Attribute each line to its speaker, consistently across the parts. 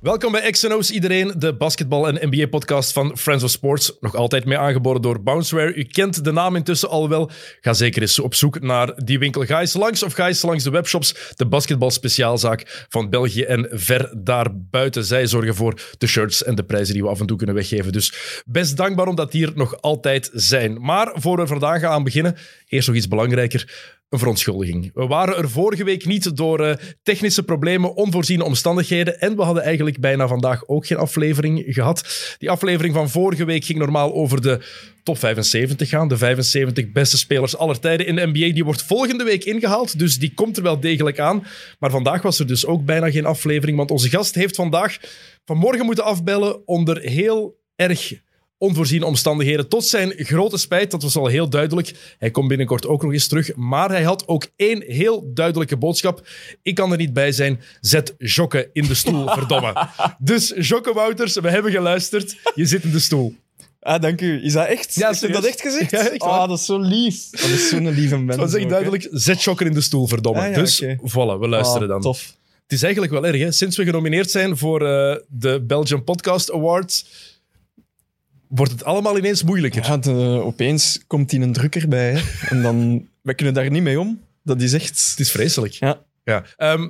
Speaker 1: Welkom bij XNO's iedereen, de basketbal- en NBA-podcast van Friends of Sports. Nog altijd mee aangeboden door Bounceware. U kent de naam intussen al wel. Ga zeker eens op zoek naar die winkel. Ga eens langs of ga eens langs de webshops. De basketbalspeciaalzaak van België en ver daarbuiten. Zij zorgen voor de shirts en de prijzen die we af en toe kunnen weggeven. Dus best dankbaar omdat die er nog altijd zijn. Maar voor we vandaag gaan beginnen, eerst nog iets belangrijker een verontschuldiging. We waren er vorige week niet door eh, technische problemen, onvoorziene omstandigheden en we hadden eigenlijk bijna vandaag ook geen aflevering gehad. Die aflevering van vorige week ging normaal over de top 75 gaan, de 75 beste spelers aller tijden in de NBA. Die wordt volgende week ingehaald, dus die komt er wel degelijk aan. Maar vandaag was er dus ook bijna geen aflevering, want onze gast heeft vandaag vanmorgen moeten afbellen onder heel erg onvoorziene omstandigheden. Tot zijn grote spijt, dat was al heel duidelijk. Hij komt binnenkort ook nog eens terug. Maar hij had ook één heel duidelijke boodschap. Ik kan er niet bij zijn. Zet Jokke in de stoel, verdomme. Dus Jokke Wouters, we hebben geluisterd. Je zit in de stoel.
Speaker 2: Ah, dank u. Is dat echt?
Speaker 1: Ja,
Speaker 2: Heeft u dat
Speaker 1: serieus.
Speaker 2: echt gezegd?
Speaker 1: Ja, echt waar.
Speaker 2: Ah, dat is zo lief. Dat is zo'n lieve mens.
Speaker 1: Dat is
Speaker 2: ook,
Speaker 1: echt
Speaker 2: hè.
Speaker 1: duidelijk. Zet Jokke in de stoel, verdomme.
Speaker 2: Ah, ja,
Speaker 1: dus
Speaker 2: oké.
Speaker 1: voilà, we luisteren
Speaker 2: Ah,
Speaker 1: dan.
Speaker 2: Tof.
Speaker 1: Het is eigenlijk wel erg, hè? Sinds we genomineerd zijn voor eh, de Belgian Podcast Awards, wordt het allemaal ineens moeilijker.
Speaker 2: Ja, de- opeens komt hier een drukker bij. Hè. En dan... Wij kunnen daar niet mee om. Dat is echt...
Speaker 1: Het is vreselijk.
Speaker 2: Ja.
Speaker 1: Ja. Ehm,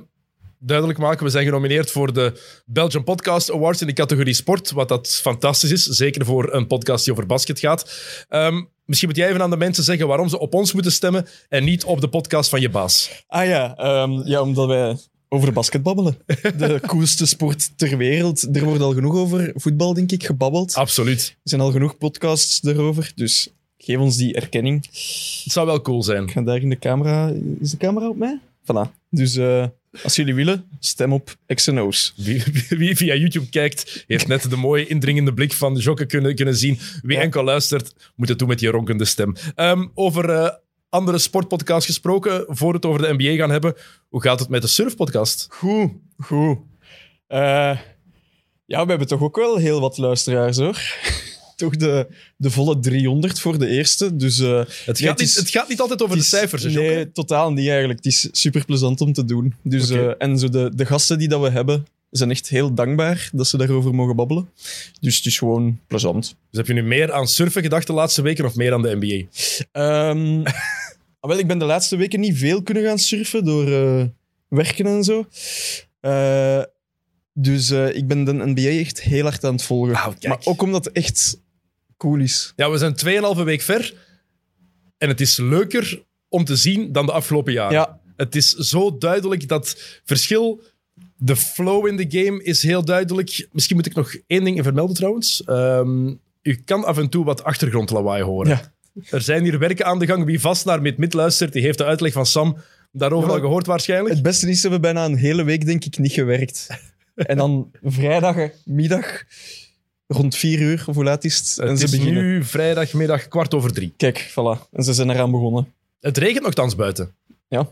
Speaker 1: duidelijk maken, we zijn genomineerd voor de Belgian Podcast Awards in de categorie sport, wat dat fantastisch is, zeker voor een podcast die over basket gaat. Ehm, misschien moet jij even aan de mensen zeggen waarom ze op ons moeten stemmen en niet op de podcast van je baas.
Speaker 2: Ah ja, ehm, ja, omdat wij over basket babbelen. De coolste sport ter wereld. Er wordt al genoeg over voetbal, denk ik, gebabbeld.
Speaker 1: Ah. Absoluut.
Speaker 2: Er zijn al genoeg podcasts daarover. Dus geef ons die erkenning.
Speaker 1: Het zou wel cool zijn.
Speaker 2: Ik ga daar in de camera... Is de camera op mij? Voilà. Dus eh, als jullie willen, stem op X&O's.
Speaker 1: Wie, wie- wie via YouTube kijkt, heeft net de mooie indringende blik van Jokke kunnen, kunnen zien. Wie
Speaker 2: Ja.
Speaker 1: enkel luistert, moet het doen met die ronkende stem. Ehm, over eh, andere sportpodcasts gesproken, voor we het over de NBA gaan hebben, hoe gaat het met de surfpodcast?
Speaker 2: Goed, goed. Eh, ja, we hebben toch ook wel heel wat luisteraars, hoor. toch de, de volle 300 voor de eerste. Dus, eh,
Speaker 1: Het
Speaker 2: nee,
Speaker 1: gaat,
Speaker 2: is-
Speaker 1: niet, het gaat niet altijd over
Speaker 2: het
Speaker 1: de
Speaker 2: is-
Speaker 1: cijfers, dus hè,
Speaker 2: Nee,
Speaker 1: Jokke?
Speaker 2: totaal niet eigenlijk. Het is super plezant om te doen. Dus,
Speaker 1: Oké.
Speaker 2: eh, en zo de, de gasten die dat we hebben, zijn echt heel dankbaar dat ze daarover mogen babbelen. Dus het is gewoon plezant.
Speaker 1: Dus heb je nu meer aan surfen gedacht de laatste weken of meer aan de NBA?
Speaker 2: Ehm, ah, wel, ik ben de laatste weken niet veel kunnen gaan surfen door eh, werken en zo. Eh, dus eh, ik ben de NBA echt heel hard aan het volgen.
Speaker 1: Wauw, kijk.
Speaker 2: maar ook omdat het echt cool is.
Speaker 1: Ja, we zijn 2,5 week ver en het is leuker om te zien dan de afgelopen jaren.
Speaker 2: Ja,
Speaker 1: Het is zo duidelijk dat verschil. De flow in de game is heel duidelijk. Misschien moet ik nog één ding vermelden trouwens. Ehm, u kan af en toe wat achtergrondlawaai horen.
Speaker 2: Ja.
Speaker 1: Er zijn hier werken aan de gang. Wie vast naar Mid-Mid luistert, die heeft de uitleg van Sam daarover
Speaker 2: Ja,
Speaker 1: al
Speaker 2: maar-
Speaker 1: gehoord waarschijnlijk.
Speaker 2: het beste is, ze hebben bijna een hele week, denk ik, niet gewerkt. En dan vrijdagmiddag rond vier uur, of hoe laat is het? En
Speaker 1: Het
Speaker 2: ze
Speaker 1: is
Speaker 2: beginnen.
Speaker 1: nu vrijdagmiddag kwart over drie.
Speaker 2: Kijk, voilà. En ze zijn eraan begonnen.
Speaker 1: Het regent nogthans buiten.
Speaker 2: Ja.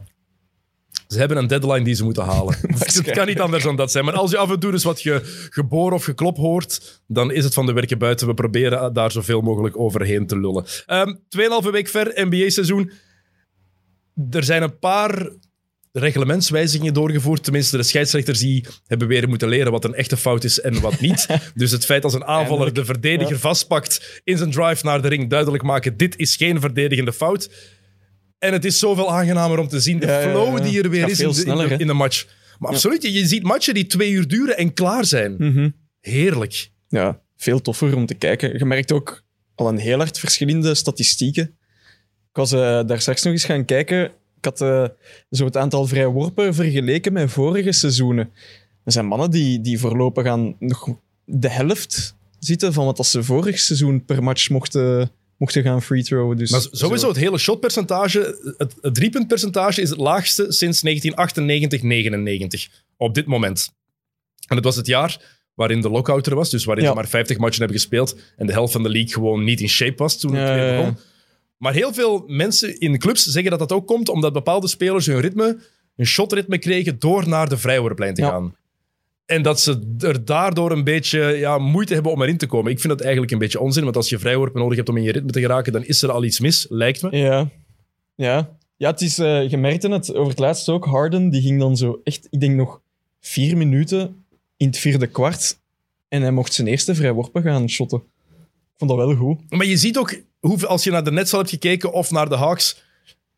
Speaker 1: Ze hebben een deadline die ze moeten halen. Dus het kan niet anders dan dat zijn. Maar als je af en toe dus wat ge, geboor of geklop hoort, dan is het van de werken buiten. We proberen daar zoveel mogelijk overheen te lullen. Ehm, Tweeënhalve week ver, NBA-seizoen. Er zijn een paar reglementswijzigingen doorgevoerd. Tenminste, de scheidsrechters die hebben weer moeten leren wat een echte fout is en wat niet. dus het feit als een aanvaller
Speaker 2: Eindelijk.
Speaker 1: de verdediger
Speaker 2: Ja.
Speaker 1: vastpakt in zijn drive naar de ring, duidelijk maken, dit is geen verdedigende fout. En het is zoveel aangenamer om te zien. De
Speaker 2: Ja, ja, ja.
Speaker 1: flow die er weer
Speaker 2: Gaat
Speaker 1: is in,
Speaker 2: veel
Speaker 1: de- in
Speaker 2: sneller,
Speaker 1: de,
Speaker 2: hè?
Speaker 1: in de match. Maar absoluut, je je ziet matchen die twee uur duren en klaar zijn. Heerlijk.
Speaker 2: ja, veel toffer om te kijken. Je merkt ook al een heel hard verschillende statistieken. Ik was eh, daar straks nog eens gaan kijken. Ik had eh, zo het aantal vrijworpen vergeleken met vorige seizoenen. Er zijn mannen die, die voorlopig aan nog de helft zitten van wat dat ze vorig seizoen per match mochten, mochten gaan free throwen. Dus
Speaker 1: Maar sowieso het hele shotpercentage, het, het driepuntpercentage is het laagste sinds 1998-99 op dit moment. En het was het jaar waarin de lockout er was, dus waarin
Speaker 2: Ja.
Speaker 1: ze maar 50 matchen hebben gespeeld en de helft van de league gewoon niet in shape was toen het
Speaker 2: Ja,
Speaker 1: weer
Speaker 2: ja, ja.
Speaker 1: begon. Maar heel veel mensen in clubs zeggen dat dat ook komt omdat bepaalde spelers hun ritme, hun shotritme kregen door naar de vrijworplijn te
Speaker 2: Ja.
Speaker 1: gaan. En dat ze er daardoor een beetje ja, moeite hebben om erin te komen. Ik vind dat eigenlijk een beetje onzin, want als je vrijworpen nodig hebt om in je ritme te geraken, dan is er al iets mis, lijkt me.
Speaker 2: Ja. Ja. Ja, het is, eh, je merkte het over het laatst ook. Harden die ging dan zo echt, ik denk nog vier minuten in het vierde kwart. En hij mocht zijn eerste vrijworpen gaan shotten. Ik vond dat wel goed.
Speaker 1: Maar je ziet ook, hoeveel, als je naar de Nets al hebt gekeken of naar de Hawks,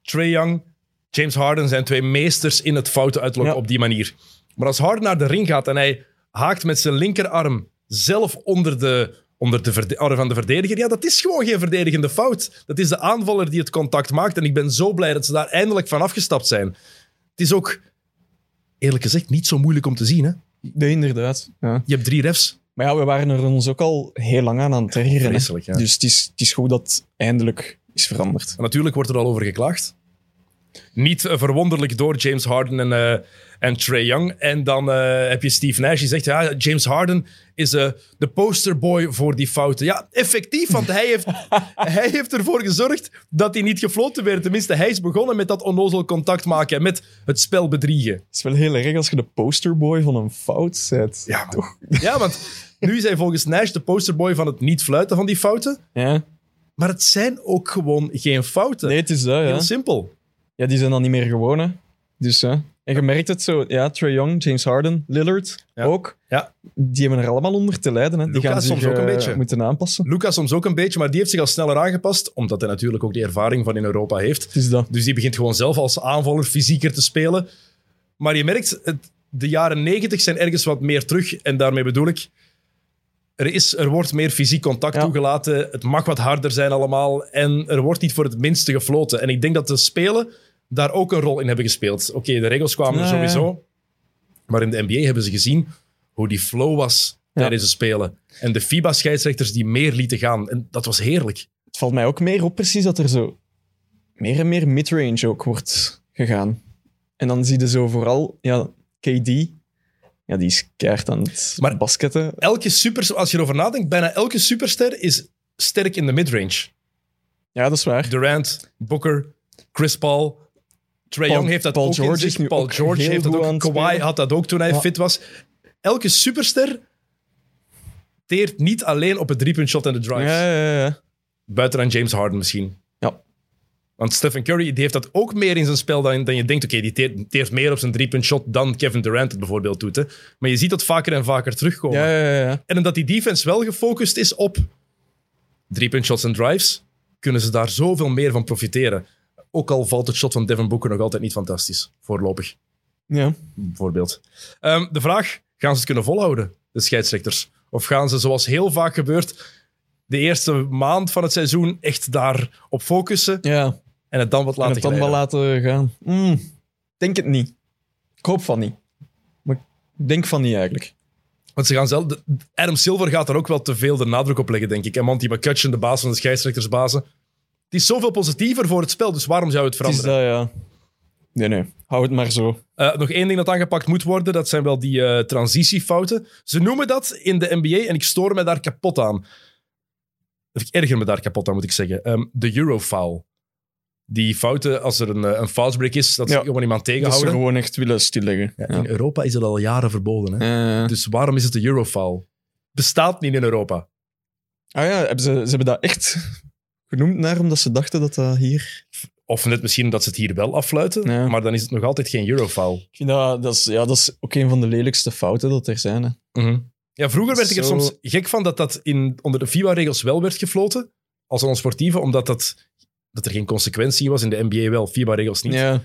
Speaker 1: Trae Young, James Harden zijn twee meesters in het fouten uitlokken
Speaker 2: Ja.
Speaker 1: op die manier. Maar als Harden naar de ring gaat en hij haakt met zijn linkerarm zelf onder de, onder de verde- arm van de verdediger, ja, dat is gewoon geen verdedigende fout. Dat is de aanvaller die het contact maakt. En ik ben zo blij dat ze daar eindelijk van afgestapt zijn. Het is ook, eerlijk gezegd, niet zo moeilijk om te zien. Hè?
Speaker 2: Nee, inderdaad. Ja.
Speaker 1: Je hebt drie refs.
Speaker 2: Maar ja, we waren er ons ook al heel lang aan aan het ergeren. hè.
Speaker 1: Vreselijk, ja.
Speaker 2: Dus het is, het is goed dat het eindelijk is veranderd.
Speaker 1: Maar natuurlijk wordt er al over geklaagd. Niet eh, verwonderlijk door James Harden en, eh, en Trae Young. En dan eh, heb je Steve Nash die zegt: ja, James Harden is eh, de posterboy voor die fouten. Ja, effectief, want hij heeft, hij heeft ervoor gezorgd dat hij niet gefloten werd. Tenminste, hij is begonnen met dat onnozel contact maken en met het spel bedriegen.
Speaker 2: Het is wel heel erg als je de posterboy van een fout bent.
Speaker 1: Ja, toch? Ja, want nu is hij volgens Nash de posterboy van het niet fluiten van die fouten.
Speaker 2: Ja.
Speaker 1: Maar het zijn ook gewoon geen fouten.
Speaker 2: Nee, het is dat,
Speaker 1: Heel
Speaker 2: ja.
Speaker 1: simpel.
Speaker 2: Ja, die zijn dan niet meer gewoon, hè. Dus, ja. En je merkt het zo, ja, Trae Young, James Harden, Lillard
Speaker 1: Ja.
Speaker 2: ook.
Speaker 1: Ja.
Speaker 2: Die hebben er allemaal onder te lijden, hè. Die
Speaker 1: Luka
Speaker 2: gaan zich
Speaker 1: soms ook een
Speaker 2: eh,
Speaker 1: beetje.
Speaker 2: moeten aanpassen.
Speaker 1: Lucas soms ook een beetje, maar die heeft zich al sneller aangepast, omdat hij natuurlijk ook die ervaring van in Europa heeft.
Speaker 2: Het is dat.
Speaker 1: Dus die begint gewoon zelf als aanvaller fysieker te spelen. Maar je merkt, het, de jaren negentig zijn ergens wat meer terug. En daarmee bedoel ik, er, is, er wordt meer fysiek contact
Speaker 2: Ja.
Speaker 1: toegelaten. Het mag wat harder zijn allemaal. En er wordt niet voor het minste gefloten. En ik denk dat de spelen daar ook een rol in hebben gespeeld. Oké, de regels kwamen er
Speaker 2: Ja, ja.
Speaker 1: sowieso. Maar in de NBA hebben ze gezien hoe die flow was
Speaker 2: Ja.
Speaker 1: tijdens de spelen. En de FIBA-scheidsrechters die meer lieten gaan. En dat was heerlijk.
Speaker 2: Het valt mij ook meer op precies dat er zo meer en meer midrange ook wordt gegaan. En dan zie je zo vooral, ja, KD. Ja, die is keihard aan het
Speaker 1: Maar-
Speaker 2: basketten.
Speaker 1: Elke super, als je erover nadenkt, bijna elke superster is sterk in de midrange.
Speaker 2: Ja, dat is waar.
Speaker 1: Durant, Booker, Chris Paul. Trae
Speaker 2: Paul-
Speaker 1: Young heeft dat
Speaker 2: Paul
Speaker 1: ook
Speaker 2: George
Speaker 1: in zich.
Speaker 2: is nu
Speaker 1: Paul
Speaker 2: ook
Speaker 1: George
Speaker 2: heel
Speaker 1: heeft dat
Speaker 2: goed aan
Speaker 1: ook.
Speaker 2: het
Speaker 1: Kawhi
Speaker 2: spelen.
Speaker 1: had dat ook toen hij
Speaker 2: Ja.
Speaker 1: fit was. Elke superster teert niet alleen op het driepunt shot en de drives.
Speaker 2: Ja, ja, ja.
Speaker 1: Buiten aan James Harden misschien.
Speaker 2: Ja.
Speaker 1: Want Stephen Curry die heeft dat ook meer in zijn spel dan, dan je denkt. Oké, die teert, teert meer op zijn driepunt shot dan Kevin Durant het bijvoorbeeld doet. Hè. Maar je ziet dat vaker en vaker terugkomen.
Speaker 2: Ja, ja, ja, ja.
Speaker 1: En omdat die defense wel gefocust is op driepuntshots en drives, kunnen ze daar zoveel meer van profiteren. Ook al valt het shot van Devin Booker nog altijd niet fantastisch, voorlopig,
Speaker 2: ja.
Speaker 1: bijvoorbeeld. Ehm, de vraag, gaan ze het kunnen volhouden, de scheidsrechters? Of gaan ze, zoals heel vaak gebeurt, de eerste maand van het seizoen echt daarop focussen
Speaker 2: ja.
Speaker 1: en het dan wat
Speaker 2: En
Speaker 1: laten
Speaker 2: het dan wel
Speaker 1: glijden?
Speaker 2: laten gaan. Mm, denk het niet. Ik hoop van niet. Maar ik denk van niet eigenlijk.
Speaker 1: Want ze gaan zelf, de- Adam Silver gaat er ook wel te veel de nadruk op leggen, denk ik. En Monty McCutcheon, de baas van de scheidsrechtersbazen. Het is zoveel positiever voor het spel, dus waarom zou je het
Speaker 2: Het is
Speaker 1: veranderen?
Speaker 2: dat, ja. Nee, nee. Hou het maar zo.
Speaker 1: Eh, nog één ding dat aangepakt moet worden, dat zijn wel die eh, transitiefouten. Ze noemen dat in de NBA en ik stoor me daar kapot aan. Of Ik erger me daar kapot aan, moet ik zeggen. Ehm, de Eurofoul. Die fouten, als er een, eh, een foutbreak is, dat ze
Speaker 2: Ja.
Speaker 1: gewoon iemand
Speaker 2: Dat ze
Speaker 1: tegenhouden.
Speaker 2: gewoon echt willen stilleggen. Ja.
Speaker 1: Ja, In Europa is dat al jaren verboden. Hè?
Speaker 2: Eh,
Speaker 1: Dus waarom is het de Eurofoul? Bestaat niet in Europa.
Speaker 2: ah ja, hebben ze, ze hebben dat echt genoemd naar omdat ze dachten dat dat hier...
Speaker 1: Of net misschien dat ze het hier wel affluiten,
Speaker 2: Ja.
Speaker 1: maar dan is het nog altijd geen Eurofoul.
Speaker 2: Ik vind dat, dat, is, ja, dat is ook een van de lelijkste fouten dat er zijn. Hè.
Speaker 1: Ja, vroeger werd ik er
Speaker 2: Zo.
Speaker 1: soms gek van dat dat in, onder de FIBA-regels wel werd gefloten, als een sportieve, omdat dat, dat er geen consequentie was in de NBA wel, FIBA-regels niet.
Speaker 2: Ja.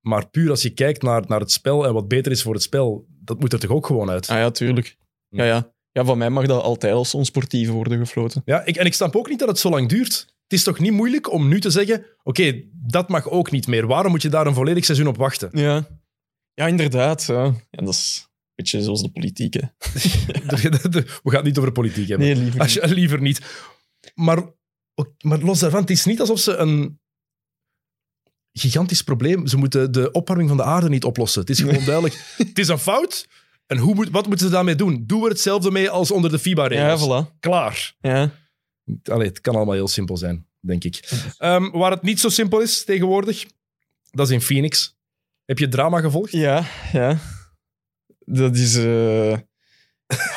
Speaker 1: Maar puur als je kijkt naar, naar het spel en wat beter is voor het spel, dat moet er toch ook gewoon uit.
Speaker 2: Ah ja, tuurlijk.
Speaker 1: Hm.
Speaker 2: Ja, ja. ja, van mij mag dat altijd als onsportieve worden gefloten.
Speaker 1: Ja, ik, en ik snap ook niet dat het zo lang duurt. Het is toch niet moeilijk om nu te zeggen, oké, dat mag ook niet meer. Waarom moet je daar een volledig seizoen op wachten?
Speaker 2: Ja. Ja, inderdaad. Ja. Ja, dat is een beetje zoals de politiek, hè.
Speaker 1: We gaan het niet over politiek hebben.
Speaker 2: Nee, liever
Speaker 1: Als je, liever niet. Maar, ook- maar los daarvan, het is niet alsof ze een gigantisch probleem... Ze moeten de opwarming van de aarde niet oplossen. Het is gewoon duidelijk. Het is een fout. En hoe moet, wat moeten ze daarmee doen? Doen we hetzelfde mee als onder de
Speaker 2: Ja,
Speaker 1: FIBA-regels.
Speaker 2: voilà.
Speaker 1: Klaar.
Speaker 2: Ja.
Speaker 1: Allee, het kan allemaal heel simpel zijn, denk ik. Ehm, waar het niet zo simpel is tegenwoordig, dat is in Phoenix. Heb je het drama gevolgd?
Speaker 2: Ja, ja. dat is... eh,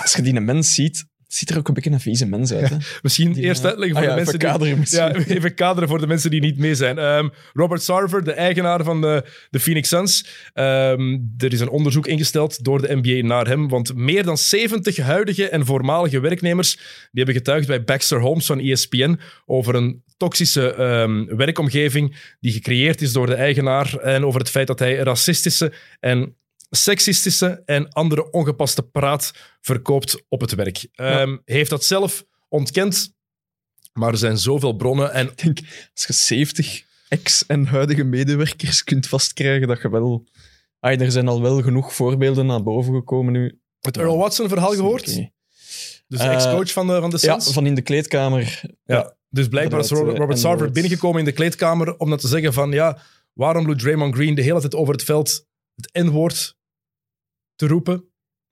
Speaker 2: als je die een mens ziet, ziet er ook een beetje een vieze mens uit. Hè?
Speaker 1: Misschien
Speaker 2: Die,
Speaker 1: eerst
Speaker 2: eh,
Speaker 1: uitleggen voor
Speaker 2: ah ja,
Speaker 1: de mensen
Speaker 2: even kaderen
Speaker 1: die...
Speaker 2: misschien.
Speaker 1: Ja, even kaderen voor de mensen die niet mee zijn. Ehm, Robert Sarver, de eigenaar van de, de Phoenix Suns. ehm, er is een onderzoek ingesteld door de NBA naar hem, want meer dan 70 huidige en voormalige werknemers die hebben getuigd bij Baxter Holmes van E ESPN over een toxische ehm, werkomgeving die gecreëerd is door de eigenaar en over het feit dat hij racistische en seksistische en andere ongepaste praat verkoopt op het werk. Ehm, Heeft dat zelf ontkend, maar er zijn zoveel bronnen en
Speaker 2: Ik denk, als je 70 ex- en huidige medewerkers kunt vastkrijgen, dat je wel... Ah, er zijn al wel genoeg voorbeelden naar boven gekomen nu.
Speaker 1: het Earl Watson verhaal gehoord.
Speaker 2: Oké.
Speaker 1: Dus de
Speaker 2: Eh,
Speaker 1: ex-coach van de, van de
Speaker 2: Ja,
Speaker 1: Suns.
Speaker 2: van in de kleedkamer.
Speaker 1: Ja. Dus blijkbaar is
Speaker 2: Inderdaad,
Speaker 1: Robert,
Speaker 2: eh,
Speaker 1: Robert
Speaker 2: en
Speaker 1: Sarver
Speaker 2: Lawrence.
Speaker 1: binnengekomen in de kleedkamer om dan te zeggen van ja, waarom doet Draymond Green de hele tijd over het veld het N-woord te roepen?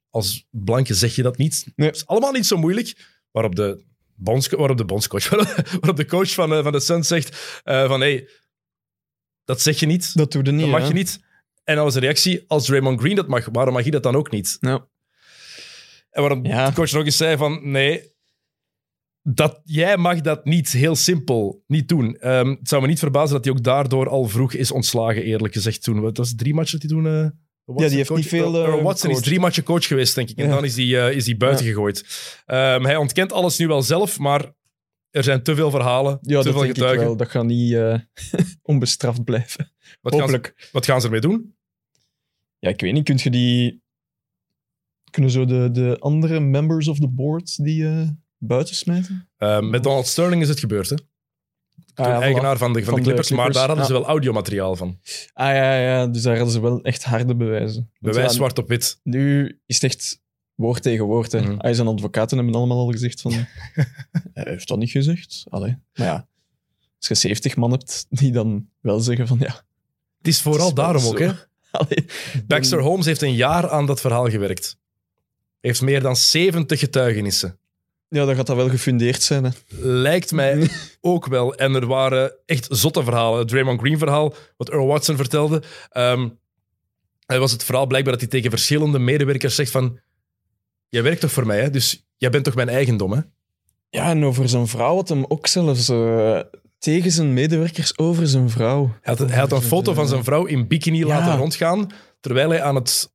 Speaker 1: Als blanke zeg je dat niet.
Speaker 2: Nee.
Speaker 1: Het is allemaal niet zo moeilijk. Waarop de, bonds, waarop de bondscoach, waarop de coach van, eh, van de Suns zegt eh, van hé, hey, dat zeg je niet,
Speaker 2: Dat doe je niet,
Speaker 1: dat mag
Speaker 2: hè?
Speaker 1: je niet. En dan was de reactie, als Draymond Green dat mag, waarom mag je dat dan ook niet?
Speaker 2: Ja.
Speaker 1: En waarom
Speaker 2: Ja.
Speaker 1: de coach nog eens zei van nee, dat, jij mag dat niet heel simpel niet doen. Ehm, het zou me niet verbazen dat hij ook daardoor al vroeg is ontslagen, eerlijk gezegd. Toen, dat was drie matchen die toen... eh, Watson
Speaker 2: die heeft
Speaker 1: coach-
Speaker 2: niet veel, eh,
Speaker 1: Eh, Watson is
Speaker 2: gecoacht.
Speaker 1: drie matchen coach geweest, denk ik. En
Speaker 2: Ja.
Speaker 1: dan is hij eh, is die buiten gegooid. Ehm, hij ontkent alles nu wel zelf, maar er zijn te veel verhalen,
Speaker 2: Ja,
Speaker 1: te
Speaker 2: dat
Speaker 1: veel
Speaker 2: denk ik
Speaker 1: getuigen.
Speaker 2: wel. Dat gaat niet eh, onbestraft blijven.
Speaker 1: Wat gaan, ze,
Speaker 2: Hopelijk.
Speaker 1: wat gaan ze ermee doen?
Speaker 2: Ja, ik weet niet. Kun je die... Kunnen zo de, de andere members of the board die eh buiten smijten?
Speaker 1: Ehm, met Donald Sterling is het gebeurd, hè?
Speaker 2: Ah,
Speaker 1: Toen
Speaker 2: ja, voilà.
Speaker 1: eigenaar van de, van
Speaker 2: Van
Speaker 1: de
Speaker 2: de
Speaker 1: Clippers, maar
Speaker 2: Clippers,
Speaker 1: daar hadden
Speaker 2: ja.
Speaker 1: ze wel audiomateriaal van.
Speaker 2: Ah ja, ja, dus daar hadden ze wel echt harde bewijzen. Want
Speaker 1: Bewijs
Speaker 2: ja,
Speaker 1: zwart op wit.
Speaker 2: Nu is het echt woord tegen woord. Hè.
Speaker 1: Mhm.
Speaker 2: Hij zijn advocaten hebben allemaal al gezegd van... hij heeft dat niet gezegd. Allee. Maar ja, als je 70 man hebt die dan wel zeggen van ja...
Speaker 1: Het is vooral
Speaker 2: het is wel
Speaker 1: daarom
Speaker 2: zo.
Speaker 1: ook, hè?
Speaker 2: Allee,
Speaker 1: Baxter Holmes heeft een jaar aan dat verhaal gewerkt. Heeft meer dan 70 getuigenissen.
Speaker 2: Ja, dan gaat dat wel gefundeerd zijn. Hè.
Speaker 1: Lijkt mij ook wel. En er waren echt zotte verhalen. Het Draymond Green-verhaal, wat Earl Watson vertelde. Ehm er was het verhaal blijkbaar dat hij tegen verschillende medewerkers zegt van... Jij werkt toch voor mij, hè? Dus jij bent toch mijn eigendom, hè?
Speaker 2: Ja, en over zijn vrouw had hem ook zelfs eh, tegen zijn medewerkers over zijn vrouw.
Speaker 1: Hij had, hij had een foto van zijn vrouw in bikini
Speaker 2: eh, Ja.
Speaker 1: laten rondgaan, terwijl hij aan het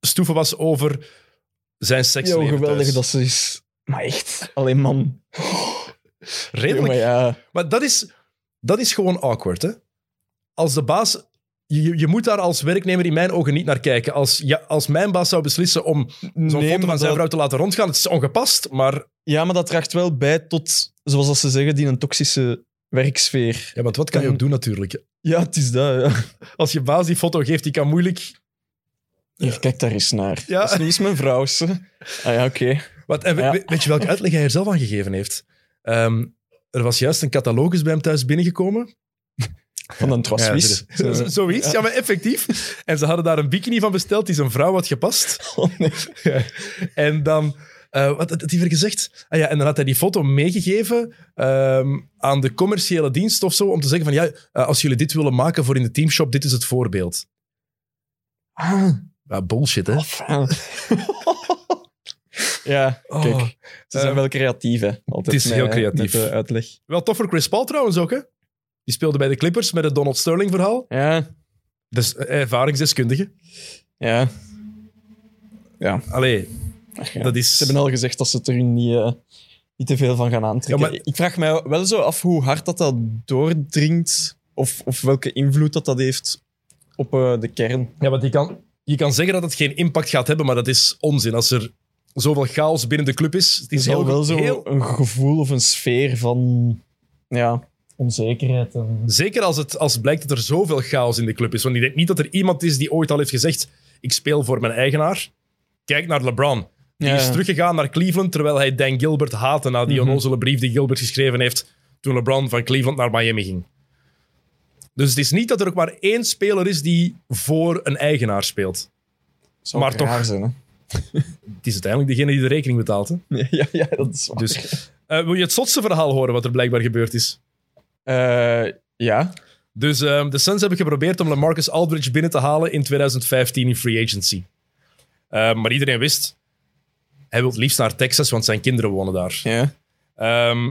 Speaker 1: stoeven was over zijn
Speaker 2: Ja,
Speaker 1: seksleven Dus
Speaker 2: hoe geweldig
Speaker 1: thuis.
Speaker 2: dat ze is. Maar echt, alleen man.
Speaker 1: Redelijk.
Speaker 2: Jongen, ja.
Speaker 1: Maar dat is, dat is gewoon awkward, hè? Als de baas... Je, je- je moet daar als werknemer in mijn ogen niet naar kijken. Als, ja, als mijn baas zou beslissen om zo'n
Speaker 2: Nee,
Speaker 1: foto
Speaker 2: maar
Speaker 1: van zijn
Speaker 2: dat-
Speaker 1: vrouw te laten rondgaan, het is ongepast, maar...
Speaker 2: Ja, maar dat draagt wel bij tot, zoals dat ze zeggen, die een toxische werksfeer.
Speaker 1: Ja, want wat kan je ook doen natuurlijk?
Speaker 2: Ja, het is dat. Ja.
Speaker 1: Als je baas die foto geeft, die kan moeilijk...
Speaker 2: Hier, kijk daar eens naar.
Speaker 1: Ja.
Speaker 2: Dat is niet eens mijn vrouw. ze. Ah ja, oké.
Speaker 1: Wat, en we-
Speaker 2: Ja.
Speaker 1: we- Weet je welke uitleg hij er zelf aan gegeven heeft? Ehm, er was juist een catalogus bij hem thuis binnengekomen.
Speaker 2: Van een transmis.
Speaker 1: Ja, z- Zoiets, ja, maar effectief. En ze hadden daar een bikini van besteld die zijn vrouw had gepast.
Speaker 2: Oh,
Speaker 1: Ja. En dan, eh, wat had had hij weer gezegd? Ah ja, en dan had hij die foto meegegeven ehm, aan de commerciële dienst of zo, om te zeggen van, ja, eh, als jullie dit willen maken voor in de teamshop, dit is het voorbeeld.
Speaker 2: Ah,
Speaker 1: Ja, bullshit, hè?
Speaker 2: fijn. ja, kijk.
Speaker 1: Oh.
Speaker 2: Ze zijn
Speaker 1: Eh,
Speaker 2: wel creatief, hè. Altijd
Speaker 1: het is
Speaker 2: met-
Speaker 1: heel creatief.
Speaker 2: Met de uitleg.
Speaker 1: Wel tof voor Chris Paul trouwens ook, hè? Die speelde bij de Clippers met het Donald Sterling-verhaal.
Speaker 2: Ja,
Speaker 1: Dus eh, ervaringsdeskundige.
Speaker 2: Ja.
Speaker 1: Allee,
Speaker 2: ja.
Speaker 1: dat is...
Speaker 2: Ze hebben al gezegd dat ze het er hun niet, eh, niet te veel van gaan aantrekken.
Speaker 1: Ja, maar-
Speaker 2: Ik vraag mij wel zo af hoe hard dat, dat doordringt. Of, of welke invloed dat, dat heeft op eh, de kern.
Speaker 1: Ja, want je kan, je kan zeggen dat het geen impact gaat hebben, maar dat is onzin. Als er zoveel chaos binnen de club is, het
Speaker 2: Er
Speaker 1: is
Speaker 2: is al
Speaker 1: heel,
Speaker 2: wel zo
Speaker 1: heel-
Speaker 2: een gevoel of een sfeer van ja, onzekerheid. En...
Speaker 1: Zeker als het als blijkt dat er zoveel chaos in de club is. Want ik denk niet dat er iemand is die ooit al heeft gezegd: ik speel voor mijn eigenaar. Kijk naar LeBron. Die
Speaker 2: Ja.
Speaker 1: is teruggegaan naar Cleveland terwijl hij Dan Gilbert haatte na die
Speaker 2: Mhm.
Speaker 1: onnozele brief die Gilbert geschreven heeft toen LeBron van Cleveland naar Miami ging. Dus het is niet dat er ook maar één speler is die voor een eigenaar speelt.
Speaker 2: Zou
Speaker 1: Maar
Speaker 2: ook
Speaker 1: toch-
Speaker 2: raar zijn, hè?
Speaker 1: Het is uiteindelijk degene die de rekening betaalt. Hè?
Speaker 2: Ja, ja, ja, dat is waar.
Speaker 1: Dus, eh, wil je het zotste verhaal horen wat er blijkbaar gebeurd is?
Speaker 2: Eh, ja.
Speaker 1: Dus ehm, de Suns hebben geprobeerd om LaMarcus Aldridge binnen te halen in 2015 in free agency. Ehm, Eh, maar iedereen wist, hij wil het liefst naar Texas, want zijn kinderen wonen daar.
Speaker 2: Ja.
Speaker 1: Ehm,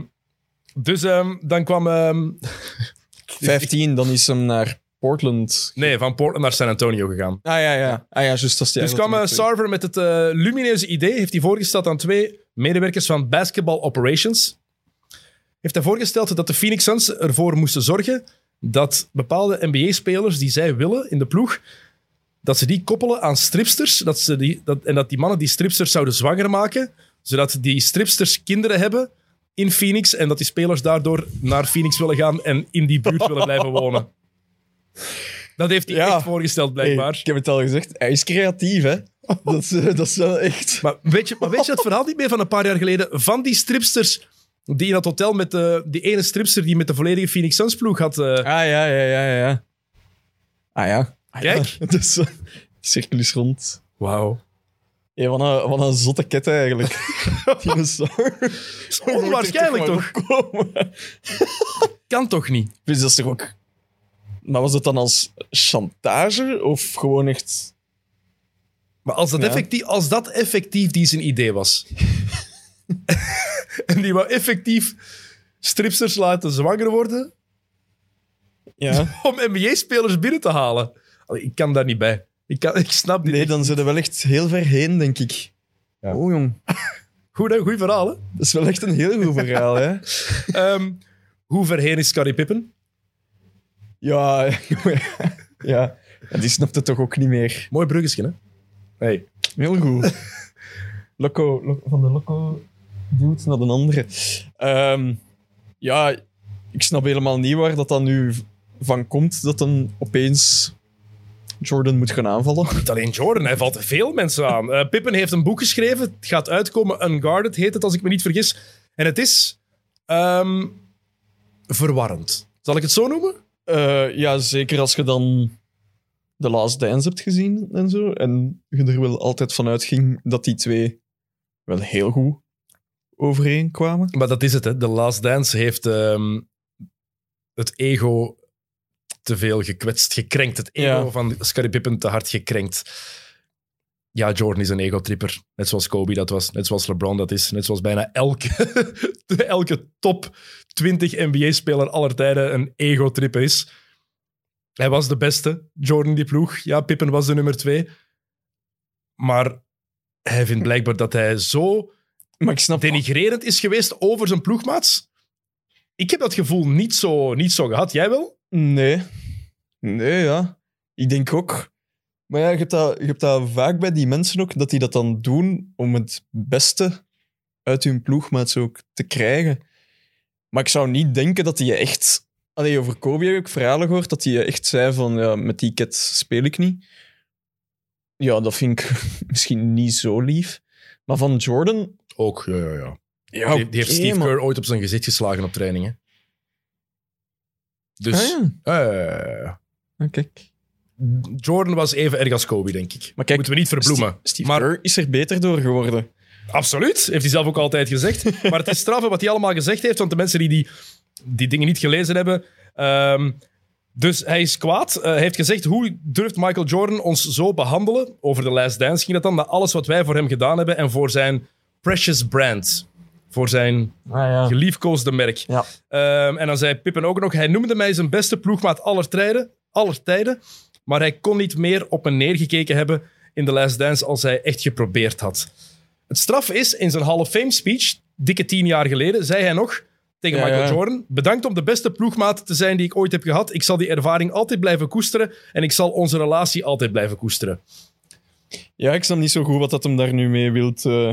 Speaker 1: dus ehm, dan kwam... ehm,
Speaker 2: 15, dan is hem naar Portland.
Speaker 1: nee, van Portland naar San Antonio gegaan.
Speaker 2: Ah ja, ja. Ah ja, juist. dat is die
Speaker 1: Dus kwam eh,
Speaker 2: eigenlijk met
Speaker 1: Sarver met het eh, lumineuze idee, heeft hij voorgesteld aan twee medewerkers van Basketball Operations. Heeft hij voorgesteld dat de Phoenix Suns ervoor moesten zorgen dat bepaalde NBA-spelers die zij willen in de ploeg, dat ze die koppelen aan stripsters. Dat ze die, dat, en dat die mannen die stripsters zouden zwanger maken, zodat die stripsters kinderen hebben in Phoenix en dat die spelers daardoor naar Phoenix willen gaan en in die buurt willen blijven wonen. Dat heeft hij
Speaker 2: Ja.
Speaker 1: echt voorgesteld,
Speaker 2: twee.
Speaker 1: blijkbaar.
Speaker 2: Hey, ik heb het al gezegd, hij is creatief, hè. Dat is, eh, dat is wel echt...
Speaker 1: Maar weet, je, maar weet je het verhaal niet meer van een paar jaar geleden? Van die stripsters die in dat hotel met de, die ene stripster die met de volledige Phoenix Suns ploeg had. eh,
Speaker 2: Ah ja, ja, ja, ja, ja. Ah ja. Ah, ja.
Speaker 1: Kijk.
Speaker 2: Dus, eh, cirkel is rond.
Speaker 1: Wauw.
Speaker 2: Hey, wat, een, wat een zotte ket eigenlijk. Dinosaur.
Speaker 1: Is Onwaarschijnlijk toch? Kan toch niet?
Speaker 2: Dus dat is toch ook... Maar was dat dan als chantage of gewoon echt...
Speaker 1: Maar als dat,
Speaker 2: Ja.
Speaker 1: effectief, als dat effectief die zijn idee was. en die wou effectief stripsters laten zwanger worden
Speaker 2: Ja.
Speaker 1: om NBA-spelers binnen te halen. Allee, Ik kan daar niet bij. Ik, kan, ik snap dit.
Speaker 2: Nee,
Speaker 1: niet.
Speaker 2: dan zitten we wel echt heel ver heen, denk ik.
Speaker 1: Ja.
Speaker 2: Oh, jong.
Speaker 1: Goed, hè? Goed verhaal, hè?
Speaker 2: Dat is wel echt een heel goed verhaal, hè?
Speaker 1: Ehm, hoe verheen is Scottie Pippen?
Speaker 2: Ja, ja. En die snapt het toch ook niet meer.
Speaker 1: Mooi bruggetje, hè? Hey.
Speaker 2: Heel goed. Loco, lo- van de Loco dude naar de andere. Ehm, ja, ik snap helemaal niet waar dat dan nu v- van komt dat dan opeens Jordan moet gaan aanvallen.
Speaker 1: Niet alleen Jordan, hij valt veel mensen aan. Eh, Pippen heeft een boek geschreven. Het gaat uitkomen. Unguarded heet het, als ik me niet vergis. En het is ehm, verwarrend. Zal ik het zo noemen?
Speaker 2: Eh, ja, zeker als je dan The Last Dance hebt gezien en zo. En je er wel altijd van uitging dat die twee wel heel goed overeenkwamen.
Speaker 1: Maar dat is het, hè. The Last Dance heeft ehm, het ego te veel gekwetst, gekrenkt. Het ego
Speaker 2: Ja.
Speaker 1: van Scottie Pippen te hard gekrenkt. Ja, Jordan is een ego-tripper. Net zoals Kobe dat was, net zoals LeBron dat is, net zoals bijna elke, elke top kwamen 20 NBA-speler aller tijden een ego-tripper is. Hij was de beste, Jordan die ploeg. Ja, Pippen was de nummer twee. Maar hij vindt blijkbaar dat hij zo
Speaker 2: Maar ik snap
Speaker 1: denigrerend is geweest over zijn ploegmaats. Ik heb dat gevoel niet zo, niet zo gehad. Jij wel?
Speaker 2: Nee. Nee, ja. Ik denk ook. Maar ja, je hebt, dat, je hebt dat vaak bij die mensen ook, dat die dat dan doen om het beste uit hun ploegmaats ook te krijgen. Maar ik zou niet denken dat die echt... Allee, over Kobe heb ik verhalen gehoord dat hij echt zei van, ja, met die cat speel ik niet. Ja, dat vind ik misschien niet zo lief. Maar van Jordan...
Speaker 1: Ook, ja, ja, ja.
Speaker 2: Ja,
Speaker 1: die, die heeft
Speaker 2: oké,
Speaker 1: Steve
Speaker 2: maar-
Speaker 1: Kerr ooit op zijn gezicht geslagen op trainingen. Dus,
Speaker 2: Ah, ja.
Speaker 1: eh,
Speaker 2: Ah, kijk.
Speaker 1: Jordan was even erg als Kobe, denk ik.
Speaker 2: Maar kijk,
Speaker 1: Moeten we niet verbloemen.
Speaker 2: Steve, Steve
Speaker 1: maar
Speaker 2: Kerr is er beter door geworden.
Speaker 1: Absoluut, heeft hij zelf ook altijd gezegd. Maar het is straffen wat hij allemaal gezegd heeft, want de mensen die die, die dingen niet gelezen hebben. ehm, dus hij is kwaad. Eh, Hij heeft gezegd: hoe durft Michael Jordan ons zo behandelen? Over de Last Dance ging dat dan, na alles wat wij voor hem gedaan hebben en voor zijn precious brand. Voor zijn
Speaker 2: Ah
Speaker 1: geliefkoosde merk.
Speaker 2: Ja.
Speaker 1: Ehm, en dan zei Pippen ook nog: hij noemde mij zijn beste ploegmaat aller tijden, aller tijden. Maar hij kon niet meer op me neergekeken hebben in The Last Dance als hij echt geprobeerd had. Het straf is, in zijn Hall of Fame speech, dikke tien jaar geleden, zei hij nog tegen
Speaker 2: Ja,
Speaker 1: Michael
Speaker 2: ja.
Speaker 1: Jordan: Bedankt om de beste ploegmaat te zijn die ik ooit heb gehad. Ik zal die ervaring altijd blijven koesteren en ik zal onze relatie altijd blijven koesteren.
Speaker 2: Ja, ik snap niet zo goed wat dat hem daar nu mee wilt eh,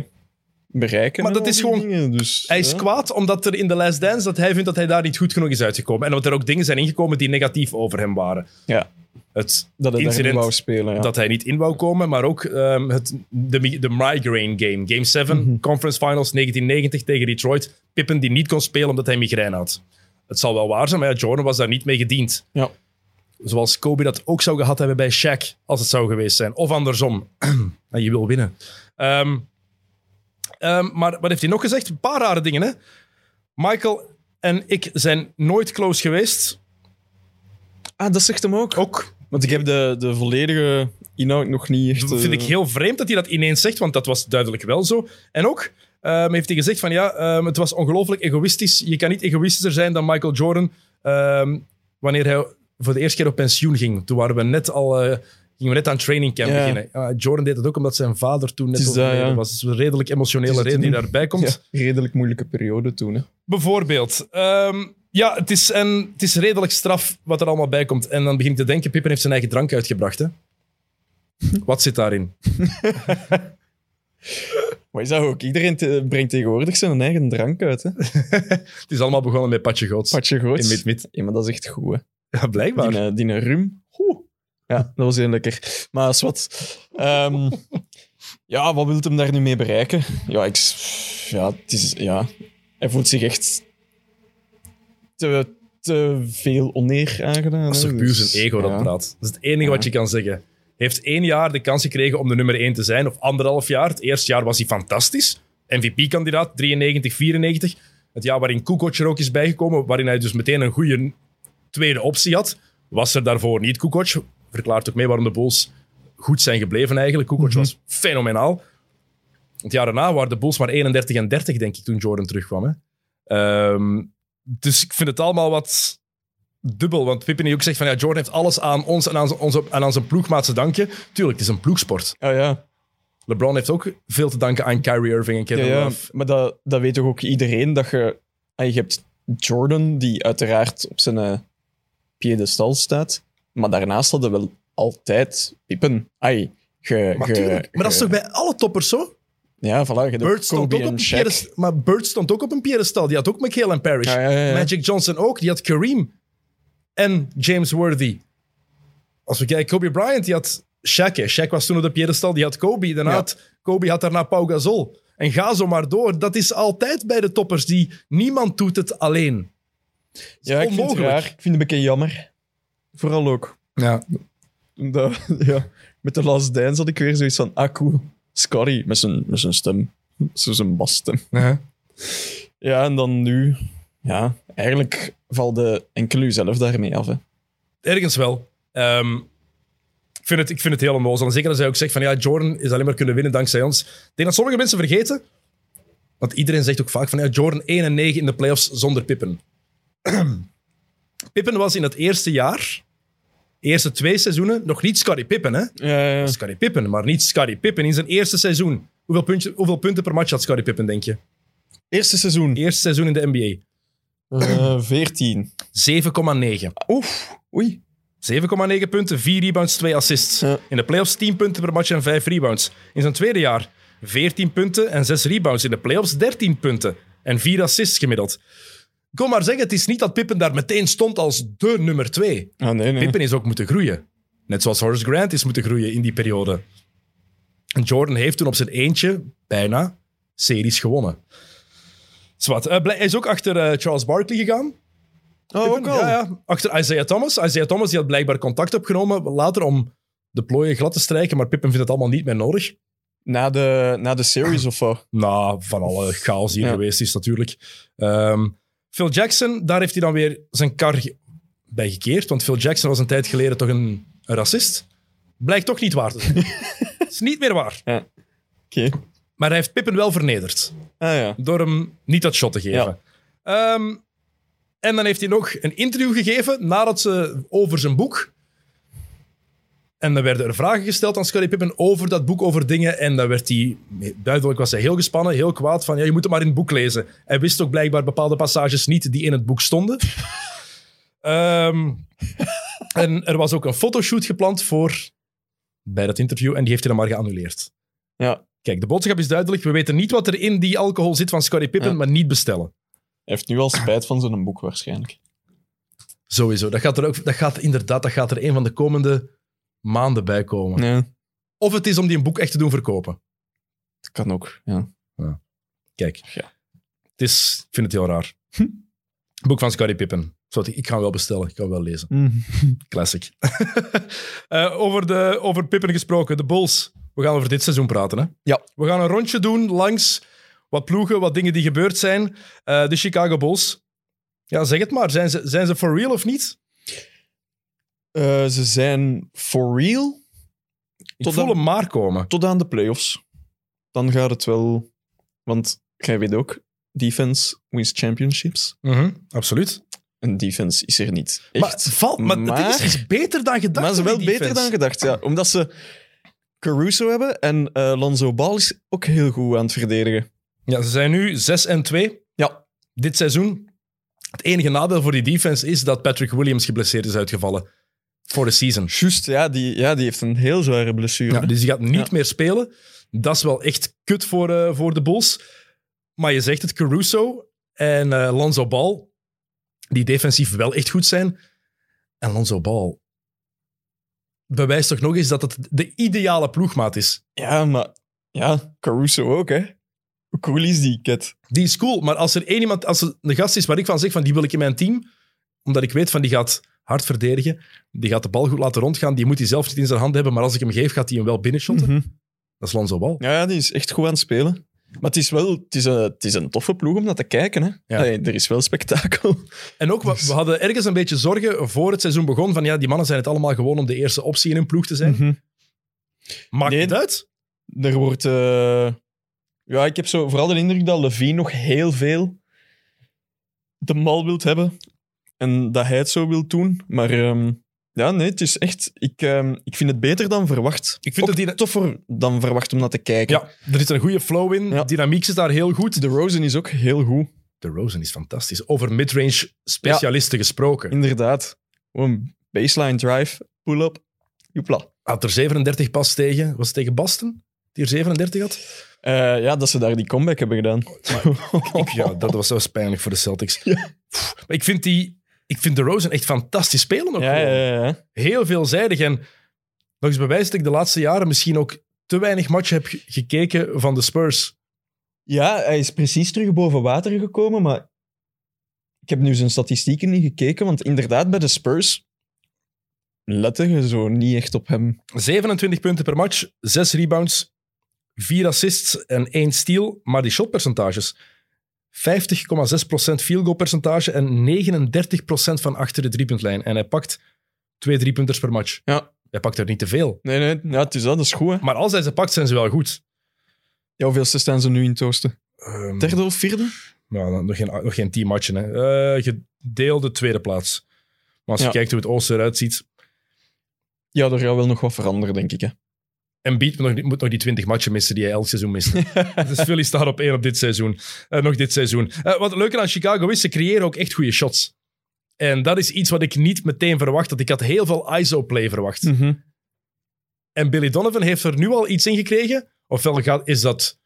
Speaker 2: bereiken.
Speaker 1: Maar
Speaker 2: en
Speaker 1: dat
Speaker 2: al
Speaker 1: is
Speaker 2: die
Speaker 1: gewoon-
Speaker 2: dingen, dus,
Speaker 1: Hij is
Speaker 2: ja.
Speaker 1: kwaad omdat er in The Last Dance dat hij vindt dat hij daar niet goed genoeg is uitgekomen. En dat er ook dingen zijn ingekomen die negatief over hem waren.
Speaker 2: Ja,
Speaker 1: Het
Speaker 2: dat hij daar niet
Speaker 1: incident
Speaker 2: wou spelen. Ja.
Speaker 1: dat hij niet in wou komen, maar ook ehm, het, de, mi- de migraine game. Game 7, Conference Finals 1990 tegen Detroit. Pippen die niet kon spelen omdat hij migraine had. Het zal wel waar zijn, maar ja, Jordan was daar niet mee gediend.
Speaker 2: Ja.
Speaker 1: Zoals Kobe dat ook zou gehad hebben bij Shaq, als het zou geweest zijn. Of andersom. en je wil winnen. Ehm, ehm, maar wat heeft hij nog gezegd? Een paar rare dingen, hè? Michael en ik zijn nooit close geweest.
Speaker 2: Ah, dat zegt hem ook.
Speaker 1: Ook
Speaker 2: Want ik heb de, de volledige inhoud nog niet echt...
Speaker 1: Dat vind
Speaker 2: eh,
Speaker 1: ik heel vreemd dat hij dat ineens zegt, want dat was duidelijk wel zo. En ook ehm, heeft hij gezegd van ja, ehm, het was ongelooflijk egoïstisch. Je kan niet egoïstischer zijn dan Michael Jordan ehm, wanneer hij voor de eerste keer op pensioen ging. Toen waren we net al, eh, gingen we net aan training camp
Speaker 2: Ja.
Speaker 1: beginnen. Ja, Jordan deed het ook omdat zijn vader toen net
Speaker 2: Het is dat,
Speaker 1: overleden
Speaker 2: ja.
Speaker 1: was. Dus een redelijk emotionele
Speaker 2: Het is het
Speaker 1: reden die daarbij komt.
Speaker 2: ja, redelijk moeilijke periode toen. Hè.
Speaker 1: Bijvoorbeeld. Ehm, ja, het is, en, het is redelijk straf wat er allemaal bij komt. En dan begin ik te denken, Pippen heeft zijn eigen drank uitgebracht. Hè? Wat zit daarin?
Speaker 2: Maar is dat ook? Iedereen te- brengt tegenwoordig zijn eigen drank uit. Hè?
Speaker 1: Het is allemaal begonnen met Patje Goots.
Speaker 2: Patje
Speaker 1: In
Speaker 2: Goots.
Speaker 1: mid-mid.
Speaker 2: Ja, maar dat is echt goed. Hè?
Speaker 1: Ja, blijkbaar.
Speaker 2: Die, eh, die rum. Oeh. Ja, dat was heel lekker. Maar als wat. ehm, ja, wat wil hem daar nu mee bereiken? Ja, ik, s- ja, het is, ja. hij voelt zich echt te, te veel oneer aangedaan.
Speaker 1: Dat is toch
Speaker 2: hè,
Speaker 1: puur
Speaker 2: dus,
Speaker 1: zijn ego dat
Speaker 2: ja.
Speaker 1: praat. Dat is het enige wat je kan zeggen. Heeft één jaar de kans gekregen om de nummer één te zijn, of anderhalf jaar. Het eerste jaar was hij fantastisch. MVP-kandidaat, 93, 94. Het jaar waarin Kukoc er ook is bijgekomen, waarin hij dus meteen een goede tweede optie had, was er daarvoor niet Kukoc. Verklaart ook mee waarom de Bulls goed zijn gebleven eigenlijk. Kukoc was fenomenaal. Het jaar daarna waren de Bulls maar 31 en 30, denk ik, toen Jordan terugkwam. Hè? Ehm, dus ik vind het allemaal wat dubbel. Want Pippen die ook zegt van ja, Jordan heeft alles aan ons en aan, z- onze, en aan zijn ploegmaat te danken. Tuurlijk, het is een ploegsport.
Speaker 2: Ah ja,
Speaker 1: LeBron heeft ook veel te danken aan Kyrie Irving en
Speaker 2: ja,
Speaker 1: Kevin
Speaker 2: ja.
Speaker 1: Love.
Speaker 2: maar dat, dat weet toch ook iedereen dat je. ah, Je hebt Jordan, die uiteraard op zijn eh, piedestal staat. Maar daarnaast hadden wel altijd Pippen. Ai, ge,
Speaker 1: Maar,
Speaker 2: ge-
Speaker 1: tuurlijk, maar dat is
Speaker 2: ge-
Speaker 1: toch bij alle toppers zo?
Speaker 2: Ja, voilà. Je hebt
Speaker 1: Bird stond,
Speaker 2: Kobe
Speaker 1: ook op
Speaker 2: en
Speaker 1: een
Speaker 2: Shaq.
Speaker 1: pieres- maar Bird stond ook op een piedestal. Die had ook McHale en Parrish.
Speaker 2: Ja, ja, ja, ja.
Speaker 1: Magic Johnson ook. Die had Kareem en James Worthy. Als we kijken, Kobe Bryant, die had Shaq. hè. Shaq was toen op de piedestal, die had Kobe. Daarna
Speaker 2: Ja.
Speaker 1: had, Kobe had daarna Pau Gasol. En ga zo maar door. Dat is altijd bij de toppers. Die, niemand doet het alleen.
Speaker 2: Ja, ik vind het
Speaker 1: onmogelijk.
Speaker 2: raar. Ik vind het een beetje jammer. Vooral ook.
Speaker 1: Ja.
Speaker 2: Omdat, ja, met de Last Dance had ik weer zoiets van, ah cool, Scotty met zijn, met zijn stem. Zo zijn basstem. Ja, en dan nu. Ja, eigenlijk valde enkel jezelf daarmee af. Hè.
Speaker 1: Ergens wel. Ehm, ik, vind het, ik vind het heel onnozel. En zeker als hij ook zegt van ja, Jordan is alleen maar kunnen winnen dankzij ons. Ik denk dat sommige mensen vergeten. Want iedereen zegt ook vaak van ja, Jordan 1 en 9 in de playoffs zonder Pippen. Pippen was in het eerste jaar, eerste twee seizoenen, nog niet Scottie Pippen. Hè?
Speaker 2: Ja, ja.
Speaker 1: Scottie Pippen, maar niet Scottie Pippen in zijn eerste seizoen. Hoeveel, puntje, hoeveel punten per match had Scottie Pippen, denk je?
Speaker 2: Eerste seizoen,
Speaker 1: Eerste seizoen in de NBA.
Speaker 2: eh 14.
Speaker 1: 7,9.
Speaker 2: Oef, oei.
Speaker 1: 7,9 punten, 4 rebounds, 2 assists.
Speaker 2: Ja.
Speaker 1: In de playoffs 10 punten per match en 5 rebounds. In zijn tweede jaar 14 punten en 6 rebounds. In de playoffs 13 punten en 4 assists gemiddeld. Ik wil maar zeggen, het is niet dat Pippen daar meteen stond als de nummer 2.
Speaker 2: Ah, nee, nee.
Speaker 1: Pippen is ook moeten groeien. Net zoals Horace Grant is moeten groeien in die periode. En Jordan heeft toen op zijn eentje bijna series gewonnen. Zwat, eh, blij- hij is ook achter eh, Charles Barkley gegaan.
Speaker 2: Oh, ook
Speaker 1: Pippen,
Speaker 2: al.
Speaker 1: Ja, ja. Achter Isaiah Thomas. Isaiah Thomas die had blijkbaar contact opgenomen later om de plooien glad te strijken, maar Pippen vindt het allemaal niet meer nodig.
Speaker 2: Na, de, na de series of wat.
Speaker 1: Na van alle chaos die er
Speaker 2: Ja.
Speaker 1: geweest is natuurlijk. Ehm, Phil Jackson, daar heeft hij dan weer zijn kar ge- bij gekeerd, want Phil Jackson was een tijd geleden toch een, een racist. Blijkt toch niet waar te zijn. is niet meer waar.
Speaker 2: Oké.
Speaker 1: Maar hij heeft Pippen wel vernederd.
Speaker 2: Ah ja.
Speaker 1: door hem niet dat shot te geven. Ehm, en dan heeft hij nog een interview gegeven nadat ze over zijn boek. En dan werden er vragen gesteld aan Scottie Pippen over dat boek, over dingen. En dan werd hij, duidelijk was hij heel gespannen, heel kwaad. Van ja, je moet het maar in het boek lezen. Hij wist ook blijkbaar bepaalde passages niet die in het boek stonden. Ehm, en er was ook een fotoshoot gepland voor bij dat interview. En die heeft hij dan maar geannuleerd.
Speaker 2: Ja,
Speaker 1: Kijk, de boodschap is duidelijk. We weten niet wat er in die alcohol zit van Scottie Pippen,
Speaker 2: Ja.
Speaker 1: maar niet bestellen.
Speaker 2: hij heeft nu al spijt van zijn boek waarschijnlijk.
Speaker 1: Sowieso. Dat gaat er ook, dat gaat inderdaad, dat gaat er een van de komende maanden bij komen.
Speaker 2: Ja,
Speaker 1: Of het is om die een boek echt te doen verkopen.
Speaker 2: dat kan ook. Ja.
Speaker 1: Kijk,
Speaker 2: Ja. Hm.
Speaker 1: het is, ik vind het heel raar. Boek van Scottie Pippen. Zodat ik, ik ga hem wel bestellen, ik ga hem wel lezen.
Speaker 2: Mm.
Speaker 1: Classic. Eh, over, de, over Pippen gesproken, de Bulls. We gaan over dit seizoen praten. Hè?
Speaker 2: Ja.
Speaker 1: We gaan een rondje doen langs wat ploegen, wat dingen die gebeurd zijn. Eh, de Chicago Bulls. Ja, zeg het maar. Zijn ze, zijn ze for real of niet?
Speaker 2: Eh, ze zijn for real.
Speaker 1: Ik
Speaker 2: Tot
Speaker 1: voel
Speaker 2: dan-
Speaker 1: hem maar komen.
Speaker 2: tot aan de playoffs. Dan gaat het wel. Want jij weet ook, defense wins championships.
Speaker 1: Mhm, absoluut.
Speaker 2: En defense is er niet. Echt.
Speaker 1: Maar, valt, maar, het
Speaker 2: Maar-
Speaker 1: is iets beter dan gedacht.
Speaker 2: maar ze
Speaker 1: hoor,
Speaker 2: wel
Speaker 1: die
Speaker 2: beter dan
Speaker 1: defense.
Speaker 2: gedacht, ja. Omdat ze Caruso hebben en eh Lonzo Ball is ook heel goed aan het verdedigen.
Speaker 1: Ja, ze zijn nu 6 en 2
Speaker 2: Ja,
Speaker 1: dit seizoen. Het enige nadeel voor die defense is dat Patrick Williams geblesseerd is uitgevallen. Voor de season.
Speaker 2: juist. Ja die, ja, die heeft een heel zware blessure.
Speaker 1: Ja, dus die gaat niet
Speaker 2: Ja.
Speaker 1: meer spelen. Dat is wel echt kut voor, eh, voor de Bulls. Maar je zegt het, Caruso en eh, Lonzo Ball, die defensief wel echt goed zijn. En Lonzo Ball bewijst toch nog eens dat het de ideale ploegmaat is.
Speaker 2: Ja, maar ja, Caruso ook, hè. Hoe cool is die cat?
Speaker 1: Die is cool, maar als er één iemand, als er een gast is waar ik van zeg, van die wil ik in mijn team, omdat ik weet van die gaat hard verdedigen, die gaat de bal goed laten rondgaan, die moet hij zelf niet in zijn hand hebben, maar als ik hem geef, gaat hij hem wel binnenshotten.
Speaker 2: Mhm.
Speaker 1: Dat is Lonzo Ball.
Speaker 2: Ja, ja, die is echt goed aan het spelen. Maar het is wel het is een, het is een toffe ploeg om naar te kijken. Hè?
Speaker 1: Ja.
Speaker 2: Allee, er is wel spektakel.
Speaker 1: En ook, we, we hadden ergens een beetje zorgen voor het seizoen begon. Van ja, die mannen zijn het allemaal gewoon om de eerste optie in hun ploeg te zijn. Maakt
Speaker 2: Nee,
Speaker 1: het uit?
Speaker 2: Er wordt. eh, ja, ik heb zo vooral de indruk dat Levine nog heel veel de mal wilt hebben. En dat hij het zo wil doen. Maar ehm, ja, nee, het is echt. Ik, ehm, ik vind het beter dan verwacht.
Speaker 1: Ik vind
Speaker 2: Ook
Speaker 1: dat die-
Speaker 2: toffer dan verwacht om naar te kijken.
Speaker 1: Ja, er zit een goede flow in.
Speaker 2: Ja.
Speaker 1: Dynamiek zit daar heel goed.
Speaker 2: De Rosen is ook heel goed,
Speaker 1: De Rosen is fantastisch. Over midrange specialisten gesproken.
Speaker 2: inderdaad. Gewoon baseline drive, pull-up, joepla.
Speaker 1: Had er 37 pas tegen. Was het tegen Basten? Die er 37 had?
Speaker 2: Eh, ja, dat ze daar die comeback hebben gedaan.
Speaker 1: Ik, ja, dat was zo pijnlijk voor de Celtics. Pff, maar ik vind, die, ik vind de Rosen echt fantastisch spelen. Ook
Speaker 2: ja,
Speaker 1: gewoon.
Speaker 2: ja, ja, ja.
Speaker 1: heel veelzijdig. En nog eens bewijs dat ik de laatste jaren misschien ook te weinig matchen heb ge- gekeken van de Spurs.
Speaker 2: Ja, hij is precies terug boven water gekomen, maar ik heb nu zijn statistieken niet gekeken, want inderdaad, bij de Spurs letten je zo niet echt op hem.
Speaker 1: 27 punten per match, 6 rebounds, 4 assists en 1 steal. Maar die shotpercentages. 50,6% field goal percentage en 39% van achter de driepuntlijn. En hij pakt twee driepunters per match.
Speaker 2: Ja.
Speaker 1: Hij pakt er niet te veel.
Speaker 2: Nee, nee, ja, het is dat, dat is goed, hè.
Speaker 1: Maar als hij ze pakt, zijn ze wel goed.
Speaker 2: Ja, hoeveelste staan ze nu in het oosten?
Speaker 1: Ehm,
Speaker 2: Derde of vierde?
Speaker 1: Nou, dan nog geen, nog geen tien matchen. Hè. Eh, gedeelde tweede plaats. Maar als je
Speaker 2: Ja.
Speaker 1: kijkt hoe het Oosten eruit ziet.
Speaker 2: Ja, er gaat wel nog wat veranderen, denk ik, hè.
Speaker 1: En Beat moet nog, die- moet nog die 20 matchen missen die hij elk seizoen mist. dus Philly staat op één op dit seizoen. Eh, nog dit seizoen. Eh, wat leuker aan Chicago is, ze creëren ook echt goede shots. En dat is iets wat ik niet meteen verwacht. had. Ik had heel veel ISO-play verwacht.
Speaker 2: Mm. Mhm.
Speaker 1: En Billy Donovan heeft er nu al iets in gekregen. Ofwel gaat, is dat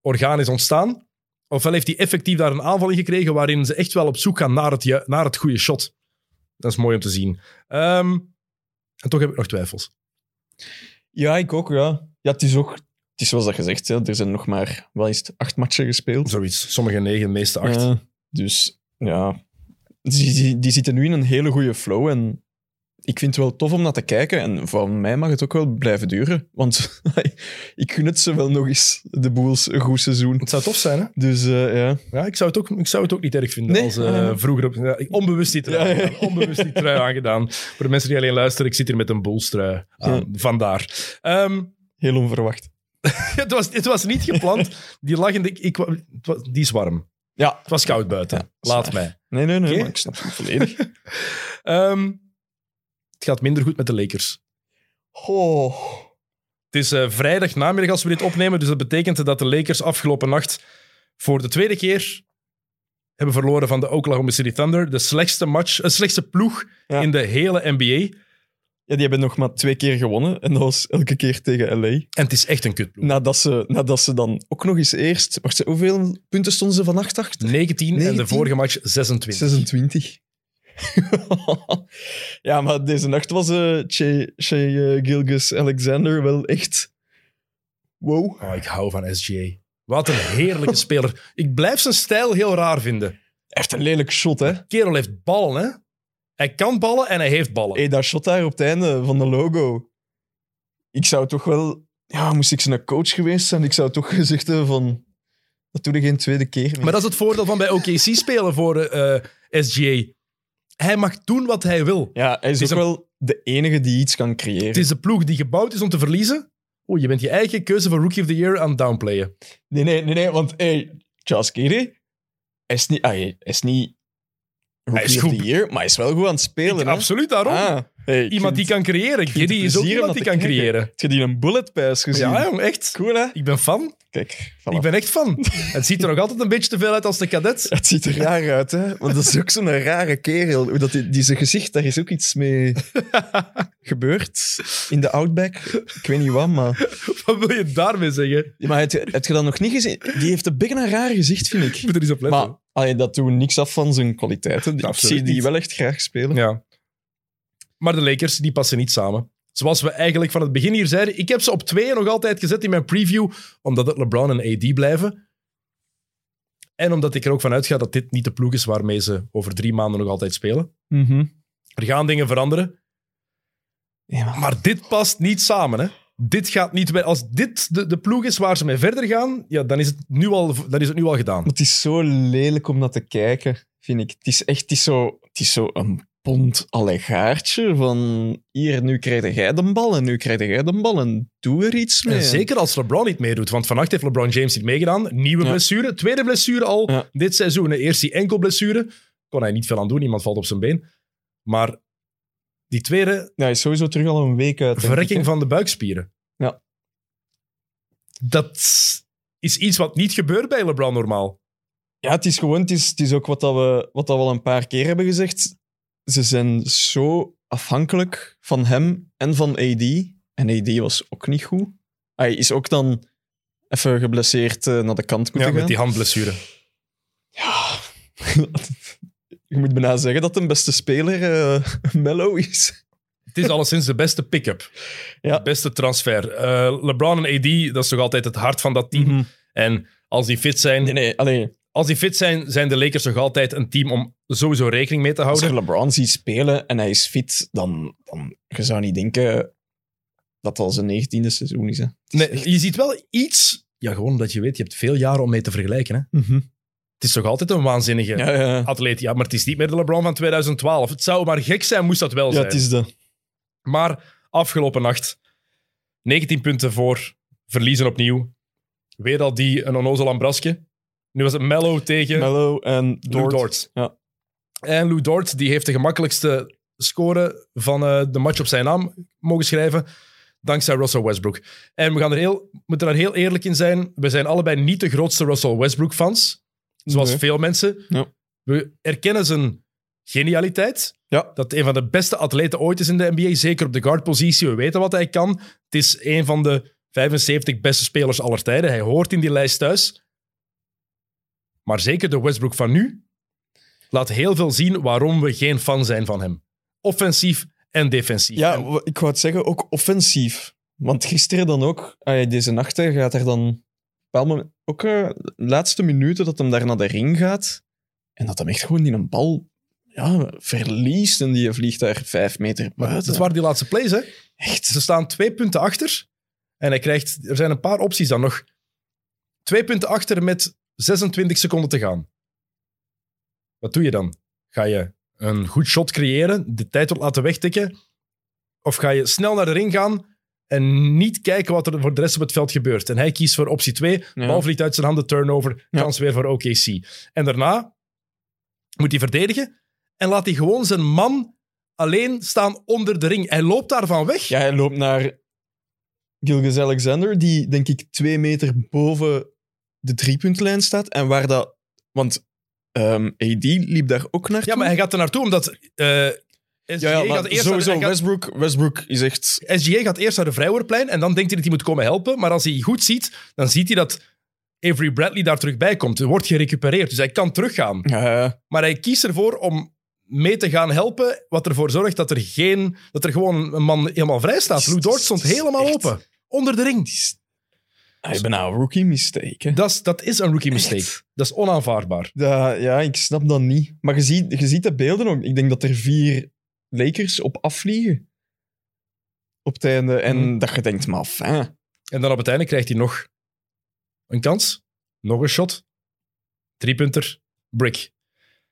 Speaker 1: organisch ontstaan. Ofwel heeft hij effectief daar een aanval in gekregen waarin ze echt wel op zoek gaan naar het, ju- naar het goede shot. Dat is mooi om te zien. Ehm, en toch heb ik nog twijfels.
Speaker 2: Ja, ik ook, ja. Ja, het is ook... Het is zoals dat gezegd, hè. er zijn nog maar, wel eens acht matchen gespeeld.
Speaker 1: Zoiets. Sommige negen, de meeste acht.
Speaker 2: Ja, dus ja, die, die, die zitten nu in een hele goede flow. En ik vind het wel tof om naar te kijken. En voor mij mag het ook wel blijven duren. Want ik gun het ze wel nog eens, de Boels, een goed seizoen.
Speaker 1: Het zou tof zijn, hè?
Speaker 2: Dus eh, ja.
Speaker 1: Ja, ik, zou het ook, ik zou het ook niet erg vinden
Speaker 2: Nee?
Speaker 1: als eh,
Speaker 2: Ah, ja.
Speaker 1: vroeger... Op, ja, ik- onbewust die trui
Speaker 2: Ja, ja.
Speaker 1: aangedaan. Onbewust die trui aangedaan. Voor de mensen die alleen luisteren, ik zit hier met een bolstrui aan.
Speaker 2: Ja.
Speaker 1: Vandaar. Ehm,
Speaker 2: heel onverwacht.
Speaker 1: het, was, het was niet gepland. Die lag in de... Ik, wa- het was- die is warm.
Speaker 2: Ja.
Speaker 1: Het was koud buiten.
Speaker 2: Ja, dat is
Speaker 1: Laat
Speaker 2: waar.
Speaker 1: mij.
Speaker 2: Nee, nee, nee,
Speaker 1: Oké.
Speaker 2: maar ik snap het volledig.
Speaker 1: Ehm, het gaat minder goed met de Lakers.
Speaker 2: Oh.
Speaker 1: Het is eh vrijdag namiddag als we dit opnemen, dus dat betekent dat de Lakers afgelopen nacht voor de tweede keer hebben verloren van de Oklahoma City Thunder. De slechtste, match, eh, slechtste ploeg
Speaker 2: Ja.
Speaker 1: in de hele NBA.
Speaker 2: Ja, die hebben nog maar twee keer gewonnen. En dat was elke keer tegen LA.
Speaker 1: En het is echt een kutploeg.
Speaker 2: Nadat ze, nadat ze dan ook nog eens eerst... wacht, ze- hoeveel punten stonden ze vannacht achter?
Speaker 1: 19, en de
Speaker 2: 19?
Speaker 1: vorige match 26.
Speaker 2: 26. ja, maar deze nacht was eh Che, che eh, Gilgus Alexander wel echt. Wow.
Speaker 1: Oh, ik hou van SGA. Wat een heerlijke speler. Ik blijf zijn stijl heel raar vinden.
Speaker 2: Echt een lelijk shot, hè?
Speaker 1: Kerel heeft ballen, hè? Hij kan ballen en hij heeft ballen.
Speaker 2: Hey, dat shot daar op het einde van de logo. Ik zou toch wel. Ja, moest ik zijn coach geweest zijn, ik zou toch gezegd hebben van. Dat doe ik geen tweede keer. Meer.
Speaker 1: Maar dat is het voordeel van bij OKC spelen voor eh, eh, SGA. Hij mag doen wat hij wil.
Speaker 2: Ja, hij is,
Speaker 1: Is
Speaker 2: ook
Speaker 1: een-
Speaker 2: wel. de enige die iets kan creëren.
Speaker 1: Het is de ploeg die gebouwd is om te verliezen. Oeh, je bent je eigen keuze voor Rookie of the Year aan het downplayen.
Speaker 2: Nee, nee, nee, nee, want hey, Charles Kiri is niet, ah, hij is niet rookie
Speaker 1: is
Speaker 2: of
Speaker 1: goed.
Speaker 2: the year, maar hij is wel goed aan het spelen. hè?
Speaker 1: Absoluut daarom.
Speaker 2: Ah, hey, ik
Speaker 1: iemand die
Speaker 2: vind-
Speaker 1: kan creëren.
Speaker 2: vind
Speaker 1: Giddy
Speaker 2: het
Speaker 1: is ook
Speaker 2: plezier om
Speaker 1: iemand
Speaker 2: dat
Speaker 1: die
Speaker 2: te
Speaker 1: kan
Speaker 2: kijken.
Speaker 1: creëren.
Speaker 2: Heb je die een bullet pass gezien?
Speaker 1: Ja, jong, echt.
Speaker 2: Cool, hè?
Speaker 1: Ik ben fan.
Speaker 2: Kijk, voilà.
Speaker 1: Ik ben echt fan. Het ziet er nog altijd een beetje te veel uit als de kadet.
Speaker 2: Het ziet er raar uit, hè? Want dat is ook zo'n rare kerel. Hoe Dat die, die zijn gezicht, daar is ook iets mee gebeurd. In de Outback. Ik weet niet wat, maar...
Speaker 1: Wat wil je daarmee zeggen?
Speaker 2: Ja, maar heb, je- heb je dat nog niet gezien? Die heeft een beetje een raar gezicht, vind ik.
Speaker 1: Ik moet er eens op letten.
Speaker 2: Maar allee, dat doet niks af van zijn kwaliteiten. Ik
Speaker 1: Absoluut
Speaker 2: zie die
Speaker 1: niet.
Speaker 2: wel echt graag spelen.
Speaker 1: Ja. Maar de Lakers, die passen niet samen. Zoals we eigenlijk van het begin hier zeiden, ik heb ze op twee nog altijd gezet in mijn preview, omdat het LeBron en AD blijven. En omdat ik er ook van uitga dat dit niet de ploeg is waarmee ze over drie maanden nog altijd spelen. Er gaan dingen veranderen,
Speaker 2: Ja, maar-
Speaker 1: maar dit past niet samen. Hè? Dit gaat niet wer- Als dit de, de ploeg is waar ze mee verder gaan, ja, dan, is het nu al, dan is het nu al gedaan.
Speaker 2: Maar het is zo lelijk om naar te kijken, vind ik. Het is echt het is zo, het is zo een bond allegaartje van hier, nu krijg jij de bal en nu krijg jij de bal en doe er iets mee.
Speaker 1: En zeker als LeBron niet meedoet. Want vannacht heeft LeBron James niet meegedaan. Nieuwe
Speaker 2: Ja.
Speaker 1: blessure. Tweede blessure al
Speaker 2: Ja.
Speaker 1: dit seizoen. Eerst die enkel blessure. Kon hij niet veel aan doen. Iemand valt op zijn been. Maar die tweede
Speaker 2: Ja, hij is sowieso terug al een week uit. denk
Speaker 1: verrekking
Speaker 2: ik,
Speaker 1: van de buikspieren.
Speaker 2: Ja.
Speaker 1: Dat is iets wat niet gebeurt bij LeBron normaal.
Speaker 2: hè. Ja, het is gewoon, het is, het is ook wat, dat we, wat dat we al een paar keer hebben gezegd. Ze zijn zo afhankelijk van hem en van AD. En AD was ook niet goed. Hij is ook dan even geblesseerd eh, naar de kant moeten
Speaker 1: Ja,
Speaker 2: gaan.
Speaker 1: met die handblessure.
Speaker 2: Ja. Je moet bijna zeggen dat de beste speler eh Mello is.
Speaker 1: Het is alleszins de beste pick-up.
Speaker 2: Ja.
Speaker 1: De beste transfer. Eh, LeBron en AD, dat is toch altijd het hart van dat team.
Speaker 2: Mhm.
Speaker 1: En als die fit zijn,
Speaker 2: Nee, nee, alleen
Speaker 1: Als die fit zijn, zijn de Lakers nog altijd een team om sowieso rekening mee te
Speaker 2: als je
Speaker 1: houden.
Speaker 2: LeBron ziet spelen en hij is fit, dan, dan je zou niet denken dat dat zijn negentiende seizoen is. Hè.
Speaker 1: Nee, je ziet wel iets. Ja, gewoon omdat je weet, je hebt veel jaren om mee te vergelijken. Hè?
Speaker 2: Mhm.
Speaker 1: Het is toch altijd een waanzinnige
Speaker 2: Ja, ja, ja.
Speaker 1: atleet. Ja, maar het is niet meer de LeBron van 2012. Het zou maar gek zijn, moest dat wel
Speaker 2: ja,
Speaker 1: zijn.
Speaker 2: het is de...
Speaker 1: Maar afgelopen nacht, 19 punten voor, verliezen opnieuw. Weer al die een onnozel Ambraske. Nu was het Mello tegen
Speaker 2: Mello en
Speaker 1: Lou
Speaker 2: Dort.
Speaker 1: Dort.
Speaker 2: Ja.
Speaker 1: En Lou Dort die heeft de gemakkelijkste score van eh, de match op zijn naam mogen schrijven. Dankzij Russell Westbrook. En we gaan er heel, moeten daar heel eerlijk in zijn. We zijn allebei niet de grootste Russell Westbrook-fans. Zoals
Speaker 2: Nee.
Speaker 1: veel mensen.
Speaker 2: Ja.
Speaker 1: We erkennen zijn genialiteit.
Speaker 2: Ja.
Speaker 1: Dat hij een van de beste atleten ooit is in de NBA. Zeker op de guardpositie. We weten wat hij kan. Het is een van de 75 beste spelers aller tijden. Hij hoort in die lijst thuis. Maar zeker de Westbrook van nu laat heel veel zien waarom we geen fan zijn van hem. Offensief en defensief.
Speaker 2: Ja,
Speaker 1: En
Speaker 2: w- ik wou het zeggen, ook offensief. Want gisteren dan ook, ah ja, deze nacht hè, gaat er dan... op een bepaald moment- Ook eh, de laatste minuten dat hem daar naar de ring gaat. En dat hem echt gewoon in een bal ja, verliest. En die vliegt daar vijf meter
Speaker 1: maar
Speaker 2: buiten.
Speaker 1: dat waren die laatste plays, hè?
Speaker 2: Echt.
Speaker 1: Ze staan twee punten achter. En hij krijgt, er zijn een paar opties dan nog. Twee punten achter met 26 seconden te gaan. Wat doe je dan? Ga je een goed shot creëren, de tijd wordt laten wegtikken? Of ga je snel naar de ring gaan en niet kijken wat er voor de rest op het veld gebeurt? En hij kiest voor optie 2.
Speaker 2: Ja.
Speaker 1: Bal vliegt uit zijn handen, turnover,
Speaker 2: Ja.
Speaker 1: kans weer voor OKC. En daarna moet hij verdedigen en laat hij gewoon zijn man alleen staan onder de ring. Hij loopt daarvan weg.
Speaker 2: Ja, hij loopt naar Gilgis Alexander, die denk ik twee meter boven de driepuntlijn staat. En waar dat... Want ehm AD liep daar ook naar
Speaker 1: Ja, maar hij gaat er naartoe omdat. eh SGA,
Speaker 2: ja, ja, maar
Speaker 1: gaat eerst
Speaker 2: sowieso,
Speaker 1: naar, hij gaat-
Speaker 2: Westbrook, Westbrook is echt...
Speaker 1: SGA gaat eerst naar de Vrijwoordplein en dan denkt hij dat hij moet komen helpen. Maar als hij goed ziet, dan ziet hij dat Avery Bradley daar terug bij komt. Er wordt gerecupereerd, dus hij kan teruggaan.
Speaker 2: Ja,
Speaker 1: Maar hij kiest ervoor om mee te gaan helpen, wat ervoor zorgt dat er, geen, dat er gewoon een man helemaal vrij staat.
Speaker 2: Het is-
Speaker 1: Lou Dort
Speaker 2: het is-
Speaker 1: stond
Speaker 2: het is
Speaker 1: helemaal
Speaker 2: echt-
Speaker 1: open, onder de ring.
Speaker 2: Hij is bijna Ah, een rookie mistake. hè.
Speaker 1: Dat is, dat is een rookie mistake.
Speaker 2: Echt?
Speaker 1: Dat is onaanvaardbaar.
Speaker 2: Ja, ja, ik snap dat niet. Maar je ziet, je ziet de beelden ook. Ik denk dat er vier Lakers op afvliegen. Op het einde. En
Speaker 1: Mhm.
Speaker 2: Hmm. dat je denkt, maar fijn.
Speaker 1: En dan op het einde krijgt hij nog een kans. Nog een shot. Driepunter. Brick.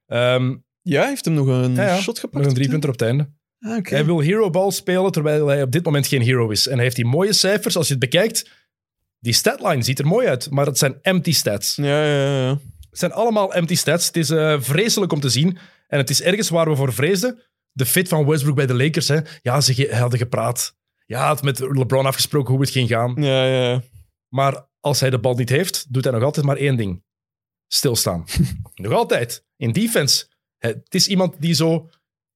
Speaker 1: Ehm,
Speaker 2: Ja, hij heeft hem nog een
Speaker 1: Ja, ja.
Speaker 2: shot gepakt.
Speaker 1: nog een
Speaker 2: op het
Speaker 1: driepunter op het einde.
Speaker 2: Ah, oké.
Speaker 1: Hij wil Hero Ball spelen terwijl hij op dit moment geen hero is. En hij heeft die mooie cijfers. Als je het bekijkt, die statline ziet er mooi uit, maar dat zijn empty stats.
Speaker 2: Ja, ja, ja.
Speaker 1: Het zijn allemaal empty stats. Het is eh, vreselijk om te zien. En het is ergens waar we voor vreesden. De fit van Westbrook bij de Lakers. Hè. Ja, ze ge- hadden gepraat. Ja, had met LeBron afgesproken hoe het ging gaan.
Speaker 2: Ja, ja, ja.
Speaker 1: Maar als hij de bal niet heeft, doet hij nog altijd maar één ding. Stilstaan. nog altijd. In defense. Het is iemand die zo...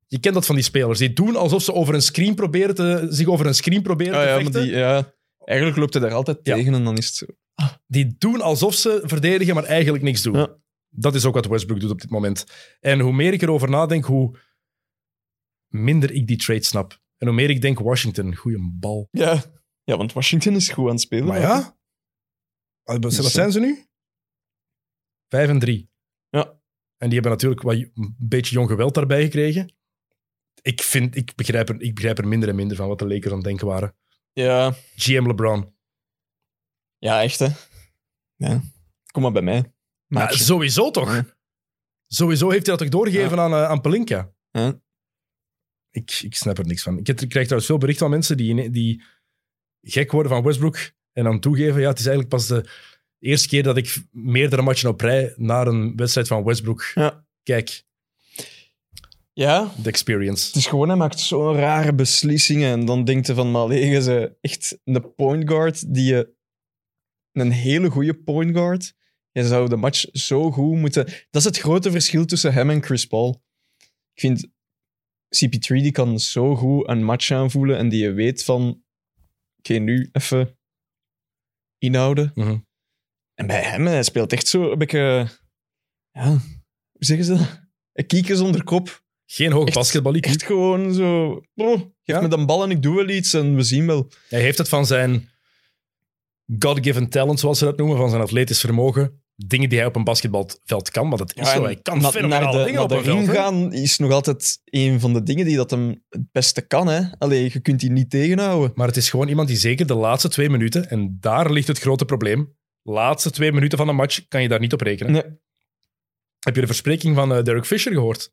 Speaker 1: Je kent dat van die spelers. Die doen alsof ze over een screen proberen te, zich over een screen proberen
Speaker 2: Ah,
Speaker 1: te
Speaker 2: ja, maar
Speaker 1: vechten.
Speaker 2: die,
Speaker 1: Die...
Speaker 2: ja. Eigenlijk loopt hij daar altijd
Speaker 1: Ja.
Speaker 2: tegen en dan is het...
Speaker 1: doen alsof ze verdedigen, maar eigenlijk niks doen.
Speaker 2: Ja.
Speaker 1: Dat is ook wat Westbrook doet op dit moment. En hoe meer ik erover nadenk, hoe minder ik die trade snap. En hoe meer ik denk, Washington, goeie bal.
Speaker 2: Ja. ja, want Washington is goed aan het spelen.
Speaker 1: Maar ja, wat
Speaker 2: Dus,
Speaker 1: Ah, zijn ze nu? Vijf en drie.
Speaker 2: Ja.
Speaker 1: En die hebben natuurlijk wat, een beetje jong geweld daarbij gekregen. Ik, vind, ik, begrijp er, ik begrijp er minder en minder van wat de Lakers aan het denken waren.
Speaker 2: Ja,
Speaker 1: GM LeBron.
Speaker 2: ja echt hè. Ja. Kom maar bij mij.
Speaker 1: Maar
Speaker 2: Maatje.
Speaker 1: sowieso toch?
Speaker 2: Ja.
Speaker 1: Sowieso heeft hij dat toch doorgegeven aan, eh, aan Pelinka?
Speaker 2: Ja.
Speaker 1: Ik, ik snap er niks van. Ik, heb- ik krijg trouwens veel berichten van mensen die, die gek worden van Westbrook en dan toegeven, ja, het is eigenlijk pas de eerste keer dat ik meerdere matchen op rij naar een wedstrijd van Westbrook
Speaker 2: Ja.
Speaker 1: kijk.
Speaker 2: Ja,
Speaker 1: De experience.
Speaker 2: Het is gewoon, hij maakt zo'n rare beslissingen. En dan denkt hij van, maar liggen ze echt een point guard die je... Een hele goede point guard. Je zou de match zo goed moeten... Dat is het grote verschil tussen hem en Chris Paul. Ik vind, CP3 die kan zo goed een match aanvoelen en die je weet van... Oké, nu even inhouden.
Speaker 1: Mhm.
Speaker 2: En bij hem, hij speelt echt zo een beetje... Ja, hoe zeggen ze dat? Een kieken zonder kop.
Speaker 1: Geen hoog
Speaker 2: Echt-
Speaker 1: basketbal IQ.
Speaker 2: Echt gewoon zo. oh, geef
Speaker 1: Ja.
Speaker 2: me dan bal en ik doe wel iets en we zien wel.
Speaker 1: Hij heeft het van zijn God-given talent, zoals ze dat noemen, van zijn atletisch vermogen. Dingen die hij op een basketbalveld kan, want dat is zo.
Speaker 2: en
Speaker 1: Hij kan
Speaker 2: na-
Speaker 1: fenomenale
Speaker 2: naar de,
Speaker 1: dingen
Speaker 2: naar
Speaker 1: op
Speaker 2: de
Speaker 1: een veld.
Speaker 2: ring
Speaker 1: hè.
Speaker 2: gaan is nog altijd een van de dingen die dat hem het beste kan. Hè? Allee, je kunt die niet tegenhouden.
Speaker 1: Maar het is gewoon iemand die zeker de laatste twee minuten, en daar ligt het grote probleem, laatste twee minuten van een match kan je daar niet op rekenen.
Speaker 2: Nee.
Speaker 1: Heb je de verspreking van eh, Derek Fisher gehoord?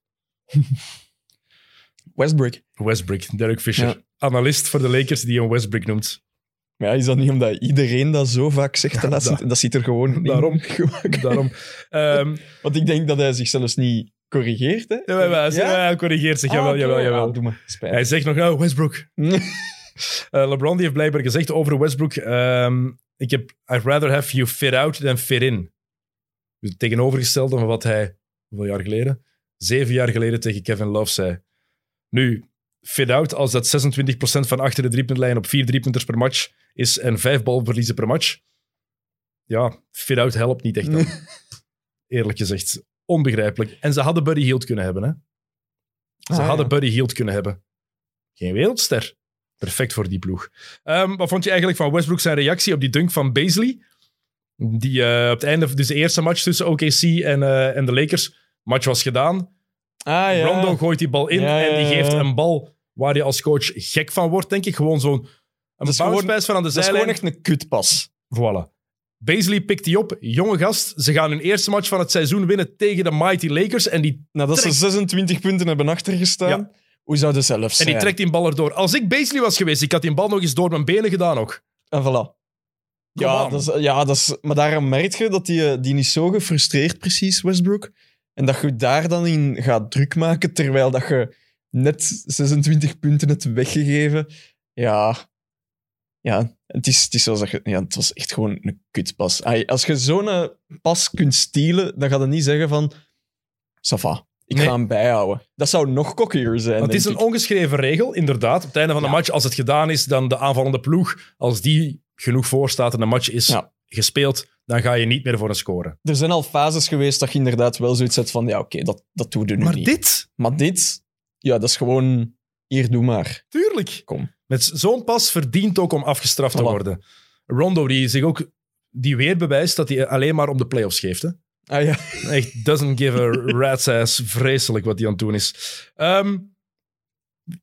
Speaker 2: Westbrook.
Speaker 1: Westbrook, Derek Fisher.
Speaker 2: Ja.
Speaker 1: Analist voor de Lakers die hem Westbrook noemt.
Speaker 2: Maar ja, is dat niet omdat iedereen dat zo vaak zegt? de laatste-
Speaker 1: dat-
Speaker 2: dat, zit er gewoon in.
Speaker 1: Daarom.
Speaker 2: Gewoon-
Speaker 1: Daarom. Ehm
Speaker 2: Want ik denk dat hij zich zelfs niet corrigeert. Hè?
Speaker 1: ja, maar- maar-
Speaker 2: Ja?
Speaker 1: Hij corrigeert zich,
Speaker 2: Ah,
Speaker 1: jawel,
Speaker 2: oké.
Speaker 1: jawel, jawel.
Speaker 2: Ah, doe maar. Spijt.
Speaker 1: Hij zegt nog, nou, Westbrook, Eh, LeBron die heeft blijkbaar gezegd over Westbrook: ehm, ik heb, I'd rather have you fit out than fit in. Dus het tegenovergestelde van wat hij, hoeveel jaar geleden? Zeven jaar geleden tegen Kevin Love zei. Nu, fit out, als dat 26% van achter de driepuntlijn op vier driepunters per match is en vijf balverliezen per match. Ja, fit out helpt niet echt. dan. Eerlijk gezegd, onbegrijpelijk. En ze hadden Buddy Hield kunnen hebben, hè? Ze
Speaker 2: Ah,
Speaker 1: hadden
Speaker 2: ja.
Speaker 1: Buddy Hield kunnen hebben. Geen wereldster. Perfect voor die ploeg. Ehm, wat vond je eigenlijk van Westbrook zijn reactie op die dunk van Beasley? Die eh, op het einde, dus de eerste match tussen OKC en, eh, en de Lakers. Match was gedaan.
Speaker 2: Ah, ja.
Speaker 1: Rondo gooit die bal in
Speaker 2: Ja, ja,
Speaker 1: en die
Speaker 2: ja,
Speaker 1: geeft
Speaker 2: ja.
Speaker 1: een bal waar je als coach gek van wordt, denk ik. Gewoon zo'n een
Speaker 2: is
Speaker 1: bounce
Speaker 2: gewoon-
Speaker 1: pass van aan de
Speaker 2: Dat is
Speaker 1: zijlijn.
Speaker 2: gewoon echt een kutpas.
Speaker 1: Voilà. Beasley pikt die op. Jonge gast. Ze gaan hun eerste match van het seizoen winnen tegen de Mighty Lakers. En die
Speaker 2: Nadat Nou, ze 26 punten hebben achtergestaan, hoe zou dat zelf
Speaker 1: En
Speaker 2: zijn?
Speaker 1: die trekt die bal erdoor. Als ik Beasley was geweest, ik had die bal nog eens door mijn benen gedaan ook.
Speaker 2: En
Speaker 1: Ah,
Speaker 2: voilà.
Speaker 1: Come
Speaker 2: Ja,
Speaker 1: on.
Speaker 2: dat is, ja dat is, maar daarom merk je dat die, die niet zo gefrustreerd precies, Westbrook. En dat je daar dan in gaat druk maken, terwijl dat je net 26 punten hebt weggegeven. Ja, ja het, is, het is zoals dat je... Ja, het was echt gewoon een kutpas. Ai, Als je zo'n eh, pas kunt stelen, dan gaat het niet zeggen van... Safa, ik
Speaker 1: Nee.
Speaker 2: ga hem bijhouden. Dat zou nog cockier zijn,
Speaker 1: Want het is
Speaker 2: denk
Speaker 1: een
Speaker 2: ik.
Speaker 1: ongeschreven regel, inderdaad. Op het einde van de
Speaker 2: Ja.
Speaker 1: match, als het gedaan is, dan de aanvallende ploeg, als die genoeg voor staat en de match is
Speaker 2: Ja.
Speaker 1: gespeeld, dan ga je niet meer voor een score.
Speaker 2: Er zijn al fases geweest dat je inderdaad wel zoiets hebt van... Ja, oké, dat, dat doen we nu
Speaker 1: maar
Speaker 2: niet.
Speaker 1: dit,
Speaker 2: Maar dit, ja, dat is gewoon. Hier, doe maar.
Speaker 1: tuurlijk.
Speaker 2: Kom.
Speaker 1: Met zo'n pas verdient ook om afgestraft te
Speaker 2: Voilà.
Speaker 1: worden. Rondo, die zich ook die weer bewijst dat hij alleen maar om de playoffs geeft. Hè?
Speaker 2: Ah ja.
Speaker 1: Echt doesn't give a rat's ass. Vreselijk wat hij aan het doen is. Ehm,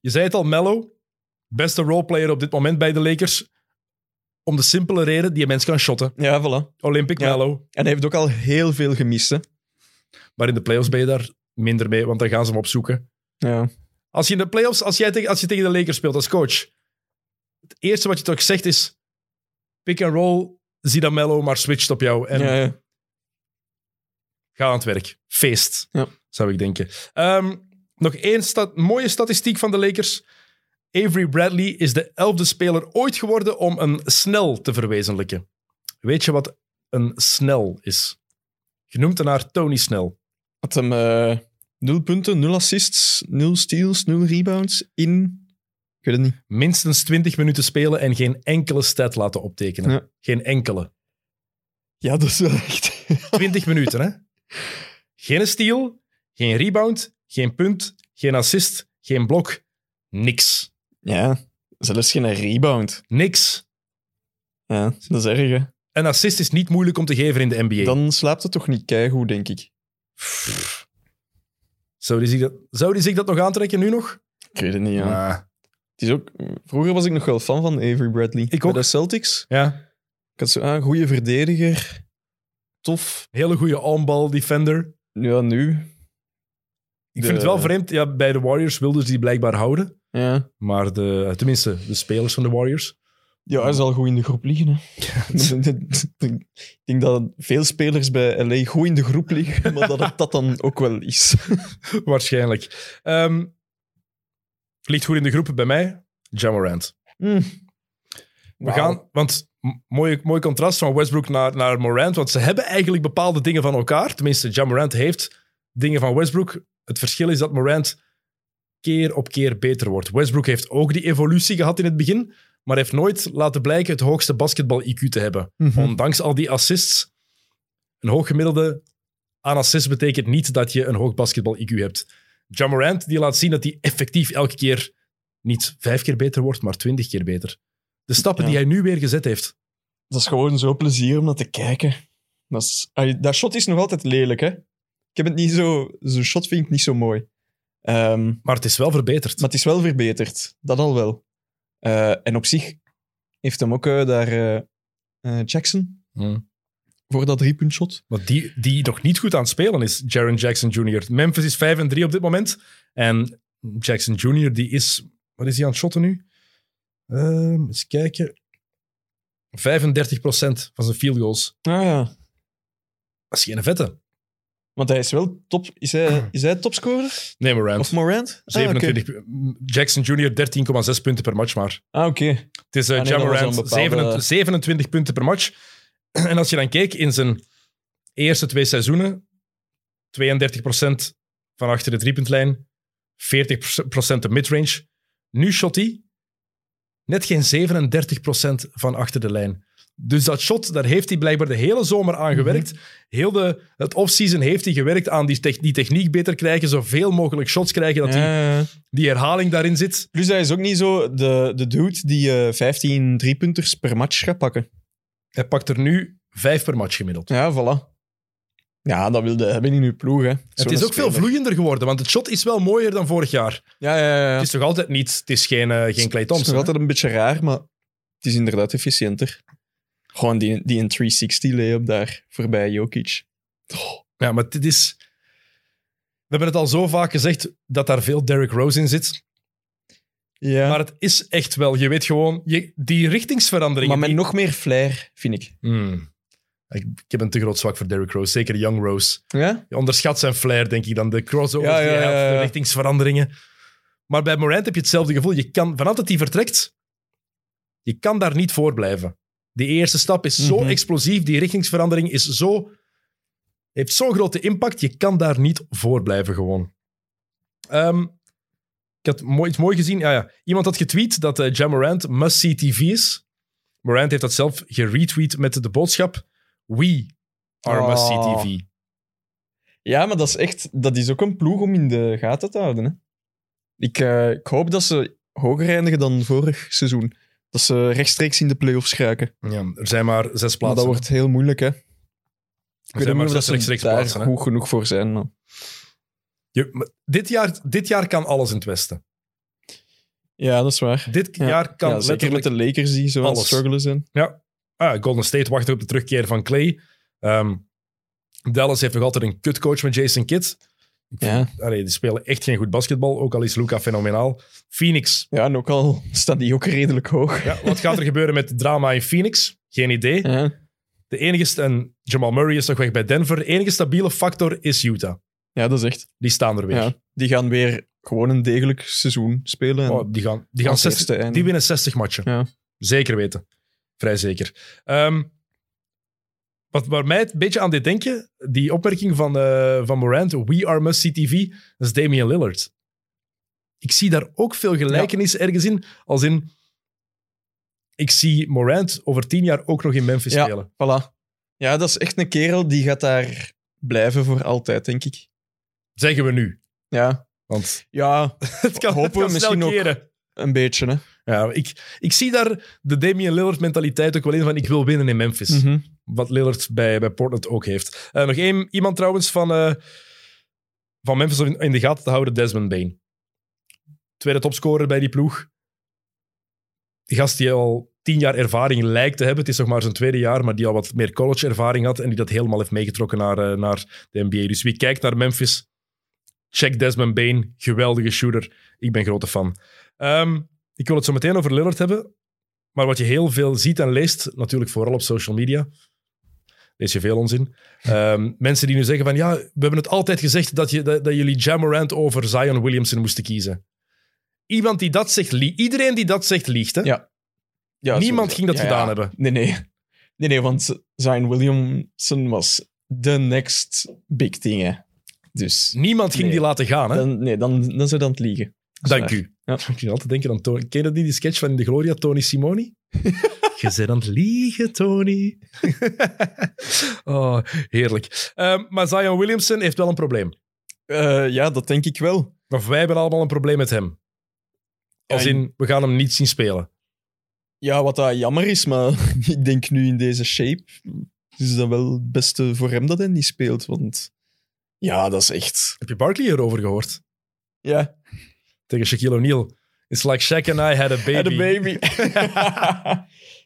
Speaker 1: je zei het al, Mello. Beste roleplayer op dit moment bij de Lakers. Om de simpele reden, die mens kan shotten.
Speaker 2: Ja, voilà.
Speaker 1: Olympic
Speaker 2: Ja.
Speaker 1: Mello.
Speaker 2: En hij heeft ook al heel veel gemist, hè.
Speaker 1: Maar in de playoffs ben je daar minder mee, want dan gaan ze hem opzoeken.
Speaker 2: Ja.
Speaker 1: Als je in de playoffs, als, jij tegen, als je tegen de Lakers speelt als coach, het eerste wat je toch zegt is: pick and roll, zie dat Mello maar switcht op jou. En
Speaker 2: Ja, ja.
Speaker 1: ga aan het werk. Feest,
Speaker 2: Ja.
Speaker 1: zou ik denken. Ehm, nog één sta- mooie statistiek van de Lakers. Avery Bradley is de elfde speler ooit geworden om een snel te verwezenlijken. Weet je wat een snel is? Genoemd naar Tony Snell.
Speaker 2: Had hem eh 0 punten, 0 assists, 0 steals, 0 rebounds in. Ik weet het niet.
Speaker 1: Minstens 20 minuten spelen en geen enkele stat laten optekenen.
Speaker 2: Ja.
Speaker 1: Geen enkele.
Speaker 2: Ja, dat is wel echt.
Speaker 1: 20 minuten, hè? Geen steal, geen rebound, geen punt, geen assist, geen blok. Niks.
Speaker 2: ja, zelfs geen rebound.
Speaker 1: Niks.
Speaker 2: Ja, dat is erg, hè.
Speaker 1: Een assist is niet moeilijk om te geven in de NBA.
Speaker 2: Dan slaapt het toch niet keigoed, denk ik.
Speaker 1: Pff. Zou die, zich dat, zou die zich dat nog aantrekken nu nog?
Speaker 2: Ik weet het niet, ja.
Speaker 1: Ah.
Speaker 2: Het is ook, vroeger was ik nog wel fan van Avery Bradley.
Speaker 1: Ik
Speaker 2: Bij
Speaker 1: ook.
Speaker 2: de Celtics.
Speaker 1: ja.
Speaker 2: Ik had zo, ah, goede verdediger. Tof.
Speaker 1: Hele goede onbal defender.
Speaker 2: Ja, nu.
Speaker 1: Ik vind het wel vreemd. Ja, bij de Warriors wilden ze die blijkbaar houden.
Speaker 2: Ja.
Speaker 1: Maar de, tenminste, de spelers van de Warriors.
Speaker 2: ja, hij zal goed in de groep liggen, hè. ik denk dat veel spelers bij LA goed in de groep liggen, maar dat het dat dan ook wel is.
Speaker 1: Waarschijnlijk. Ehm, ligt goed in de groep bij mij. Jamorant. We
Speaker 2: Wauw.
Speaker 1: gaan, want m- mooi, mooi contrast van Westbrook naar, naar Morant. Want ze hebben eigenlijk bepaalde dingen van elkaar. Tenminste, Ja Morant heeft dingen van Westbrook. Het verschil is dat Morant keer op keer beter wordt. Westbrook heeft ook die evolutie gehad in het begin, maar heeft nooit laten blijken het hoogste basketbal-IQ te hebben.
Speaker 2: Mhm.
Speaker 1: Ondanks al die assists. Een hoog gemiddelde aan assists betekent niet dat je een hoog basketbal-IQ hebt. Ja Morant die laat zien dat hij effectief elke keer niet vijf keer beter wordt, maar twintig keer beter. De stappen
Speaker 2: Ja.
Speaker 1: die hij nu weer gezet heeft.
Speaker 2: Dat is gewoon zo plezier om naar te kijken. Dat, is, ai, dat shot is nog altijd lelijk, hè? Ik heb het niet zo... Zo'n shot vind ik niet zo mooi. Ehm,
Speaker 1: Maar het is wel verbeterd.
Speaker 2: Maar het is wel verbeterd. Dat al wel. Eh, en op zich heeft hem ook eh, daar eh, eh, Jackson
Speaker 1: Hmm.
Speaker 2: voor dat driepuntshot.
Speaker 1: Want die, die nog niet goed aan het spelen is, Jaron Jackson Jr. Memphis is 5 en 3 op dit moment. En Jackson Jr. die is... Wat is hij aan het shotten nu? Ehm, eens kijken. 35% van zijn field goals.
Speaker 2: Ah ja.
Speaker 1: Dat is geen vette.
Speaker 2: Want hij is wel top... Is hij, is hij topscorer?
Speaker 1: Nee, Morant.
Speaker 2: Of Morant? Ah, oké.
Speaker 1: 27, Jackson Jr. 13,6 punten per match maar.
Speaker 2: Ah, oké.
Speaker 1: Het is eh,
Speaker 2: Ah, nee,
Speaker 1: Ja
Speaker 2: dat was
Speaker 1: Morant,
Speaker 2: een bepaalde-
Speaker 1: 27, 27 punten per match. En als je dan keek in zijn eerste twee seizoenen, 32% van achter de driepuntlijn, 40% de midrange. Nu shot hij net geen 37% van achter de lijn. Dus dat shot, daar heeft hij blijkbaar de hele zomer aan
Speaker 2: Mhm.
Speaker 1: gewerkt. Heel de, het offseason heeft hij gewerkt aan die, tech- die techniek beter krijgen, zoveel mogelijk shots krijgen, dat die,
Speaker 2: Ja, ja.
Speaker 1: die herhaling daarin zit.
Speaker 2: Plus hij is ook niet zo de, de dude die eh 15 driepunters per match gaat pakken.
Speaker 1: Hij pakt er nu vijf per match gemiddeld.
Speaker 2: Ja, voilà. Ja, dat wilde hebben in uw ploeg, hè.
Speaker 1: Het is ook veel vloeiender geworden, want het shot is wel mooier dan vorig jaar.
Speaker 2: Ja, ja, ja. ja.
Speaker 1: Het is toch altijd niet, het is geen, eh, geen Clay
Speaker 2: Het is
Speaker 1: Thompson.
Speaker 2: nog
Speaker 1: hè?
Speaker 2: altijd een beetje raar, maar het is inderdaad efficiënter. Gewoon die, die in 360 layup daar voorbij Jokic.
Speaker 1: Ja, maar dit is... We hebben het al zo vaak gezegd dat daar veel Derrick Rose in zit.
Speaker 2: Ja,
Speaker 1: Maar
Speaker 2: maar,
Speaker 1: het is echt wel, je weet gewoon, je, die richtingsveranderingen...
Speaker 2: met
Speaker 1: die-
Speaker 2: nog meer flair, vind ik.
Speaker 1: Hmm. Ik, ik heb een te groot zwak voor Derrick Rose, zeker Young Rose.
Speaker 2: Ja?
Speaker 1: Je onderschat zijn flair, denk ik, dan de crossovers
Speaker 2: Ja,
Speaker 1: die hij
Speaker 2: ja, ja,
Speaker 1: had, de
Speaker 2: ja.
Speaker 1: richtingsveranderingen. Maar bij Morant heb je hetzelfde gevoel. Je kan, vanaf dat hij vertrekt, je kan daar niet voor blijven. Die eerste stap is zo
Speaker 2: Mhm.
Speaker 1: explosief, die richtingsverandering is zo, heeft zo'n grote impact, je kan daar niet voor blijven gewoon. Ehm, ik had mooi, iets mooi gezien. Ja, ja. Iemand had getweet dat eh Ja Morant must-see TV is. Morant heeft dat zelf geretweet met de boodschap We are
Speaker 2: Oh.
Speaker 1: must-see TV.
Speaker 2: ja, maar dat is echt... Dat is ook een ploeg om in de gaten te houden, hè. Ik, eh, ik hoop dat ze hoger eindigen dan vorig seizoen. Dat ze rechtstreeks in de playoffs geraken.
Speaker 1: Ja, er zijn maar zes
Speaker 2: Maar
Speaker 1: plaatsen.
Speaker 2: dat wordt heel moeilijk, hè. Ik
Speaker 1: Er
Speaker 2: weet
Speaker 1: zijn
Speaker 2: niet
Speaker 1: maar
Speaker 2: of dat
Speaker 1: zes
Speaker 2: ze
Speaker 1: rechtstreeks
Speaker 2: daar
Speaker 1: plaatsen. hè.
Speaker 2: goed genoeg voor zijn. Maar...
Speaker 1: Je- maar dit, jaar, dit jaar kan alles in het Westen.
Speaker 2: Ja, dat is waar.
Speaker 1: Dit
Speaker 2: Ja.
Speaker 1: jaar kan
Speaker 2: Ja, zeker met
Speaker 1: letterlijk...
Speaker 2: de Lakers die zo aan het
Speaker 1: alles.
Speaker 2: struggelen zijn.
Speaker 1: Ah, Golden State wacht op de terugkeer van Clay. Ehm, Dallas heeft nog altijd een kutcoach met Jason Kidd.
Speaker 2: Ja.
Speaker 1: Allee, die spelen echt geen goed basketbal, ook al is Luca fenomenaal. Phoenix.
Speaker 2: ja, en ook al staan die ook redelijk hoog.
Speaker 1: Ja, wat gaat er gebeuren met het drama in Phoenix? Geen idee.
Speaker 2: Ja.
Speaker 1: De enige, st- en Jamal Murray is nog weg bij Denver. De enige stabiele factor is Utah.
Speaker 2: ja, dat is echt.
Speaker 1: Die staan er weer.
Speaker 2: Ja. Die gaan weer gewoon een degelijk seizoen spelen. En-
Speaker 1: Oh, die gaan, die, gaan
Speaker 2: Als
Speaker 1: 60,
Speaker 2: eerste en-
Speaker 1: die winnen 60 matchen.
Speaker 2: Ja.
Speaker 1: Zeker weten. Vrij zeker. Ehm, wat waar mij het een beetje aan deed denken, die opmerking van, eh, van Morant, We Are Must See TV, dat is Damian Lillard. Ik zie daar ook veel gelijkenis ergens in, als in... Ik zie Morant over tien jaar ook nog in Memphis
Speaker 2: Ja.
Speaker 1: spelen.
Speaker 2: Voilà. Ja, dat is echt een kerel die gaat daar blijven voor altijd, denk ik.
Speaker 1: Zeggen we nu.
Speaker 2: Ja,
Speaker 1: Want
Speaker 2: ja
Speaker 1: het kan,
Speaker 2: Hopen
Speaker 1: het kan
Speaker 2: we
Speaker 1: snel
Speaker 2: misschien ook.
Speaker 1: keren.
Speaker 2: een beetje. Hè.
Speaker 1: Ja, ik, ik zie daar de Damian Lillard mentaliteit ook wel in van ik wil winnen in Memphis.
Speaker 2: Mhm.
Speaker 1: Wat Lillard bij, bij Portland ook heeft. Eh, nog één, iemand trouwens van, eh, van Memphis om in, in de gaten te houden, Desmond Bain. Tweede topscorer bij die ploeg. Die gast die al tien jaar ervaring lijkt te hebben. Het is nog maar zijn tweede jaar, maar die al wat meer college-ervaring had en die dat helemaal heeft meegetrokken naar, eh, naar de NBA. Dus wie kijkt naar Memphis, check Desmond Bain. Geweldige shooter. Ik ben grote fan. Ehm, ik wil het zo meteen over Lillard hebben. Maar wat je heel veel ziet en leest, natuurlijk vooral op social media, lees je veel onzin. Ehm, mensen die nu zeggen van ja, we hebben het altijd gezegd dat, je, dat, dat jullie Jamorant over Zion Williamson moesten kiezen. Iemand die dat zegt, lie- iedereen die dat zegt, liegt. Hè?
Speaker 2: Ja, Ja,
Speaker 1: Niemand
Speaker 2: zo-
Speaker 1: ging dat
Speaker 2: ja,
Speaker 1: gedaan
Speaker 2: ja.
Speaker 1: hebben.
Speaker 2: Nee, nee. Nee, nee, want Zion Williamson was the next big thing, hè. Dus,
Speaker 1: Niemand ging
Speaker 2: Nee.
Speaker 1: die laten gaan. Hè?
Speaker 2: dan, nee, dan, dan zijn dan het liegen. Dat is
Speaker 1: Dank
Speaker 2: waar.
Speaker 1: u.
Speaker 2: Ja.
Speaker 1: Ik ging altijd denken aan Tony. Ken je die, die sketch van In de Gloria, Tony Simoni? je bent aan het liegen, Tony. oh, heerlijk. Ehm, maar Zion Williamson heeft wel een probleem.
Speaker 2: Eh, ja, dat denk ik wel.
Speaker 1: Of wij hebben allemaal een probleem met hem. Als
Speaker 2: Ja,
Speaker 1: in, we gaan hem niet zien spelen.
Speaker 2: Ja, wat dat jammer is, maar ik denk nu in deze shape is dat wel het beste voor hem dat hij niet speelt, want... Ja, dat is echt...
Speaker 1: Heb je Barkley hierover gehoord?
Speaker 2: Ja,
Speaker 1: Tegen Shaquille O'Neal. It's like Shaq and I had a baby.
Speaker 2: En een baby.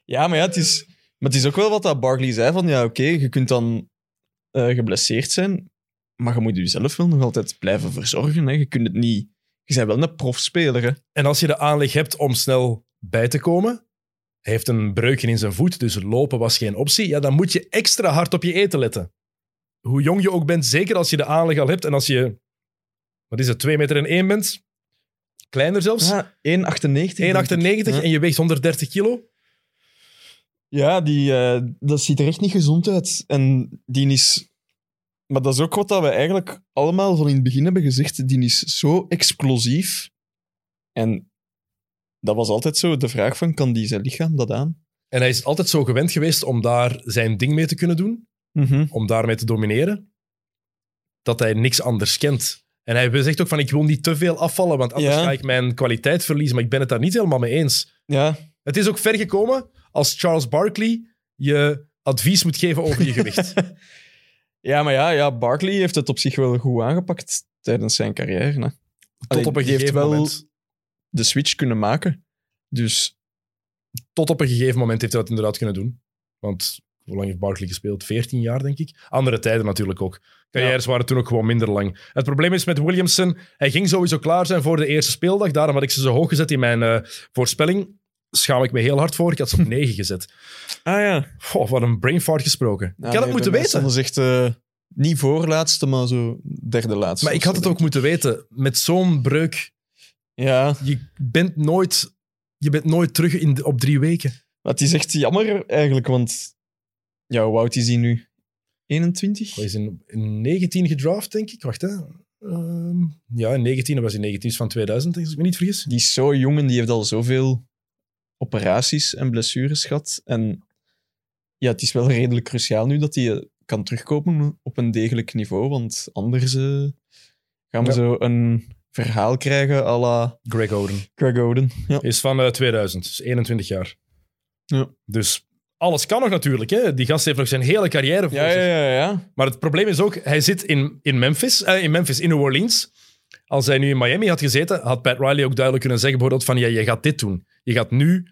Speaker 2: ja, maar ja, het is, maar het is ook wel wat dat Barkley zei: van ja, oké, je kunt dan eh, geblesseerd zijn, maar je moet jezelf wel nog altijd blijven verzorgen. Hè. Je kunt het niet. Je bent wel een profspeler. Hè.
Speaker 1: En als je de aanleg hebt om snel bij te komen, hij heeft een breukje in zijn voet, dus lopen was geen optie. Ja, dan moet je extra hard op je eten letten. Hoe jong je ook bent, zeker als je de aanleg al hebt en als je, wat is het, 2 meter en 1 bent, kleiner zelfs,
Speaker 2: Ja, 1,98. denk
Speaker 1: 1,98
Speaker 2: ik. Ja.
Speaker 1: en je weegt 130 kilo.
Speaker 2: Ja, die, eh, dat ziet er echt niet gezond uit. En die is... Maar dat is ook wat dat we eigenlijk allemaal van in het begin hebben gezegd. Die is zo explosief. En dat was altijd zo de vraag van, kan die zijn lichaam dat aan?
Speaker 1: En hij is altijd zo gewend geweest om daar zijn ding mee te kunnen doen, om daarmee te domineren, dat hij niks anders kent. En hij zegt ook van, ik wil niet te veel afvallen, want anders
Speaker 2: Ja.
Speaker 1: ga ik mijn kwaliteit verliezen. Maar ik ben het daar niet helemaal mee eens.
Speaker 2: Ja,
Speaker 1: Het is ook ver gekomen als Charles Barkley je advies moet geven over je gewicht.
Speaker 2: ja maar ja, ja, Barkley heeft het op zich wel goed aangepakt tijdens zijn carrière. Hè.
Speaker 1: tot,
Speaker 2: Allee,
Speaker 1: op een
Speaker 2: die heeft
Speaker 1: gegeven
Speaker 2: wel-
Speaker 1: moment,
Speaker 2: De switch kunnen maken. Dus
Speaker 1: tot op een gegeven moment heeft hij dat inderdaad kunnen doen. Want hoe lang heeft Barkley gespeeld? 14 jaar, denk ik. Andere tijden natuurlijk ook. Carrières waren toen ook gewoon minder lang. Het probleem is met Williamson, hij ging sowieso klaar zijn voor de eerste speeldag. Daarom had ik ze zo hoog gezet in mijn eh, voorspelling. Schaam ik me heel hard voor. Ik had ze op 9 gezet.
Speaker 2: ah ja.
Speaker 1: Goh, wat een brain fart gesproken. ik had het moeten weten.
Speaker 2: Dat is echt eh, niet voorlaatste, maar zo derde laatste.
Speaker 1: Maar ik had het ook moeten weten. Met zo'n breuk
Speaker 2: Ja,
Speaker 1: je bent nooit, je bent nooit terug in de- op drie weken.
Speaker 2: Maar het is echt jammer eigenlijk, want ja, hoe oud is hij nu? 21?
Speaker 1: Hij is in, in 19 gedraft, denk ik. Wacht, hè. Ehm, ja, in 19 hij was in 19 is van 2000, als ik me niet vergis.
Speaker 2: Die is zo jong en die heeft al zoveel operaties en blessures gehad. En ja, het is wel redelijk cruciaal nu dat hij eh, kan terugkomen op een degelijk niveau, want anders eh, gaan we
Speaker 1: Ja.
Speaker 2: zo een verhaal krijgen à la
Speaker 1: Greg Oden.
Speaker 2: Greg Oden. Ja.
Speaker 1: Is van eh, 2000, dus 21 jaar.
Speaker 2: Ja.
Speaker 1: Dus alles kan nog natuurlijk. Hè? Die gast heeft nog zijn hele carrière voor
Speaker 2: Ja,
Speaker 1: zich.
Speaker 2: ja, ja, ja.
Speaker 1: Maar het probleem is ook, hij zit in, in, Memphis, eh, in Memphis, in New Orleans. Als hij nu in Miami had gezeten, had Pat Riley ook duidelijk kunnen zeggen bijvoorbeeld van, ja, je gaat dit doen. Je gaat nu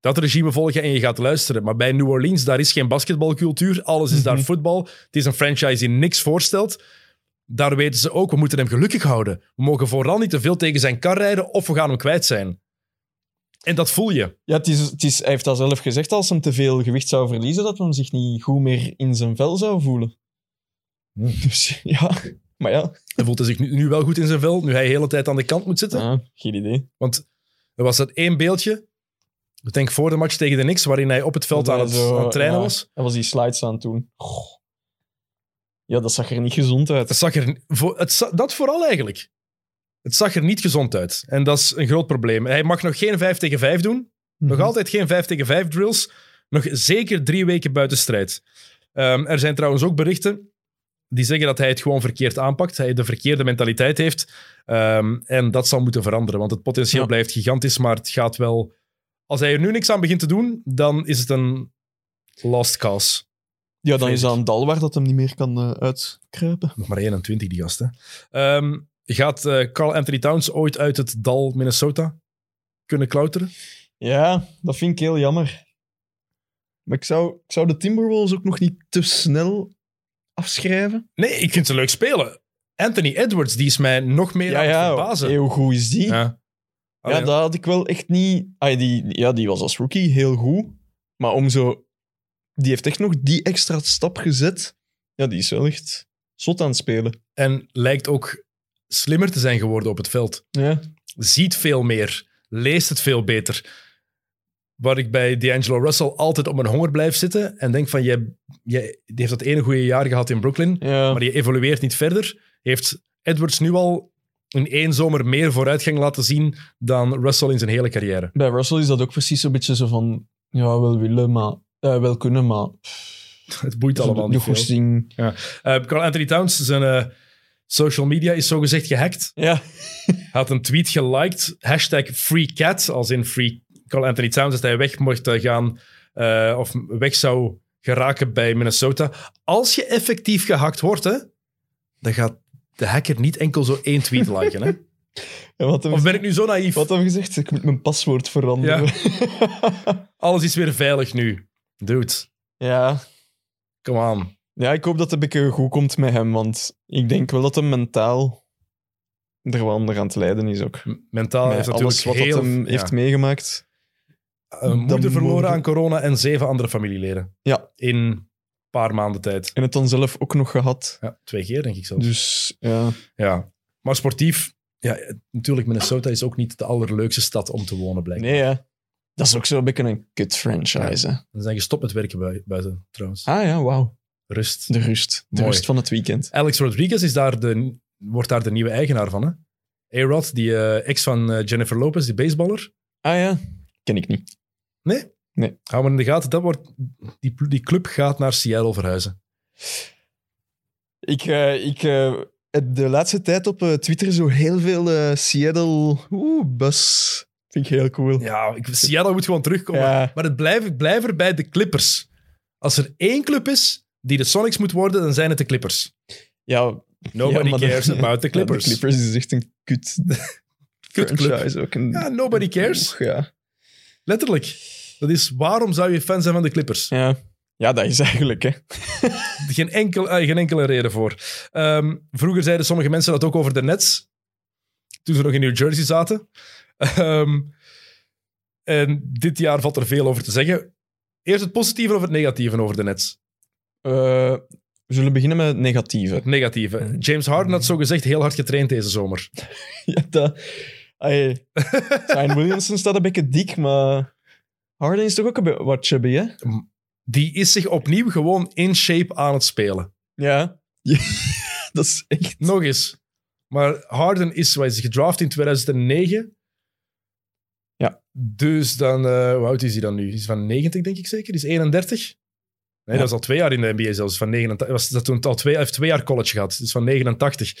Speaker 1: dat regime volgen en je gaat luisteren. Maar bij New Orleans, daar is geen basketbalcultuur. Alles is daar
Speaker 2: Mhm.
Speaker 1: voetbal. Het is een franchise die niks voorstelt. daar weten ze ook, we moeten hem gelukkig houden. We mogen vooral niet te veel tegen zijn kar rijden of we gaan hem kwijt zijn. En dat voel je.
Speaker 2: Ja, het is, het is, hij heeft dat zelf gezegd, als hem te veel gewicht zou verliezen, dat hem zich niet goed meer in zijn vel zou voelen. Dus ja, maar ja,
Speaker 1: Hij voelt hij zich nu, nu wel goed in zijn vel, nu hij de hele tijd aan de kant moet zitten.
Speaker 2: ah, geen idee.
Speaker 1: Want er was dat één beeldje, ik denk voor de match tegen de Knicks, waarin hij op het veld
Speaker 2: Dat
Speaker 1: aan
Speaker 2: hij
Speaker 1: het,
Speaker 2: zo,
Speaker 1: aan het trainen
Speaker 2: ja,
Speaker 1: was.
Speaker 2: Hij was die slides aan het doen. Goh. Ja, dat zag er niet gezond uit.
Speaker 1: Het zag er, voor, het, za- dat vooral eigenlijk. Het zag er niet gezond uit. En dat is een groot probleem. Hij mag nog geen 5 tegen 5 doen.
Speaker 2: Mhm.
Speaker 1: Nog altijd geen 5 tegen 5 drills. Nog zeker drie weken buiten strijd. Ehm, er zijn trouwens ook berichten die zeggen dat hij het gewoon verkeerd aanpakt. Hij de verkeerde mentaliteit heeft. Ehm, en dat zal moeten veranderen, want het potentieel
Speaker 2: Ja.
Speaker 1: blijft gigantisch. Maar het gaat wel. Als hij er nu niks aan begint te doen, dan is het een lost cause.
Speaker 2: Mhm. Ja, dan
Speaker 1: Vrees
Speaker 2: is dat een dal waar dat hem niet meer kan eh, uitkruipen.
Speaker 1: Nog maar 21, die gast. Hè? Ehm, gaat eh, Carl Anthony Towns ooit uit het dal Minnesota kunnen klauteren?
Speaker 2: Ja, dat vind ik heel jammer. Maar ik zou, ik zou de Timberwolves ook nog niet te snel afschrijven.
Speaker 1: Nee, ik vind ze leuk spelen. Anthony Edwards, die is mij nog meer aan het verbazen.
Speaker 2: heel goed is die. Ja,
Speaker 1: Ja. Alleen-
Speaker 2: dat had ik wel echt niet... Ah, die, ja, die was als rookie heel goed. Maar om zo... Die heeft echt nog die extra stap gezet. Ja, die is wel echt zot aan het spelen.
Speaker 1: En lijkt ook slimmer te zijn geworden op het veld.
Speaker 2: Ja.
Speaker 1: Ziet veel meer, leest het veel beter. Waar ik bij D'Angelo Russell altijd op mijn honger blijf zitten en denk van, jij, jij, die heeft dat ene goede jaar gehad in Brooklyn,
Speaker 2: ja.
Speaker 1: maar die evolueert niet verder. Heeft Edwards nu al in één zomer meer vooruitgang laten zien dan Russell in zijn hele carrière.
Speaker 2: Bij Russell is dat ook precies zo'n beetje zo van... Ja, wel willen, maar... eh, wel kunnen, maar...
Speaker 1: Het boeit allemaal
Speaker 2: de
Speaker 1: niet veel.
Speaker 2: goesting...
Speaker 1: Eh, Carl Anthony Towns, zijn eh, social media is zogezegd gehackt.
Speaker 2: Ja.
Speaker 1: Hij had een tweet geliked, hashtag free cat, als in free Carl Anthony Towns, dat hij weg mocht eh, gaan eh, of weg zou geraken bij Minnesota. Als je effectief gehackt wordt, hè, dan gaat de hacker niet enkel zo één tweet liken. Hè?
Speaker 2: Ja, wat hem,
Speaker 1: Of ben ik nu zo naïef?
Speaker 2: wat hem gezegd? Ik moet mijn paswoord veranderen. Ja.
Speaker 1: Alles is weer veilig nu. Dude,
Speaker 2: ja.
Speaker 1: come on.
Speaker 2: ik hoop dat het een beetje goed komt met hem, want ik denk wel dat hem mentaal er wel onder aan het lijden is ook.
Speaker 1: M- Mentaal
Speaker 2: Met
Speaker 1: heeft
Speaker 2: alles
Speaker 1: Ah, natuurlijk
Speaker 2: wat
Speaker 1: heel,
Speaker 2: dat hem
Speaker 1: ja,
Speaker 2: heeft meegemaakt.
Speaker 1: een moeder
Speaker 2: dan
Speaker 1: verloren
Speaker 2: mogen-
Speaker 1: aan corona en zeven andere familieleden.
Speaker 2: Ja.
Speaker 1: In een paar maanden tijd.
Speaker 2: En het dan zelf ook nog gehad.
Speaker 1: Ja, twee keer denk ik zelfs.
Speaker 2: Dus ja.
Speaker 1: Ja, maar sportief. Ja, eh, natuurlijk, Minnesota is ook niet de allerleukste stad om te wonen, blijkbaar.
Speaker 2: Nee, ja. Dat is ook zo'n beetje een kut franchise. hè.
Speaker 1: Ze zijn gestopt met werken bui- buiten, trouwens.
Speaker 2: Ah ja, wauw.
Speaker 1: Rust.
Speaker 2: De rust. De
Speaker 1: Mooi.
Speaker 2: rust van het weekend.
Speaker 1: Alex Rodriguez is daar de, wordt daar de nieuwe eigenaar van, hè? A-Rod, die eh, ex van eh, Jennifer Lopez, die baseballer.
Speaker 2: Ah ja, ken ik niet.
Speaker 1: Hou maar in de gaten, dat wordt, die, pl- die club gaat naar Seattle verhuizen.
Speaker 2: Ik, eh, ik eh, heb de laatste tijd op eh, Twitter zo heel veel eh, Seattle. Oeh, bus. Vind ik heel cool.
Speaker 1: Ja, ik, Seattle moet gewoon terugkomen.
Speaker 2: Ja.
Speaker 1: Maar het blijft ik blijf erbij de Clippers. Als er één club is die de Sonics moet worden, dan zijn het de Clippers.
Speaker 2: Ja,
Speaker 1: Nobody
Speaker 2: Ja, maar de-
Speaker 1: cares about the Clippers.
Speaker 2: De Clippers is echt een kut
Speaker 1: Kutclub.
Speaker 2: franchise. Ook een,
Speaker 1: Ja, nobody cares.
Speaker 2: Oeh, Ja.
Speaker 1: Letterlijk. Dat is waarom zou je fan zijn van de Clippers?
Speaker 2: Ja. ja, dat is eigenlijk. Hè.
Speaker 1: Geen, enkel, eh, geen enkele reden voor. Ehm, vroeger zeiden sommige mensen dat ook over de Nets. Toen ze nog in New Jersey zaten. Ehm, en dit jaar valt er veel over te zeggen. Eerst het positieve of het negatieve over de Nets?
Speaker 2: Eh, we zullen beginnen met het negatieve.
Speaker 1: Het negatieve. James Harden had zo gezegd heel hard getraind deze zomer.
Speaker 2: Ja, dat... Ai, Zion Williamson staat een beetje dik, maar Harden is toch ook een beetje wat chubby, hè?
Speaker 1: Die is zich opnieuw gewoon in shape aan het spelen.
Speaker 2: Ja. Ja, dat is echt...
Speaker 1: Nog eens. Maar Harden is, wat is hij gedraft in 2009.
Speaker 2: Ja.
Speaker 1: Dus dan, eh, hoe oud is hij dan nu? Hij is van 90, denk ik zeker. Hij is 31. Nee,
Speaker 2: Ja.
Speaker 1: dat is al twee jaar in de NBA zelfs. Van 89, was dat toen al twee, hij heeft twee jaar college gehad. Dus van 89.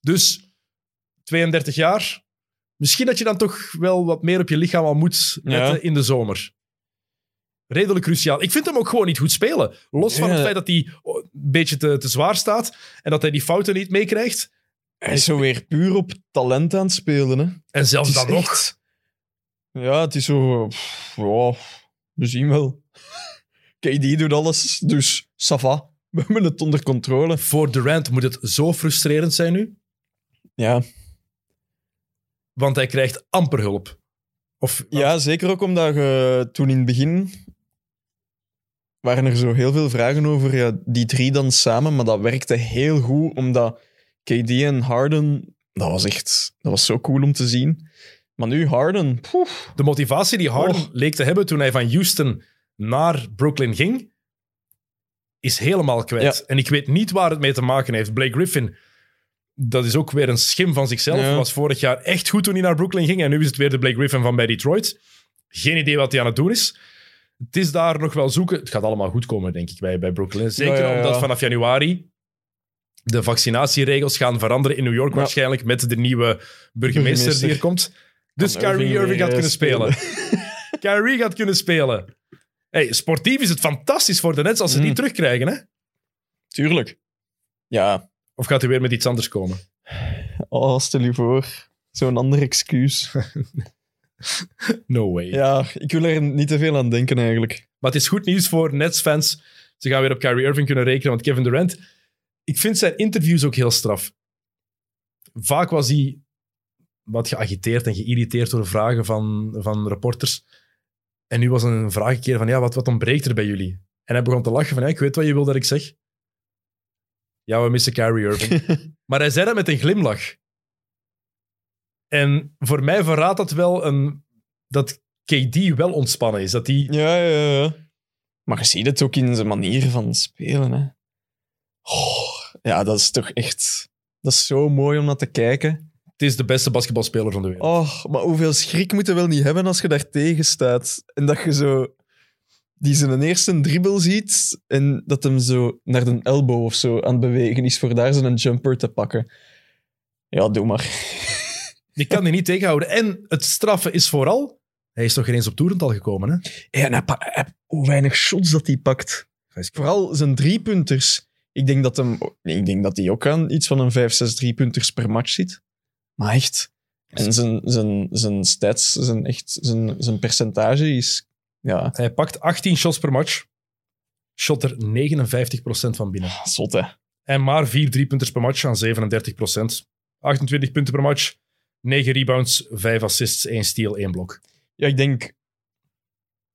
Speaker 1: Dus 32 jaar. Misschien dat je dan toch wel wat meer op je lichaam al moet letten
Speaker 2: Ja.
Speaker 1: in de zomer. Redelijk cruciaal. Ik vind hem ook gewoon niet goed spelen. Los van
Speaker 2: Ja.
Speaker 1: het feit dat hij een beetje te, te zwaar staat en dat hij die fouten niet meekrijgt.
Speaker 2: Hij is zo weer puur op talent aan het spelen, hè?
Speaker 1: En zelfs
Speaker 2: Het is
Speaker 1: dan nog.
Speaker 2: echt- Ja, het is zo... eh, pff, ja, we zien wel. KD doet alles, dus sava. we hebben het onder controle.
Speaker 1: Voor Durant moet het zo frustrerend zijn nu,
Speaker 2: Ja,
Speaker 1: want hij krijgt amper hulp. Of,
Speaker 2: ja zeker ook omdat je toen in het begin waren er zo heel veel vragen over ja, die drie dan samen, maar dat werkte heel goed omdat KD en Harden, dat was echt, dat was zo cool om te zien. Maar nu Harden, poef,
Speaker 1: De motivatie die Harden
Speaker 2: Och.
Speaker 1: leek te hebben toen hij van Houston naar Brooklyn ging, is helemaal kwijt. En ik weet niet waar het mee te maken heeft. Blake Griffin, dat is ook weer een schim van zichzelf.
Speaker 2: Ja.
Speaker 1: Was vorig jaar echt goed toen hij naar Brooklyn ging. En nu is het weer de Blake Griffin van bij Detroit. Geen idee wat hij aan het doen is. Het is daar nog wel zoeken. Het gaat allemaal goed komen, denk ik, bij, bij Brooklyn. Zeker
Speaker 2: Ja, ja, ja.
Speaker 1: omdat vanaf januari de vaccinatieregels gaan veranderen in New York
Speaker 2: Ja.
Speaker 1: waarschijnlijk met de nieuwe burgemeester die
Speaker 2: Burgemeester.
Speaker 1: er komt. Dus
Speaker 2: Kan
Speaker 1: Kyrie
Speaker 2: Irving
Speaker 1: Irving gaat
Speaker 2: weer,
Speaker 1: kunnen
Speaker 2: eh,
Speaker 1: spelen. Kyrie gaat kunnen spelen. Hey, sportief is het fantastisch voor de Nets als ze die
Speaker 2: Mm.
Speaker 1: terugkrijgen. Hè?
Speaker 2: tuurlijk. Ja,
Speaker 1: Of gaat hij weer met iets anders komen?
Speaker 2: Oh, stel je voor. Zo'n ander excuus.
Speaker 1: No way.
Speaker 2: Ja, ik wil er niet te veel aan denken eigenlijk.
Speaker 1: Maar het is goed nieuws voor Nets-fans. Ze gaan weer op Kyrie Irving kunnen rekenen, want Kevin Durant... Ik vind zijn interviews ook heel straf. Vaak was hij wat geagiteerd en geïrriteerd door vragen van, van reporters. En nu was een vraag een keer van, ja, wat, wat ontbreekt er bij jullie? En hij begon te lachen van, ja, ik weet wat je wil dat ik zeg. Ja, we missen Kyrie Irving. maar hij zei dat met een glimlach. En voor mij verraadt dat wel een, dat KD wel ontspannen is. Dat hij
Speaker 2: Ja, ja, ja. Maar je ziet het ook in zijn manier van spelen. Hè. Oh, ja, dat is toch echt... Dat is zo mooi om naar te kijken.
Speaker 1: Het is de beste basketbalspeler van de wereld.
Speaker 2: Oh, maar hoeveel schrik moet je wel niet hebben als je daar tegen staat. En dat je zo... Die zijn eerste dribbel ziet en dat hem zo naar de elbow of zo aan het bewegen is voor daar zijn jumper te pakken. Ja, doe maar.
Speaker 1: Je kan die niet tegenhouden. En het straffen is vooral... Hij is toch geen eens op toerental gekomen, hè?
Speaker 2: Ja, en hij pa- hij- hoe weinig shots dat hij pakt. Vooral zijn driepunters. Ik denk dat hem, nee, ik denk dat hij ook aan iets van een 5, 6 driepunters per match zit. Maar echt. En zijn, zijn, zijn stats, zijn, echt, zijn, zijn percentage is. Ja,
Speaker 1: Hij pakt 18 shots per match. Shot er 59% van binnen.
Speaker 2: zot hè.
Speaker 1: En maar 4 driepunters per match aan 37%. 28 punten per match. 9 rebounds, 5 assists, 1 steal, 1 blok.
Speaker 2: Ja, ik denk.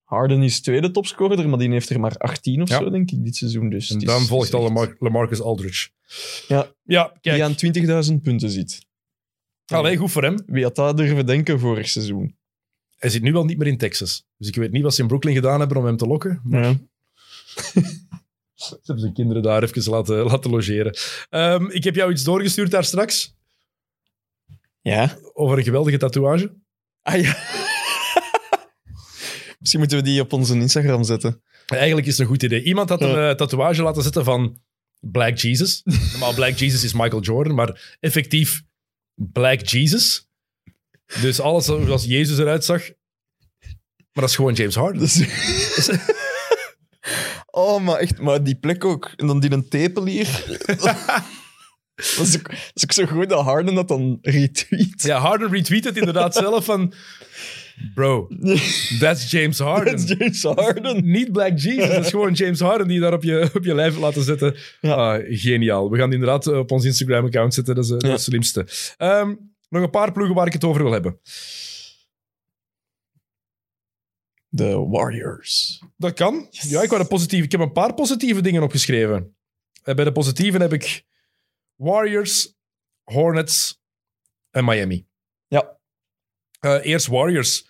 Speaker 2: Harden is tweede topscorer, maar die heeft er maar 18 of
Speaker 1: Ja.
Speaker 2: zo, denk ik, dit seizoen. Dus
Speaker 1: En
Speaker 2: het is-
Speaker 1: dan
Speaker 2: is
Speaker 1: volgt al
Speaker 2: echt-
Speaker 1: Lamar- LaMarcus Aldridge.
Speaker 2: Ja.
Speaker 1: Ja, kijk.
Speaker 2: Die aan 20.000 punten zit.
Speaker 1: Allee, goed voor hem.
Speaker 2: Wie had dat durven denken vorig seizoen?
Speaker 1: Hij zit nu wel niet meer in Texas. Dus ik weet niet wat ze in Brooklyn gedaan hebben om hem te lokken. Maar
Speaker 2: Ja.
Speaker 1: Ze hebben zijn kinderen daar even laten, laten logeren. Ehm, ik heb jou iets doorgestuurd daar straks
Speaker 2: ja.
Speaker 1: over een geweldige tatoeage.
Speaker 2: Ah ja. Misschien moeten we die op onze Instagram zetten.
Speaker 1: Eigenlijk is het een goed idee. Iemand had een eh, tatoeage laten zetten van Black Jesus. Normaal Black Jesus is Michael Jordan, maar effectief Black Jesus. Dus alles zoals Jezus eruit zag. Maar dat is gewoon James Harden.
Speaker 2: Dus- oh, maar echt, maar die plek ook. En dan die een tepel hier. dat, is ook, dat is ook zo goed dat Harden dat dan retweet.
Speaker 1: Ja, Harden retweet het inderdaad zelf van... Bro, that's James Harden.
Speaker 2: Dat is James Harden.
Speaker 1: Niet Black Jesus, dat is gewoon James Harden die je daar op je, op je lijf hebt laten zetten. Ah, geniaal. We gaan die inderdaad eh, op ons Instagram-account zetten, dat is, eh, dat is het slimste. Ehm, nog een paar ploegen waar ik het over wil hebben.
Speaker 2: De Warriors.
Speaker 1: Dat kan.
Speaker 2: Yes.
Speaker 1: Ja, ik, wou de positieve, ik heb een paar positieve dingen opgeschreven. En bij de positieve heb ik Warriors, Hornets en Miami.
Speaker 2: Ja.
Speaker 1: Eh, eerst Warriors.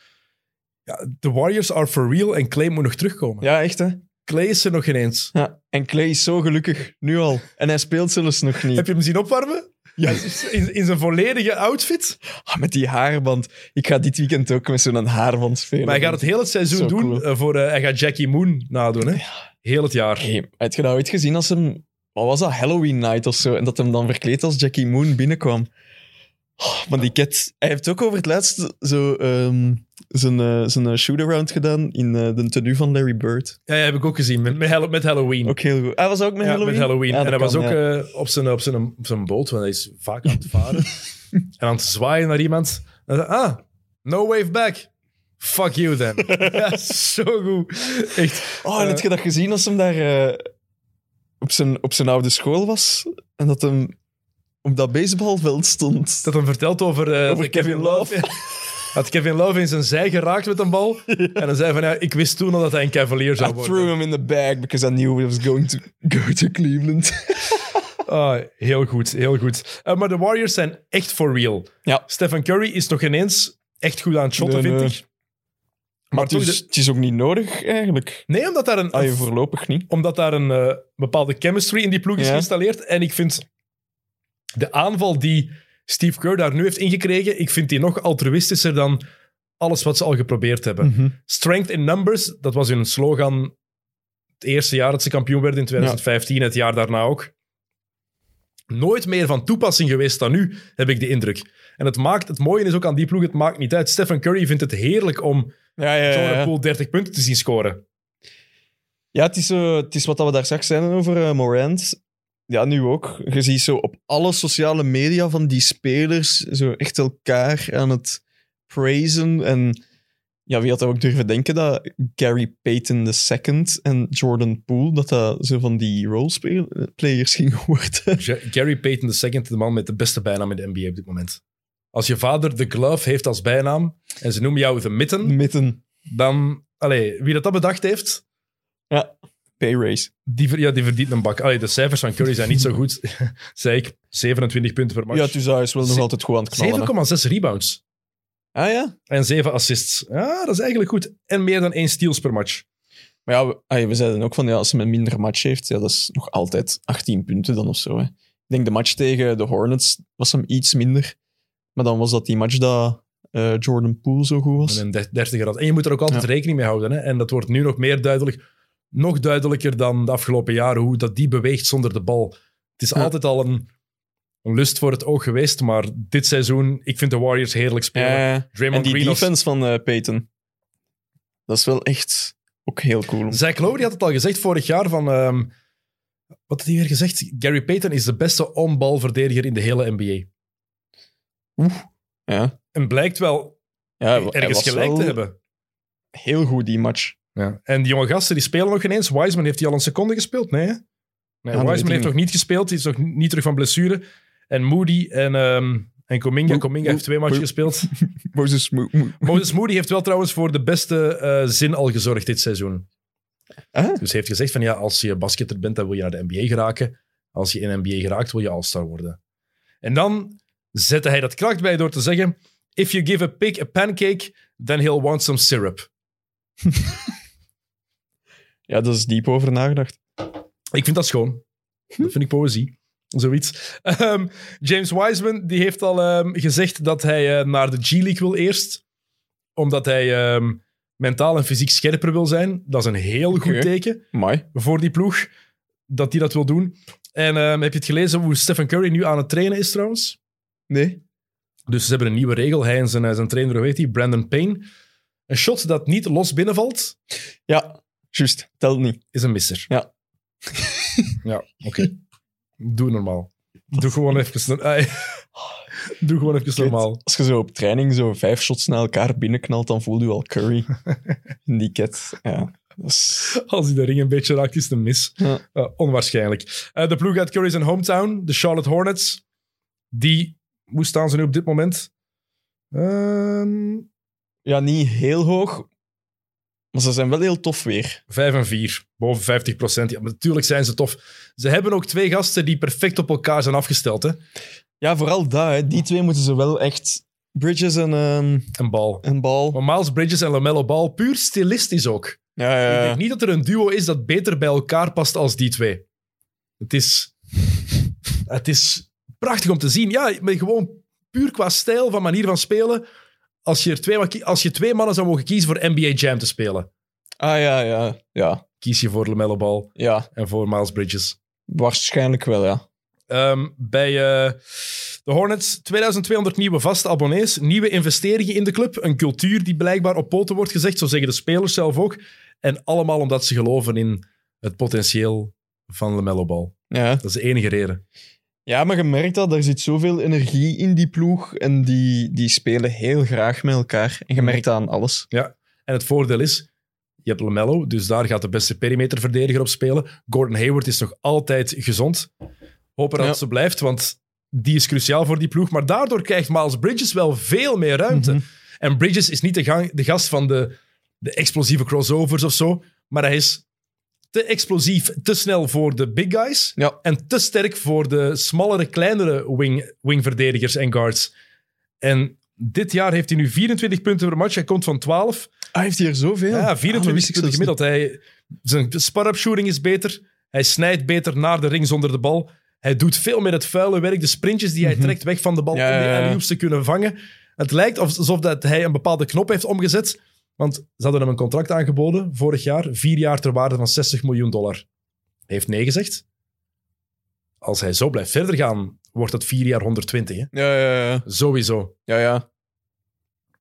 Speaker 1: Ja, de Warriors are for real en Clay moet nog terugkomen.
Speaker 2: Ja, echt hè?
Speaker 1: Clay is er nog ineens.
Speaker 2: Ja. En Clay is zo gelukkig, nu al. En hij speelt zelfs nog niet.
Speaker 1: Heb je hem zien opwarmen?
Speaker 2: Ja.
Speaker 1: Hij is In, in zijn volledige outfit.
Speaker 2: Ah, met die haarband. Ik ga dit weekend ook met zo'n haarband spelen.
Speaker 1: Maar hij gaat het heel het seizoen
Speaker 2: Zo
Speaker 1: doen.
Speaker 2: cool.
Speaker 1: eh, voor, eh, hij gaat Jackie Moon nadoen. Hè? Heel het jaar.
Speaker 2: Hey, had je dat ooit gezien als hem... Wat was dat? Halloween night of zo. En dat hem dan verkleed als Jackie Moon binnenkwam. Oh, maar die cat... Hij heeft ook over het laatst zo, ehm, zijn, eh, zijn eh, shoot-around gedaan in eh, de tenue van Larry Bird.
Speaker 1: Ja, ja, heb ik ook gezien. Met, met, Hall- met Halloween.
Speaker 2: Ook heel goed. Hij was ook met
Speaker 1: Ja,
Speaker 2: Halloween?
Speaker 1: met Halloween.
Speaker 2: Ja,
Speaker 1: en hij
Speaker 2: dat
Speaker 1: was
Speaker 2: kan,
Speaker 1: ook
Speaker 2: ja.
Speaker 1: eh, op, zijn, op, zijn, op zijn boot, want hij is vaak aan het varen. en aan het zwaaien naar iemand. En hij zei, ah, no wave back. Fuck you then. ja, zo goed. Echt.
Speaker 2: Oh, en
Speaker 1: eh,
Speaker 2: heb je dat gezien als hem daar... eh, op zijn, op zijn oude school was en dat hem op dat baseballveld stond.
Speaker 1: Dat hem vertelt over, eh,
Speaker 2: Over Kevin Love.
Speaker 1: Dat Kevin Love in zijn zij geraakt met een bal. En dan zei van, ja, ik wist toen al dat hij een cavalier
Speaker 2: I
Speaker 1: zou worden.
Speaker 2: threw him in the bag because I knew he was going to go to Cleveland.
Speaker 1: Ah, heel goed, heel goed. Eh, maar de Warriors zijn echt for real.
Speaker 2: Ja.
Speaker 1: Stephen Curry is nog ineens echt goed aan het shotten,
Speaker 2: Nee,
Speaker 1: vind
Speaker 2: nee.
Speaker 1: ik.
Speaker 2: Maar het
Speaker 1: toch
Speaker 2: is, het is ook niet nodig, eigenlijk.
Speaker 1: Nee, omdat daar een,
Speaker 2: Ah, je voorlopig niet.
Speaker 1: omdat daar een eh, bepaalde chemistry in die ploeg is
Speaker 2: Ja.
Speaker 1: geïnstalleerd. En ik vind de aanval die Steve Kerr daar nu heeft ingekregen, ik vind die nog altruïstischer dan alles wat ze al geprobeerd hebben. Strength in Numbers, dat was hun slogan het eerste jaar dat ze kampioen werden in 2015, het jaar daarna ook. Nooit meer van toepassing geweest dan nu, heb ik de indruk. En het, maakt, het mooie is ook aan die ploeg, het maakt niet uit. Stephen Curry vindt het heerlijk om
Speaker 2: Ja, ja, ja,
Speaker 1: Jordan
Speaker 2: ja.
Speaker 1: Poole 30 punten te zien scoren.
Speaker 2: Ja, het is, eh, het is wat dat we daar straks zeiden over eh, Morant. Ja, nu ook. Je ziet zo op alle sociale media van die spelers zo echt elkaar aan het praisen. En ja, wie had dat ook durven denken dat Gary Payton II en Jordan Poole, dat dat zo van die roleplayers gingen worden.
Speaker 1: Ja, Gary Payton II, de man met de beste bijnaam in de NBA op dit moment. Als je vader de glove heeft als bijnaam en ze noemen jou de mitten,
Speaker 2: Mitten.
Speaker 1: dan... Allee, wie dat, dat bedacht heeft,
Speaker 2: Pay race.
Speaker 1: Die, ver- ja, die verdient een bak. Allee, de cijfers van Curry zijn niet zo goed. zei ik, 27 punten per match.
Speaker 2: Ja, dus hij is wel nog
Speaker 1: Ze-
Speaker 2: altijd goed aan het knallen. hè.
Speaker 1: 7,6 rebounds.
Speaker 2: Ah ja?
Speaker 1: En 7 assists. Ja, dat is eigenlijk goed. En meer dan 1 steals per match.
Speaker 2: Maar ja, we, ah, we zeiden ook van ja, als hij een minder match heeft, ja, dat is nog altijd 18 punten dan of zo. Hè. Ik denk de match tegen de Hornets was hem iets minder. Maar dan was dat die match dat eh, Jordan Poole zo goed was.
Speaker 1: En een der- 30 had. En je moet er ook altijd rekening mee houden. Hè? En dat wordt nu nog meer duidelijk. Nog duidelijker dan de afgelopen jaren hoe dat die beweegt zonder de bal. Het is
Speaker 2: Ja.
Speaker 1: altijd al een, een lust voor het oog geweest. Maar dit seizoen, ik vind de Warriors heerlijk spelen.
Speaker 2: Ja, ja. en
Speaker 1: Draymond
Speaker 2: die
Speaker 1: Green als-
Speaker 2: defense van eh, Peyton. Dat is wel echt ook heel cool. om-
Speaker 1: Zach Lowe die had het al gezegd vorig jaar van... ehm, wat had hij weer gezegd? Gary Payton is de beste onbalverdediger in de hele NBA.
Speaker 2: Ja,
Speaker 1: En blijkt wel
Speaker 2: ja hij
Speaker 1: ergens
Speaker 2: was
Speaker 1: gelijk
Speaker 2: wel
Speaker 1: te hebben.
Speaker 2: Heel goed die match.
Speaker 1: Ja. En die jonge gasten die spelen nog ineens. Wiseman heeft hij al een seconde gespeeld? Nee, hè? Nee,
Speaker 2: dat weet ik
Speaker 1: Wiseman heeft
Speaker 2: niet.
Speaker 1: nog niet gespeeld. Die is nog niet terug van blessure. En Moody en, ehm en Cominga.
Speaker 2: Mo-
Speaker 1: Cominga
Speaker 2: Mo-
Speaker 1: heeft twee matchen
Speaker 2: Mo-
Speaker 1: gespeeld.
Speaker 2: Moses Mo- Mo-
Speaker 1: Moses Moody heeft wel trouwens voor de beste eh, zin al gezorgd dit seizoen.
Speaker 2: Ah.
Speaker 1: Dus hij heeft gezegd van ja, als je basketter bent, dan wil je naar de NBA geraken. Als je in NBA geraakt, wil je All-Star worden. En dan zette hij dat kracht bij door te zeggen... If you give a pig a pancake, then he'll want some syrup.
Speaker 2: Ja, dat is diep over nagedacht.
Speaker 1: Ik vind dat schoon. Dat vind ik poëzie. Zoiets. Ehm, James Wiseman die heeft al ehm, gezegd dat hij eh, naar de G-League wil eerst. Omdat hij ehm, mentaal en fysiek scherper wil zijn. Dat is een heel
Speaker 2: Oké.
Speaker 1: goed teken.
Speaker 2: Mooi.
Speaker 1: voor die ploeg, dat hij dat wil doen. En ehm, heb je het gelezen hoe Stephen Curry nu aan het trainen is trouwens?
Speaker 2: Nee?
Speaker 1: Dus ze hebben een nieuwe regel. Hij en zijn, eh, zijn trainer, hoe heet hij, Brandon Payne. Een shot dat niet los binnenvalt,
Speaker 2: Ja, juist. Telt niet.
Speaker 1: is een misser.
Speaker 2: Ja.
Speaker 1: ja, oké. Doe normaal. Doe gewoon even... eh, Doe gewoon even
Speaker 2: Kut.
Speaker 1: normaal.
Speaker 2: Als je zo op training zo vijf shots na elkaar binnenknalt, dan voel je al curry. In die ket. Ja. Dat is-
Speaker 1: Als hij de ring een beetje raakt, is het een mis.
Speaker 2: Ja.
Speaker 1: Eh, onwaarschijnlijk. Eh, de ploeg uit Curry's in hometown, de Charlotte Hornets. Die, hoe staan ze nu op dit moment? Ehm,
Speaker 2: ja, niet heel hoog. Maar ze zijn wel heel tof weer.
Speaker 1: 5 en 4, boven 50 procent. Ja, maar natuurlijk zijn ze tof. Ze hebben ook twee gasten die perfect op elkaar zijn afgesteld. Hè?
Speaker 2: Ja, vooral daar. Hè. Die twee moeten ze wel echt... Bridges en, ehm
Speaker 1: Een bal.
Speaker 2: en bal.
Speaker 1: Maar Miles Bridges en Lamello Ball, puur stilistisch ook.
Speaker 2: Ja,
Speaker 1: Ik
Speaker 2: ja, ja.
Speaker 1: denk niet dat er een duo is dat beter bij elkaar past als die twee. Het is, het is prachtig om te zien. Ja, maar gewoon puur qua stijl, van manier van spelen. Als je, er twee, mag kie- als je twee mannen zou mogen kiezen voor NBA Jam te spelen,
Speaker 2: Ah, ja, ja. Ja,
Speaker 1: kies je voor Lamello Ball
Speaker 2: ja.
Speaker 1: en voor Miles Bridges.
Speaker 2: Waarschijnlijk wel, ja.
Speaker 1: Ehm, bij eh, de Hornets 2200 nieuwe vaste abonnees, nieuwe investeringen in de club, een cultuur die blijkbaar op poten wordt gezegd, zo zeggen de spelers zelf ook. En allemaal omdat ze geloven in het potentieel van LaMelo Ball.
Speaker 2: Ja.
Speaker 1: Dat is de enige reden.
Speaker 2: Ja, maar je merkt dat, er zit zoveel energie in die ploeg en Mm. die, die spelen heel graag met elkaar. En je merkt dat aan alles.
Speaker 1: En het voordeel is, Je hebt LaMelo, dus daar gaat de beste perimeterverdediger op spelen. Gordon Hayward is nog altijd gezond. Hopen dat
Speaker 2: Ja.
Speaker 1: ze blijft, want die is cruciaal voor die ploeg. Maar daardoor krijgt Miles Bridges wel veel meer ruimte.
Speaker 2: Mhm.
Speaker 1: En Bridges is niet de, gang- de gast van de, de explosieve crossovers of zo, maar hij is te explosief, te snel voor de big guys
Speaker 2: Ja.
Speaker 1: en te sterk voor de smallere, kleinere wing, wingverdedigers en guards. En dit jaar heeft hij nu 24 punten per match. Hij komt van 12.
Speaker 2: Hij heeft hier zoveel.
Speaker 1: Ja,
Speaker 2: Ah, dat
Speaker 1: 24
Speaker 2: wist ik
Speaker 1: punten
Speaker 2: zelfs niet.
Speaker 1: gemiddeld. Hij, zijn spar-up shooting is beter. Hij snijdt beter naar de ring zonder de bal. Hij doet veel meer het vuile werk. De sprintjes die hij trekt weg van de bal
Speaker 2: Mhm. Ja,
Speaker 1: om
Speaker 2: ja,
Speaker 1: die
Speaker 2: ja.
Speaker 1: alley-oops te kunnen vangen. Het lijkt alsof dat hij een bepaalde knop heeft omgezet. Want ze hadden hem een contract aangeboden vorig jaar. Vier jaar ter waarde van 60 miljoen dollar. Hij heeft nee gezegd. Als hij zo blijft verder gaan, wordt dat vier jaar 120. Hè?
Speaker 2: Ja, ja, ja.
Speaker 1: Sowieso.
Speaker 2: Ja, ja.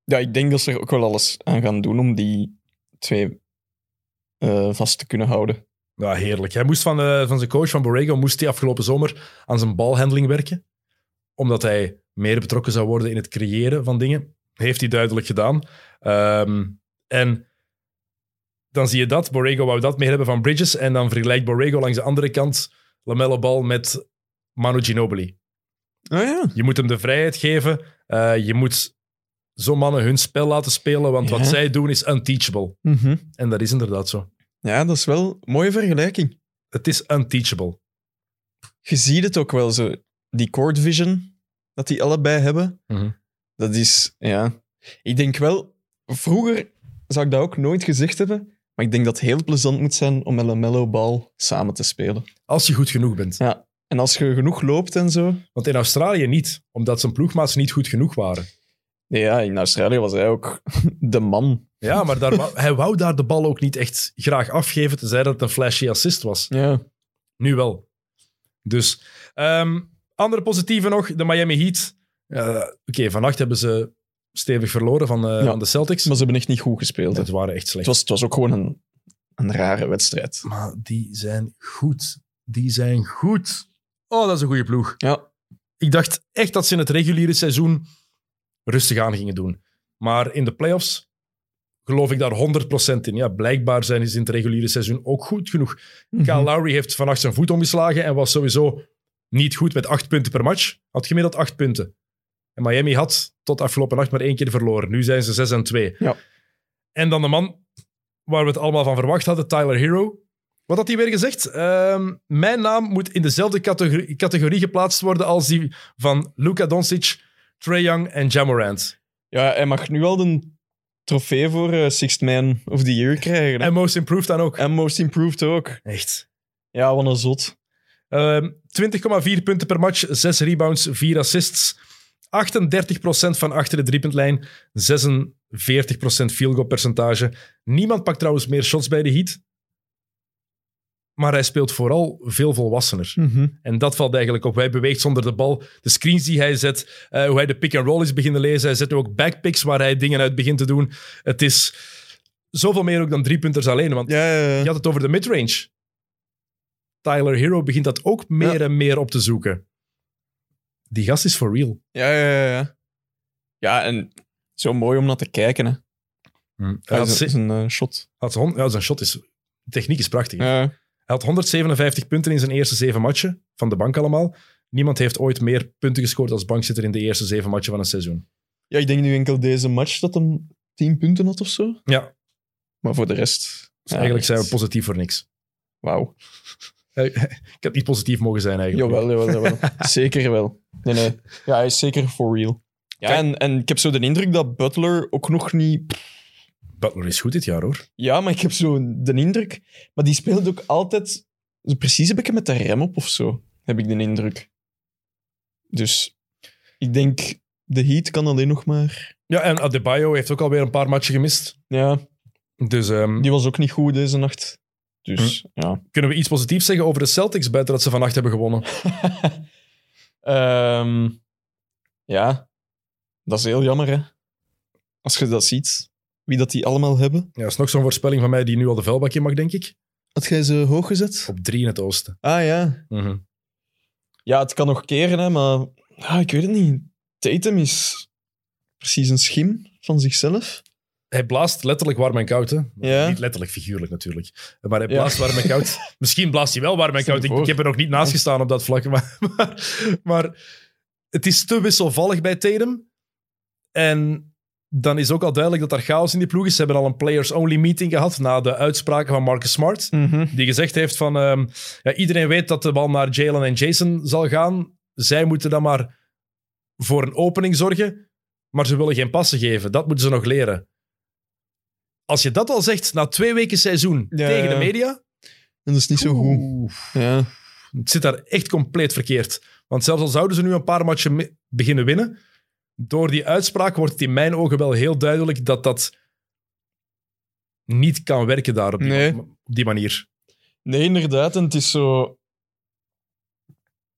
Speaker 2: Ja, ik denk dat ze er ook wel alles aan gaan doen om die twee eh, vast te kunnen houden.
Speaker 1: Ja, heerlijk. Hij moest van, eh, van zijn coach, van Borrego, moest hij afgelopen zomer aan zijn balhandeling werken. Omdat hij meer betrokken zou worden in het creëren van dingen. Heeft hij duidelijk gedaan. Ehm, en dan zie je dat. Borrego wou dat meer hebben van Bridges. En dan vergelijkt Borrego langs de andere kant Lamelle Bal met Manu Ginobili.
Speaker 2: Oh ja.
Speaker 1: Je moet hem de vrijheid geven. Eh, je moet zo'n mannen hun spel laten spelen. Want
Speaker 2: Ja.
Speaker 1: wat zij doen is unteachable. En dat is inderdaad zo.
Speaker 2: Ja, dat is wel een mooie vergelijking.
Speaker 1: Het is unteachable.
Speaker 2: Je ziet het ook wel zo. Die court vision, dat die allebei hebben,
Speaker 1: Mhm.
Speaker 2: dat is, ja. Ik denk wel, vroeger zou ik dat ook nooit gezegd hebben, maar ik denk dat het heel plezant moet zijn om met LaMelo Ball samen te spelen.
Speaker 1: Als je goed genoeg bent.
Speaker 2: Ja. En als je genoeg loopt en zo,
Speaker 1: Want in Australië niet, omdat zijn ploegmaats niet goed genoeg waren.
Speaker 2: Ja, in Australië was hij ook de man.
Speaker 1: Ja, maar daar wou- hij wou daar de bal ook niet echt graag afgeven, tenzij dat het een flashy assist was.
Speaker 2: Ja.
Speaker 1: Nu wel. Dus, ehm, andere positieve nog, de Miami Heat. Eh, Oké, vannacht hebben ze stevig verloren van, eh,
Speaker 2: Ja.
Speaker 1: van de Celtics.
Speaker 2: Maar ze hebben echt niet goed gespeeld. hè.
Speaker 1: Dat waren echt
Speaker 2: Het,
Speaker 1: slecht.
Speaker 2: was, het was ook gewoon een, een rare wedstrijd.
Speaker 1: Maar die zijn goed. Die zijn goed. Oh, dat is een goede ploeg.
Speaker 2: Ja.
Speaker 1: ik dacht echt dat ze in het reguliere seizoen rustig aan gingen doen. Maar in de playoffs geloof ik daar 100% in. Ja, blijkbaar zijn ze in het reguliere seizoen ook goed genoeg.
Speaker 2: Mhm.
Speaker 1: Kyle Lowry heeft vannacht zijn voet omgeslagen en was sowieso niet goed met acht punten per match. Had gemiddeld acht punten. En Miami had tot afgelopen nacht maar één keer verloren. Nu zijn ze 6 en 2.
Speaker 2: Ja.
Speaker 1: En dan de man waar we het allemaal van verwacht hadden, Tyler Hero. Wat had hij weer gezegd? Ehm, mijn naam moet in dezelfde categorie, categorie geplaatst worden als die van Luka Doncic, Trae Young en Jamorant.
Speaker 2: ja, hij mag nu al de trofee voor eh, Sixth Man of the Year krijgen. hè.
Speaker 1: En Most Improved dan ook.
Speaker 2: En Most Improved ook.
Speaker 1: Echt.
Speaker 2: Ja, wat een zot.
Speaker 1: Ehm, 20,4 punten per match, 6 rebounds, 4 assists. 38% van achter de driepuntlijn, 46% field goal percentage. Niemand pakt trouwens meer shots bij de Heat. Maar hij speelt vooral veel volwassener. En dat valt eigenlijk op. Hij beweegt zonder de bal. De screens die hij zet, eh, hoe hij de pick-and-roll is beginnen lezen. Hij zet nu ook backpicks waar hij dingen uit begint te doen. Het is zoveel meer ook dan driepunters alleen. Want
Speaker 2: Ja, ja,
Speaker 1: je
Speaker 2: ja.
Speaker 1: had het over de midrange. Tyler Hero begint dat ook meer
Speaker 2: Ja.
Speaker 1: en meer op te zoeken. Die gast is for real.
Speaker 2: Ja, ja, ja, ja. Ja, en zo mooi om naar te kijken. Hè.
Speaker 1: Hm. Hij had,
Speaker 2: dat
Speaker 1: ze-
Speaker 2: is een eh, shot.
Speaker 1: had hon- ja, zijn shot is... de Techniek is prachtig. hè.
Speaker 2: Ja.
Speaker 1: Hij had 157 punten in zijn eerste zeven matchen. Van de bank allemaal. Niemand heeft ooit meer punten gescoord als bankzitter in de eerste zeven matchen van een seizoen.
Speaker 2: ja, ik denk nu enkel deze match dat hem 10 punten had of zo.
Speaker 1: Ja,
Speaker 2: Maar voor de rest...
Speaker 1: dus
Speaker 2: ja,
Speaker 1: eigenlijk zijn
Speaker 2: echt.
Speaker 1: we positief voor niks.
Speaker 2: Wauw.
Speaker 1: Ik heb niet positief mogen zijn eigenlijk.
Speaker 2: Jawel, jawel, jawel. zeker wel. Nee, nee. Ja, hij is zeker for real. Ja,
Speaker 1: Kijk.
Speaker 2: en, en ik heb zo de indruk dat Butler ook nog niet...
Speaker 1: Butler is goed dit jaar hoor.
Speaker 2: Ja, maar ik heb zo de indruk... Maar die speelt ook altijd zo precies een beetje met de rem op of zo, heb ik de indruk. Dus ik denk, de Heat kan alleen nog maar...
Speaker 1: Ja, en Adebayo heeft ook alweer een paar matchen gemist.
Speaker 2: Ja,
Speaker 1: Dus ehm,
Speaker 2: die was ook niet goed deze nacht. Dus, ja.
Speaker 1: kunnen we iets positiefs zeggen over de Celtics buiten dat ze vannacht hebben gewonnen?
Speaker 2: Ehm, ja, dat is heel jammer, hè. Als je dat ziet, wie dat die allemaal hebben.
Speaker 1: Ja, dat is nog zo'n voorspelling van mij die nu al de vuilbak in mag, denk ik.
Speaker 2: Had jij ze hoog gezet?
Speaker 1: Op drie in het oosten.
Speaker 2: Ah ja. Ja, het kan nog keren, hè, maar ah, ik weet het niet. Tatum is precies een schim van zichzelf.
Speaker 1: hij blaast letterlijk warm en koud. Hè? Maar
Speaker 2: Ja.
Speaker 1: Niet letterlijk, figuurlijk natuurlijk. Maar hij
Speaker 2: Ja.
Speaker 1: blaast warm en koud. Misschien blaast hij wel warm en
Speaker 3: Stel
Speaker 1: koud.
Speaker 3: je
Speaker 1: Ik,
Speaker 3: voor.
Speaker 1: ik heb er nog niet naast gestaan op dat vlak. Maar, maar, maar het is te wisselvallig bij Tatum. En dan is ook al duidelijk dat er chaos in die ploeg is. Ze hebben al een players-only meeting gehad na de uitspraken van Marcus Smart. Die gezegd heeft van, ehm, ja, iedereen weet dat de bal naar Jalen en Jason zal gaan. Zij moeten dan maar voor een opening zorgen. Maar ze willen geen passen geven. Dat moeten ze nog leren. Als je dat al zegt na twee weken seizoen
Speaker 2: Ja,
Speaker 1: tegen de
Speaker 2: ja.
Speaker 1: media...
Speaker 2: En dat is niet zo goed.
Speaker 1: oeh,
Speaker 2: Ja.
Speaker 1: het zit daar echt compleet verkeerd. Want zelfs al zouden ze nu een paar matchen me- beginnen winnen, door die uitspraak wordt het in mijn ogen wel heel duidelijk dat dat niet kan werken daar op die,
Speaker 2: Nee.
Speaker 1: op die manier.
Speaker 2: Nee, inderdaad. En het is zo.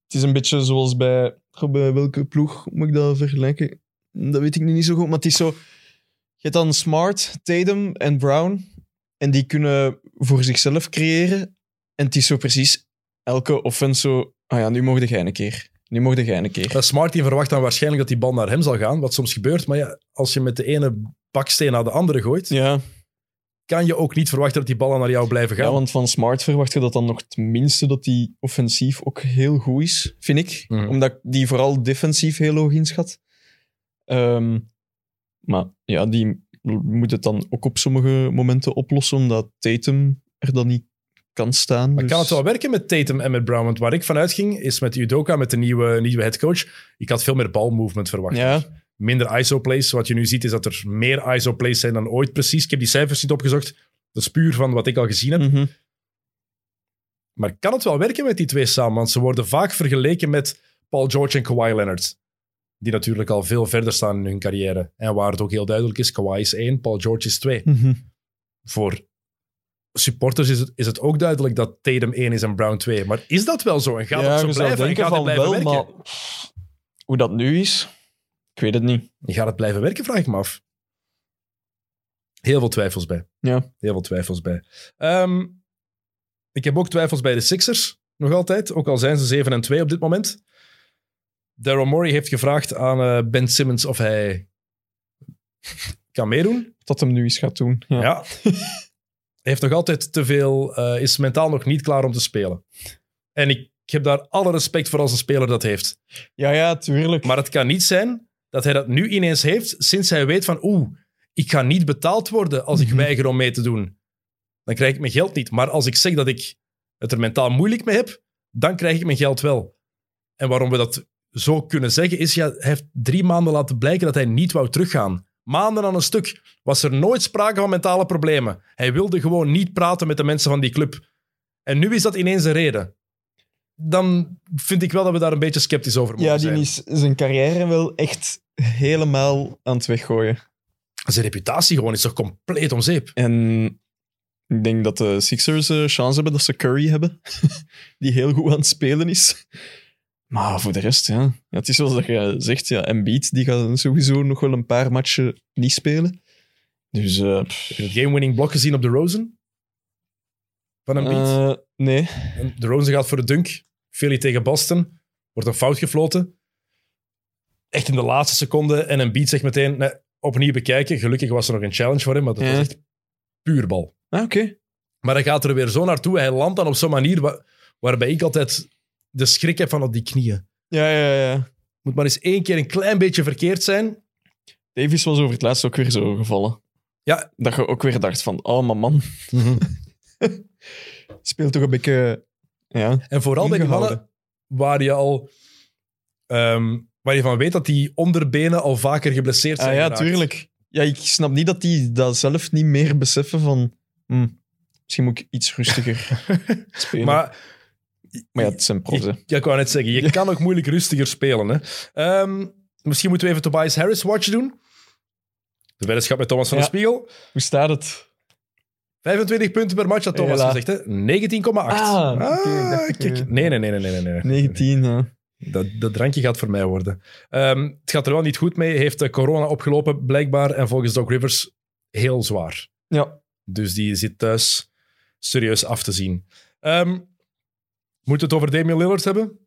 Speaker 2: Het is een beetje zoals bij. Goh, bij welke ploeg moet ik dat vergelijken? Dat weet ik nu niet zo goed. Maar het is zo. Je hebt dan Smart, Tatum en Brown. En die kunnen voor zichzelf creëren. En het is zo precies elke offense zo. Ah ja, nu mocht jij een keer. Nu mocht jij een keer.
Speaker 1: Eh, Smart die verwacht dan waarschijnlijk dat die bal naar hem zal gaan, wat soms gebeurt. Maar ja, als je met de ene baksteen naar de andere gooit,
Speaker 2: Ja,
Speaker 1: kan je ook niet verwachten dat die ballen naar jou blijven gaan.
Speaker 2: ja, want van Smart verwacht je dat dan nog tenminste dat die offensief ook heel goed is, vind ik.
Speaker 1: Mhm.
Speaker 2: Omdat ik die vooral defensief heel hoog inschat. Ehm, maar ja, die moet het dan ook op sommige momenten oplossen, omdat Tatum er dan niet kan staan.
Speaker 1: Maar
Speaker 2: dus-
Speaker 1: kan het wel werken met Tatum en met Brown? Want waar ik vanuit ging, is met Udoka, met de nieuwe, nieuwe headcoach, ik had veel meer balmovement verwacht.
Speaker 2: Ja,
Speaker 1: minder ISO-plays. Wat je nu ziet is dat er meer ISO-plays zijn dan ooit precies. Ik heb die cijfers niet opgezocht. Dat is puur van wat ik al gezien heb.
Speaker 2: mhm.
Speaker 1: Maar kan het wel werken met die twee samen? Want ze worden vaak vergeleken met Paul George en Kawhi Leonard. Die natuurlijk al veel verder staan in hun carrière. En waar het ook heel duidelijk is, Kawhi is één, Paul George is twee.
Speaker 2: Mhm.
Speaker 1: Voor supporters is het, is het ook duidelijk dat Tatum één is en Brown twee. Maar is dat wel zo? En gaat
Speaker 2: ja,
Speaker 1: dat zo
Speaker 2: je zou
Speaker 1: blijven? En
Speaker 2: denken
Speaker 1: gaat het
Speaker 2: van
Speaker 1: blijven
Speaker 2: wel,
Speaker 1: werken?
Speaker 2: maar hoe dat nu is, ik weet het niet.
Speaker 1: Gaat het blijven werken, vraag ik me af. Heel veel twijfels bij.
Speaker 2: Ja.
Speaker 1: Heel veel twijfels bij. Ehm, ik heb ook twijfels bij de Sixers, nog altijd. Ook al zijn ze 7 en 2 op dit moment. Daryl Morey heeft gevraagd aan eh, Ben Simmons of hij kan meedoen.
Speaker 2: Dat hem nu eens gaat doen. Ja.
Speaker 1: Ja. Hij heeft nog altijd te veel, eh, is mentaal nog niet klaar om te spelen. En ik heb daar alle respect voor als een speler dat heeft.
Speaker 2: ja, ja, tuurlijk.
Speaker 1: Maar het kan niet zijn dat hij dat nu ineens heeft, sinds hij weet van, oeh, ik ga niet betaald worden als ik
Speaker 2: Mhm.
Speaker 1: weiger om mee te doen. Dan krijg ik mijn geld niet. Maar als ik zeg dat ik het er mentaal moeilijk mee heb, dan krijg ik mijn geld wel. En waarom we dat zo kunnen zeggen, is ja, hij heeft drie maanden laten blijken dat hij niet wou teruggaan. Maanden aan een stuk was er nooit sprake van mentale problemen. Hij wilde gewoon niet praten met de mensen van die club. En nu is dat ineens een reden. Dan vind ik wel dat we daar een beetje sceptisch over moeten
Speaker 2: ja,
Speaker 1: zijn.
Speaker 2: die is zijn carrière wel echt helemaal aan het weggooien.
Speaker 1: zijn reputatie gewoon is toch compleet om zeep.
Speaker 2: En ik denk dat de Sixers eh, chance hebben dat ze Curry hebben, die heel goed aan het spelen is. Maar voor de rest, ja. ja het is zoals dat je zegt, ja, Embiid die gaat sowieso nog wel een paar matchen niet spelen. Dus, eh, pff,
Speaker 1: Heb je het game-winning blok gezien op de Rosen? Van een beat.
Speaker 2: eh, nee.
Speaker 1: de Rosen gaat voor de dunk. Philly tegen Boston. Wordt een fout gefloten. Echt in de laatste seconde. En een beat zegt meteen, nee, opnieuw bekijken. Gelukkig was er nog een challenge voor hem, maar dat
Speaker 2: Ja.
Speaker 1: was echt puur bal.
Speaker 2: Ah, oké.
Speaker 1: Maar hij gaat er weer zo naartoe. Hij landt dan op zo'n manier wa- waarbij ik altijd de schrik heb van op die knieën.
Speaker 2: Ja, ja, ja.
Speaker 1: Moet maar eens één keer een klein beetje verkeerd zijn.
Speaker 2: Davis was over het laatst ook weer zo gevallen.
Speaker 1: Ja.
Speaker 2: Dat je ook weer dacht van, oh, maar man, speelt toch een beetje... Ja.
Speaker 1: En vooral bij die
Speaker 2: Ingehouden.
Speaker 1: mannen waar je al... ehm, waar je van weet dat die onderbenen al vaker geblesseerd zijn
Speaker 2: Ah, ja,
Speaker 1: geraakt.
Speaker 2: tuurlijk. Ja, ik snap niet dat die dat zelf niet meer beseffen van... hm, misschien moet ik iets rustiger spelen. Maar,
Speaker 1: Maar
Speaker 2: ja, het zijn pros, hè.
Speaker 1: ja, ik wou net zeggen, je kan ook moeilijk rustiger spelen. Hè. Ehm, misschien moeten we even Tobias Harris watch doen. De weddenschap met Thomas van
Speaker 2: Ja.
Speaker 1: der Spiegel.
Speaker 2: Hoe staat het?
Speaker 1: 25 punten per match had Thomas
Speaker 2: Hela.
Speaker 1: gezegd. hè. 19,8.
Speaker 2: Ah, oké, ik dacht, oké.
Speaker 1: kijk. Nee, nee, nee, nee, nee, nee, nee.
Speaker 2: 19, hè.
Speaker 1: Dat, dat drankje gaat voor mij worden. Ehm, het gaat er wel niet goed mee. Hij heeft eh, corona opgelopen, blijkbaar. En volgens Doc Rivers heel zwaar.
Speaker 2: Ja.
Speaker 1: Dus die zit thuis serieus af te zien. Ehm, moeten we het over Damian Lillard hebben?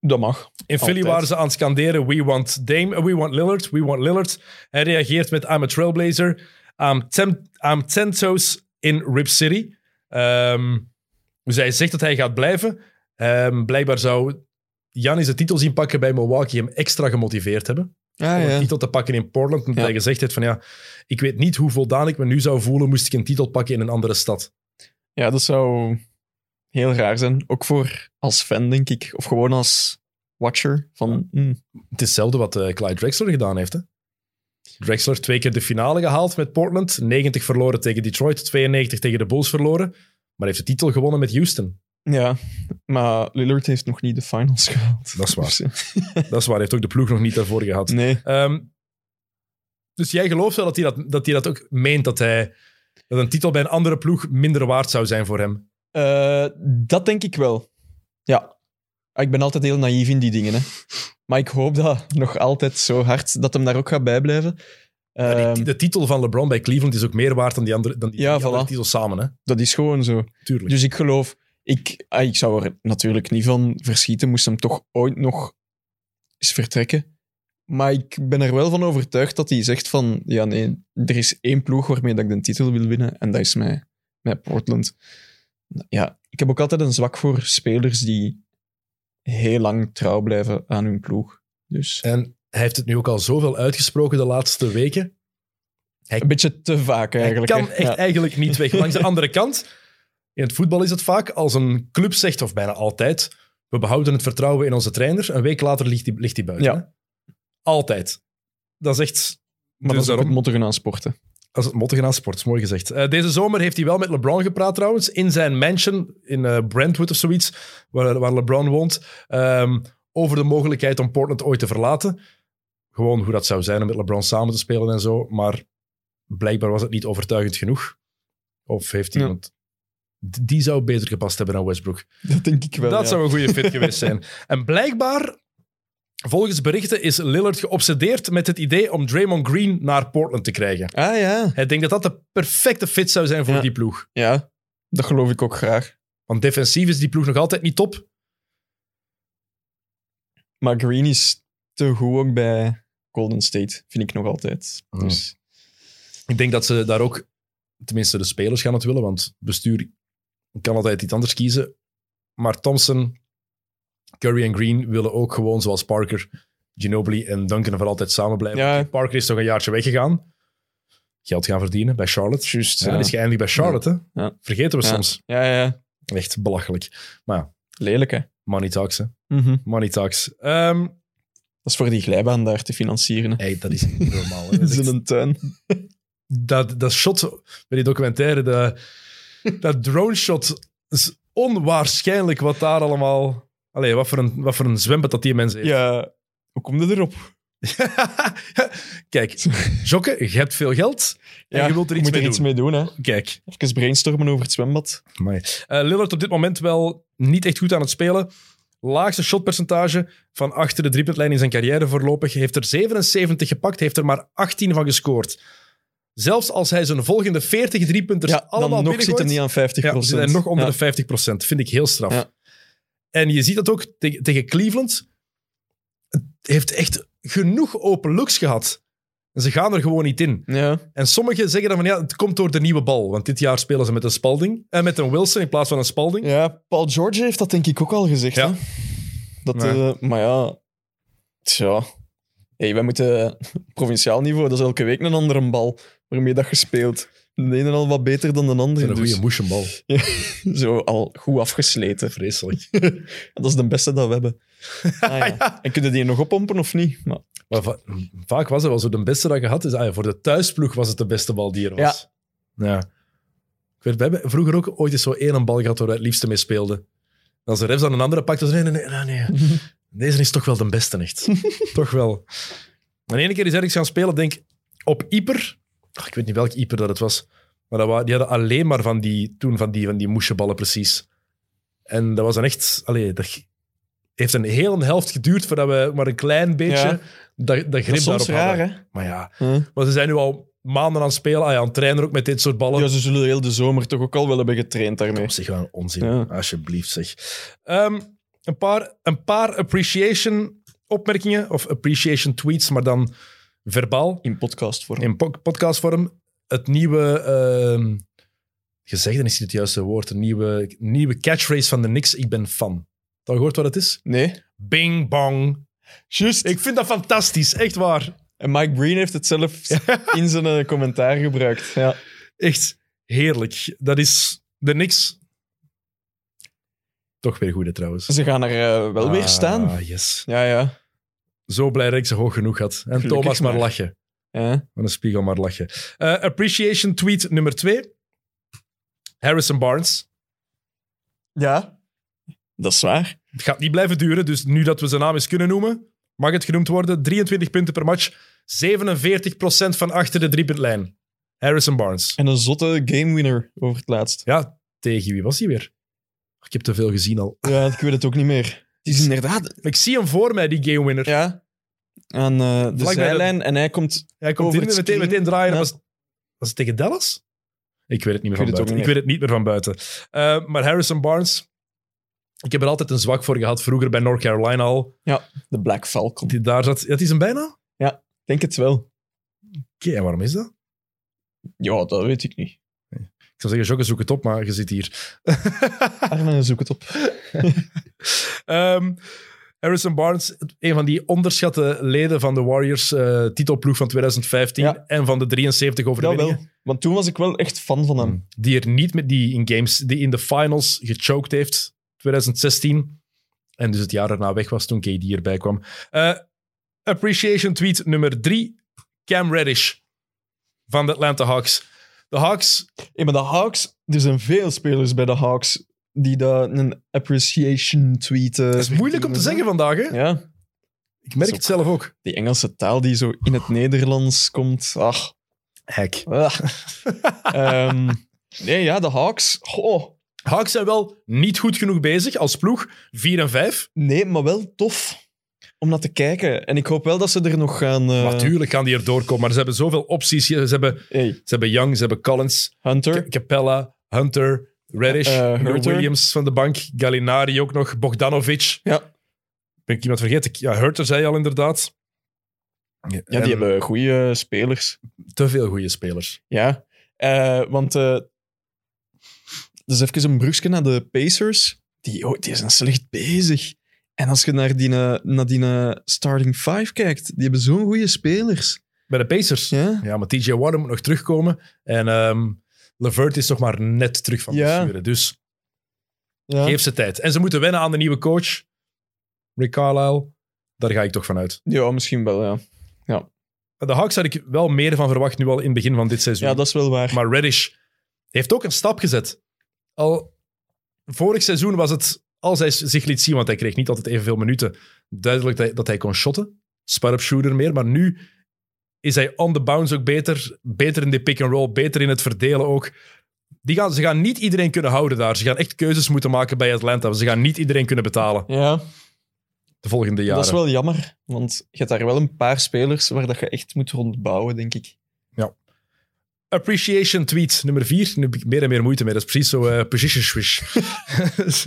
Speaker 2: Dat mag.
Speaker 1: In Philly
Speaker 2: Altijd.
Speaker 1: waren ze aan het scanderen: We want Dame, eh, we want Lillard, we want Lillard. Hij reageert met: I'm a trailblazer. I'm, tem- I'm ten toes in Rip City. Ehm, dus hij zegt dat hij gaat blijven. Ehm, blijkbaar zou Janis de titel zien pakken bij Milwaukee hem extra gemotiveerd hebben.
Speaker 2: Ah,
Speaker 1: om
Speaker 2: ja.
Speaker 1: een titel te pakken in Portland. Omdat
Speaker 2: Ja.
Speaker 1: hij gezegd heeft van ja, ik weet niet hoe voldaan ik me nu zou voelen moest ik een titel pakken in een andere stad.
Speaker 2: ja, dat zou heel raar zijn. Ook voor als fan, denk ik. Of gewoon als watcher. Van, hmm,
Speaker 1: Het is hetzelfde wat eh, Clyde Drexler gedaan heeft. Hè? Drexler twee keer de finale gehaald met Portland. 90 verloren tegen Detroit, 92 tegen de Bulls verloren. Maar heeft de titel gewonnen met Houston.
Speaker 2: ja, maar Lillard heeft nog niet de finals gehaald.
Speaker 1: Dat is waar.
Speaker 2: Dus, eh,
Speaker 1: Dat is waar, heeft ook de ploeg nog niet daarvoor gehad.
Speaker 2: Nee.
Speaker 1: Ehm, dus jij gelooft wel dat hij dat, dat hij dat ook meent, dat, hij, dat een titel bij een andere ploeg minder waard zou zijn voor hem.
Speaker 2: Eh, dat denk ik wel. Ja. Ah, Ik ben altijd heel naïef in die dingen. Hè. Maar ik hoop dat nog altijd zo hard dat hem daar ook gaat bij blijven.
Speaker 1: Maar die-
Speaker 2: Ehm,
Speaker 1: de titel van LeBron bij Cleveland is ook meer waard dan die andere, dan die
Speaker 2: Ja,
Speaker 1: drie andere
Speaker 2: voilà.
Speaker 1: titels samen. Hè?
Speaker 2: dat is gewoon zo.
Speaker 1: Tuurlijk.
Speaker 2: Dus ik geloof, ik, ah, ik zou er natuurlijk niet van verschieten, moest hem toch ooit nog eens vertrekken. Maar ik ben er wel van overtuigd dat hij zegt van, ja nee, er is één ploeg waarmee dat ik de titel wil winnen en dat is mij, mij Portland. Ja, ik heb ook altijd een zwak voor spelers die heel lang trouw blijven aan hun ploeg. Dus
Speaker 1: En hij heeft het nu ook al zoveel uitgesproken de laatste weken.
Speaker 2: een beetje te vaak eigenlijk.
Speaker 1: Hij kan
Speaker 2: hè.
Speaker 1: echt
Speaker 2: Ja.
Speaker 1: eigenlijk niet weg. Langs de andere kant, in het voetbal is het vaak als een club zegt, of bijna altijd, we behouden het vertrouwen in onze trainer, een week later ligt die, ligt die buiten.
Speaker 2: Ja.
Speaker 1: hè. Altijd. Dat is echt... dus
Speaker 2: maar dat is ook
Speaker 1: daarom-
Speaker 2: het motto aan sporten.
Speaker 1: Als het mottige aan sport, is mooi gezegd. Eh, deze zomer heeft hij wel met LeBron gepraat trouwens, in zijn mansion in eh, Brentwood of zoiets, waar, waar LeBron woont, ehm, over de mogelijkheid om Portland ooit te verlaten. Gewoon hoe dat zou zijn om met LeBron samen te spelen en zo, maar blijkbaar was het niet overtuigend genoeg. Of heeft
Speaker 2: Ja.
Speaker 1: iemand... D- Die zou beter gepast hebben dan Westbrook.
Speaker 2: Dat denk ik wel,
Speaker 1: Dat
Speaker 2: ja.
Speaker 1: zou een goede fit geweest zijn. En blijkbaar, volgens berichten, is Lillard geobsedeerd met het idee om Draymond Green naar Portland te krijgen.
Speaker 2: Ah ja,
Speaker 1: Hij denkt dat dat de perfecte fit zou zijn voor
Speaker 2: Ja.
Speaker 1: die ploeg.
Speaker 2: ja, dat geloof ik ook graag.
Speaker 1: Want defensief is die ploeg nog altijd niet top.
Speaker 2: Maar Green is te goed ook bij Golden State, vind ik nog altijd.
Speaker 1: Oh.
Speaker 2: Dus
Speaker 1: Ik denk dat ze daar ook, tenminste de spelers gaan het willen, want bestuur kan altijd iets anders kiezen. Maar Thompson, Curry en Green willen ook gewoon, zoals Parker, Ginobili en Duncan voor altijd samen blijven.
Speaker 2: ja,
Speaker 1: Parker is toch een jaartje weggegaan. Geld gaan verdienen bij Charlotte.
Speaker 2: juist.
Speaker 1: Ja,
Speaker 2: Ja.
Speaker 1: die is geëindigd bij Charlotte. hè?
Speaker 2: Ja.
Speaker 1: Vergeten we
Speaker 2: Ja.
Speaker 1: soms.
Speaker 2: ja, ja.
Speaker 1: Echt belachelijk.
Speaker 2: Lelijk, hè?
Speaker 1: Money talks, hè. Money talks. Ehm,
Speaker 2: Dat is voor die glijbaan daar te financieren. hè.
Speaker 1: hey, dat is niet normaal. hè. Dat
Speaker 2: Dat
Speaker 1: is
Speaker 2: is in
Speaker 1: echt-
Speaker 2: een tuin.
Speaker 1: dat, dat shot bij die documentaire, de, dat drone shot, is onwaarschijnlijk wat daar allemaal. Allee, wat voor een, wat voor een zwembad dat die mensen heeft.
Speaker 2: Ja, hoe kom je erop?
Speaker 1: Kijk, Jokke, je hebt veel geld en
Speaker 2: Ja,
Speaker 1: je wilt er
Speaker 2: je
Speaker 1: iets mee
Speaker 2: moet er
Speaker 1: doen.
Speaker 2: iets mee doen, hè?
Speaker 1: Kijk,
Speaker 2: Even brainstormen over het zwembad.
Speaker 1: Amai. Eh, Lillard op dit moment wel niet echt goed aan het spelen. Laagste shotpercentage van achter de driepuntlijn in zijn carrière voorlopig. Heeft er 77 gepakt, heeft er maar 18 van gescoord. Zelfs als hij zijn volgende 40 driepunters
Speaker 2: Ja,
Speaker 1: allemaal
Speaker 2: dan nog zit
Speaker 1: binnengooit,
Speaker 2: hij niet aan 50%.
Speaker 1: ja, ze zijn nog onder
Speaker 2: Ja.
Speaker 1: de 50%. Vind ik heel straf.
Speaker 2: Ja.
Speaker 1: En je ziet dat ook te- tegen Cleveland. Het heeft echt genoeg open looks gehad. En ze gaan er gewoon niet in.
Speaker 2: Ja,
Speaker 1: En sommigen zeggen dan van ja, het komt door de nieuwe bal. Want dit jaar spelen ze met een Spalding. En met een Wilson in plaats van een Spalding.
Speaker 2: ja, Paul George heeft dat denk ik ook al gezegd.
Speaker 1: Ja.
Speaker 2: Hè? Dat,
Speaker 1: Ja.
Speaker 2: eh, maar ja, tja. Hey, wij moeten eh, provinciaal niveau, dat is elke week een andere bal waarmee dat gespeeld. De ene al wat beter dan de
Speaker 1: Dat is
Speaker 2: andere.
Speaker 1: een goede
Speaker 2: Dus
Speaker 1: motionbal.
Speaker 2: zo al goed afgesleten.
Speaker 1: Vreselijk.
Speaker 2: Dat is de beste dat we hebben. Ah, ja. En kunnen die nog oppompen of niet? Maar,
Speaker 1: Maar va- vaak was het wel zo. De beste dat je had is, ah ja, voor de thuisploeg was het de beste bal die er was. Ja. Ik weet, we hebben vroeger ook ooit eens zo één bal gehad waar we het liefste mee speelden. En als de refs dan een andere pakte, dan nee, nee, nee, nee, nee. Deze is toch wel de beste, echt. toch wel. En ene keer is ergens gaan spelen, denk op Ieper. Ah, ik weet niet welk Ieper dat het was. Maar dat wa- die hadden alleen maar van die, toen van die, van die moesjeballen precies. En dat was dan echt... Allee, dat g- heeft een hele helft geduurd voordat we maar een klein beetje
Speaker 2: Ja.
Speaker 1: dat, dat
Speaker 2: dat
Speaker 1: grip
Speaker 2: is soms
Speaker 1: daarop
Speaker 2: raar,
Speaker 1: hadden.
Speaker 2: hè?
Speaker 1: Maar ja,
Speaker 2: Huh?
Speaker 1: maar ze zijn nu al maanden aan het spelen. Ah ja, aan het trainen ook met dit soort ballen.
Speaker 2: Ja, ze zullen heel de zomer toch ook al wel hebben getraind daarmee.
Speaker 1: Op zich wel een onzin.
Speaker 2: Ja.
Speaker 1: Alsjeblieft, zeg. Ehm, een paar, een paar appreciation opmerkingen of appreciation tweets, maar dan verbaal
Speaker 2: In podcastvorm.
Speaker 1: in po- podcastvorm. Het nieuwe ehm gezegde is niet het juiste woord. Een nieuwe, nieuwe catchphrase van de Knicks. Ik ben fan. Heb je al gehoord wat het is?
Speaker 2: Nee.
Speaker 1: Bing bong.
Speaker 2: Juist.
Speaker 1: Ik vind dat fantastisch, echt waar.
Speaker 2: En Mike Breen heeft het zelf in zijn eh, commentaar gebruikt. Ja.
Speaker 1: Echt heerlijk. Dat is de niks. Toch weer goede trouwens.
Speaker 2: Ze gaan er eh, wel weer staan.
Speaker 1: Ah, yes.
Speaker 2: Ja, ja.
Speaker 1: Zo blij dat ik ze hoog genoeg had. En
Speaker 2: Gelukkig
Speaker 1: Thomas maar,
Speaker 2: maar.
Speaker 1: lachen.
Speaker 2: ja.
Speaker 1: Van de spiegel maar lachen. Eh, appreciation tweet nummer twee. Harrison Barnes.
Speaker 2: Ja. Dat is waar.
Speaker 1: Het gaat niet blijven duren, dus nu dat we zijn naam eens kunnen noemen, mag het genoemd worden. 23 punten per match, 47% van achter de driepuntlijn. Harrison Barnes.
Speaker 2: En een zotte gamewinner over het laatst.
Speaker 1: Ja, tegen wie was hij weer? Ik heb te veel gezien al.
Speaker 2: Ja, ik weet het ook niet meer. Het is inderdaad...
Speaker 1: Ik zie hem voor mij, die gamewinner.
Speaker 2: Ja. Aan eh, de
Speaker 1: bij de-
Speaker 2: zijlijn. En hij komt...
Speaker 1: Hij komt
Speaker 2: Over
Speaker 1: in,
Speaker 2: het
Speaker 1: meteen,
Speaker 2: screen.
Speaker 1: meteen draaien.
Speaker 2: Ja.
Speaker 1: Was, was het tegen Dallas? Ik weet het niet meer
Speaker 2: Ik
Speaker 1: van
Speaker 2: weet het
Speaker 1: buiten.
Speaker 2: ook
Speaker 1: Ik weet het niet meer van buiten. Eh, maar Harrison Barnes, ik heb er altijd een zwak voor gehad. Vroeger bij North Carolina al.
Speaker 2: De Black Falcon.
Speaker 1: Die daar zat. Dat is hem bijna? Oké,
Speaker 2: Ik denk het wel.
Speaker 1: en waarom is dat?
Speaker 2: Ja, dat weet ik niet.
Speaker 1: Ik zou zeggen, Jokke, zoek het op, maar je zit hier.
Speaker 2: Armen, zoek het op.
Speaker 1: Ehm, Harrison Barnes, een van die onderschatte leden van de Warriors eh, titelploeg van 2015
Speaker 2: Ja.
Speaker 1: en van de 73
Speaker 2: Dat
Speaker 1: overwinningen.
Speaker 2: wel. Want toen was ik wel echt fan van hem.
Speaker 1: die er niet met die in games, die in de finals gechoked heeft, 2016. En dus het jaar erna weg was toen KD erbij kwam. Eh, appreciation tweet nummer drie. Cam Reddish van de Atlanta Hawks. De Hawks,
Speaker 2: Hey, maar de Hawks... Er zijn veel spelers bij de Hawks die daar een appreciation tweet... eh,
Speaker 1: dat is moeilijk om te zeggen vandaag. Hè?
Speaker 2: Ja,
Speaker 1: Ik merk
Speaker 2: Zo.
Speaker 1: het zelf ook.
Speaker 2: die Engelse taal die zo in het Nederlands komt. Ach,
Speaker 1: Hek.
Speaker 2: Ah. Ehm, nee, ja, de Hawks. Goh.
Speaker 1: Hawks zijn wel niet goed genoeg bezig als ploeg. 4 en 5.
Speaker 2: Nee, maar wel tof om naar te kijken. En ik hoop wel dat ze er nog gaan... eh,
Speaker 1: Natuurlijk gaan die erdoor komen, maar ze hebben zoveel opties. Ze hebben, ze
Speaker 2: hey,
Speaker 1: hebben Young, ze hebben Collins.
Speaker 2: Hunter.
Speaker 1: Ca- Capella, Hunter, Reddish,
Speaker 2: Eh,
Speaker 1: Lou
Speaker 2: Hunter.
Speaker 1: Williams van de bank, Gallinari ook nog, Bogdanovic.
Speaker 2: Ja.
Speaker 1: Ben ik iemand vergeten? Ja, Hurter zei je al inderdaad. Ja,
Speaker 2: Ja, die hebben goede spelers.
Speaker 1: te veel goede spelers.
Speaker 2: Ja. Eh, want... eh dus even een brugje naar de Pacers. Die, oh, die zijn slecht bezig. En als je naar die, eh, naar die eh, starting five kijkt, die hebben zo'n goede spelers.
Speaker 1: Bij de Pacers. Ja,
Speaker 2: Ja.
Speaker 1: maar TJ Warren moet nog terugkomen. En ehm Levert is nog maar net terug van
Speaker 2: Ja.
Speaker 1: blessure. Dus
Speaker 2: ja.
Speaker 1: geef ze tijd. En ze moeten wennen aan de nieuwe coach, Rick Carlisle. Daar ga ik toch van uit.
Speaker 2: ja, misschien wel, ja.
Speaker 1: De Hawks had ik wel meer van verwacht nu al in het begin van dit seizoen.
Speaker 2: Ja, dat is wel waar.
Speaker 1: Maar Reddish heeft ook een stap gezet. Al vorig seizoen was het, als hij zich liet zien, want hij kreeg niet altijd evenveel minuten, duidelijk dat hij, dat hij kon shotten. Sparpshooter meer, maar nu is hij on the bounce ook beter. Beter in de pick-and-roll, beter in het verdelen ook. Die gaan, ze gaan niet iedereen kunnen houden daar. Ze gaan echt keuzes moeten maken bij Atlanta. Ze gaan niet iedereen kunnen betalen
Speaker 2: ja.
Speaker 1: de volgende jaren.
Speaker 2: Dat is wel jammer, want je hebt daar wel een paar spelers waar dat je echt moet rondbouwen, denk ik.
Speaker 1: Appreciation tweet nummer vier. Nu heb ik meer en meer moeite mee. Dat is precies zo eh, position swish.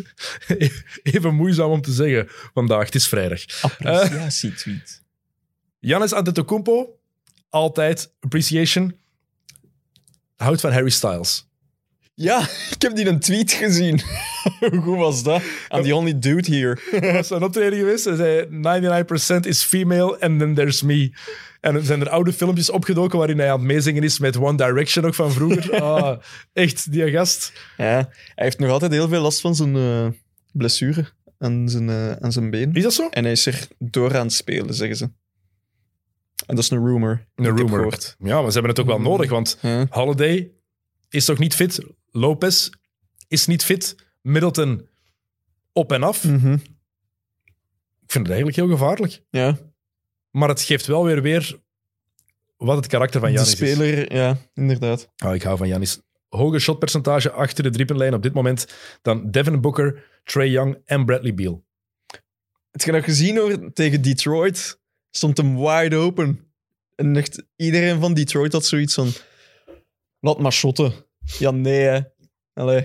Speaker 1: Even moeizaam om te zeggen vandaag. Het is vrijdag.
Speaker 2: Appreciatietweet.
Speaker 1: Giannis Antetokounmpo. Altijd appreciation. Houdt van Harry Styles.
Speaker 2: ja, ik heb die een tweet gezien. Hoe goed was dat? I'm the only dude here.
Speaker 1: Er was een optreden geweest. Hij zei 99% is female and then there's me. En er zijn er oude filmpjes opgedoken waarin hij aan het meezingen is met One Direction ook van vroeger. Ah, echt, die gast.
Speaker 2: Ja, hij heeft nog altijd heel veel last van zijn eh, blessure aan zijn, eh, aan zijn been.
Speaker 1: Is dat zo?
Speaker 2: En hij is er door aan het spelen, zeggen ze. En dat is een rumor. die ik heb
Speaker 1: rumor.
Speaker 2: gehoord.
Speaker 1: Ja, maar ze hebben het ook wel nodig, want
Speaker 2: Ja.
Speaker 1: Holiday is toch niet fit. Lopez is niet fit. Middleton op en af.
Speaker 2: Mhm.
Speaker 1: Ik vind het eigenlijk heel gevaarlijk.
Speaker 2: ja.
Speaker 1: Maar het geeft wel weer weer wat het karakter van
Speaker 2: de
Speaker 1: Janis is.
Speaker 2: speler, ja, inderdaad.
Speaker 1: Oh, ik hou van Janis. Hoger shotpercentage achter de driepuntlijn op dit moment dan Devin Booker, Trey Young en Bradley Beal.
Speaker 2: Het je nog gezien hoor, tegen Detroit stond hem wide open. En echt iedereen van Detroit had zoiets van... Laat maar shotten. Ja, nee hè. Allee.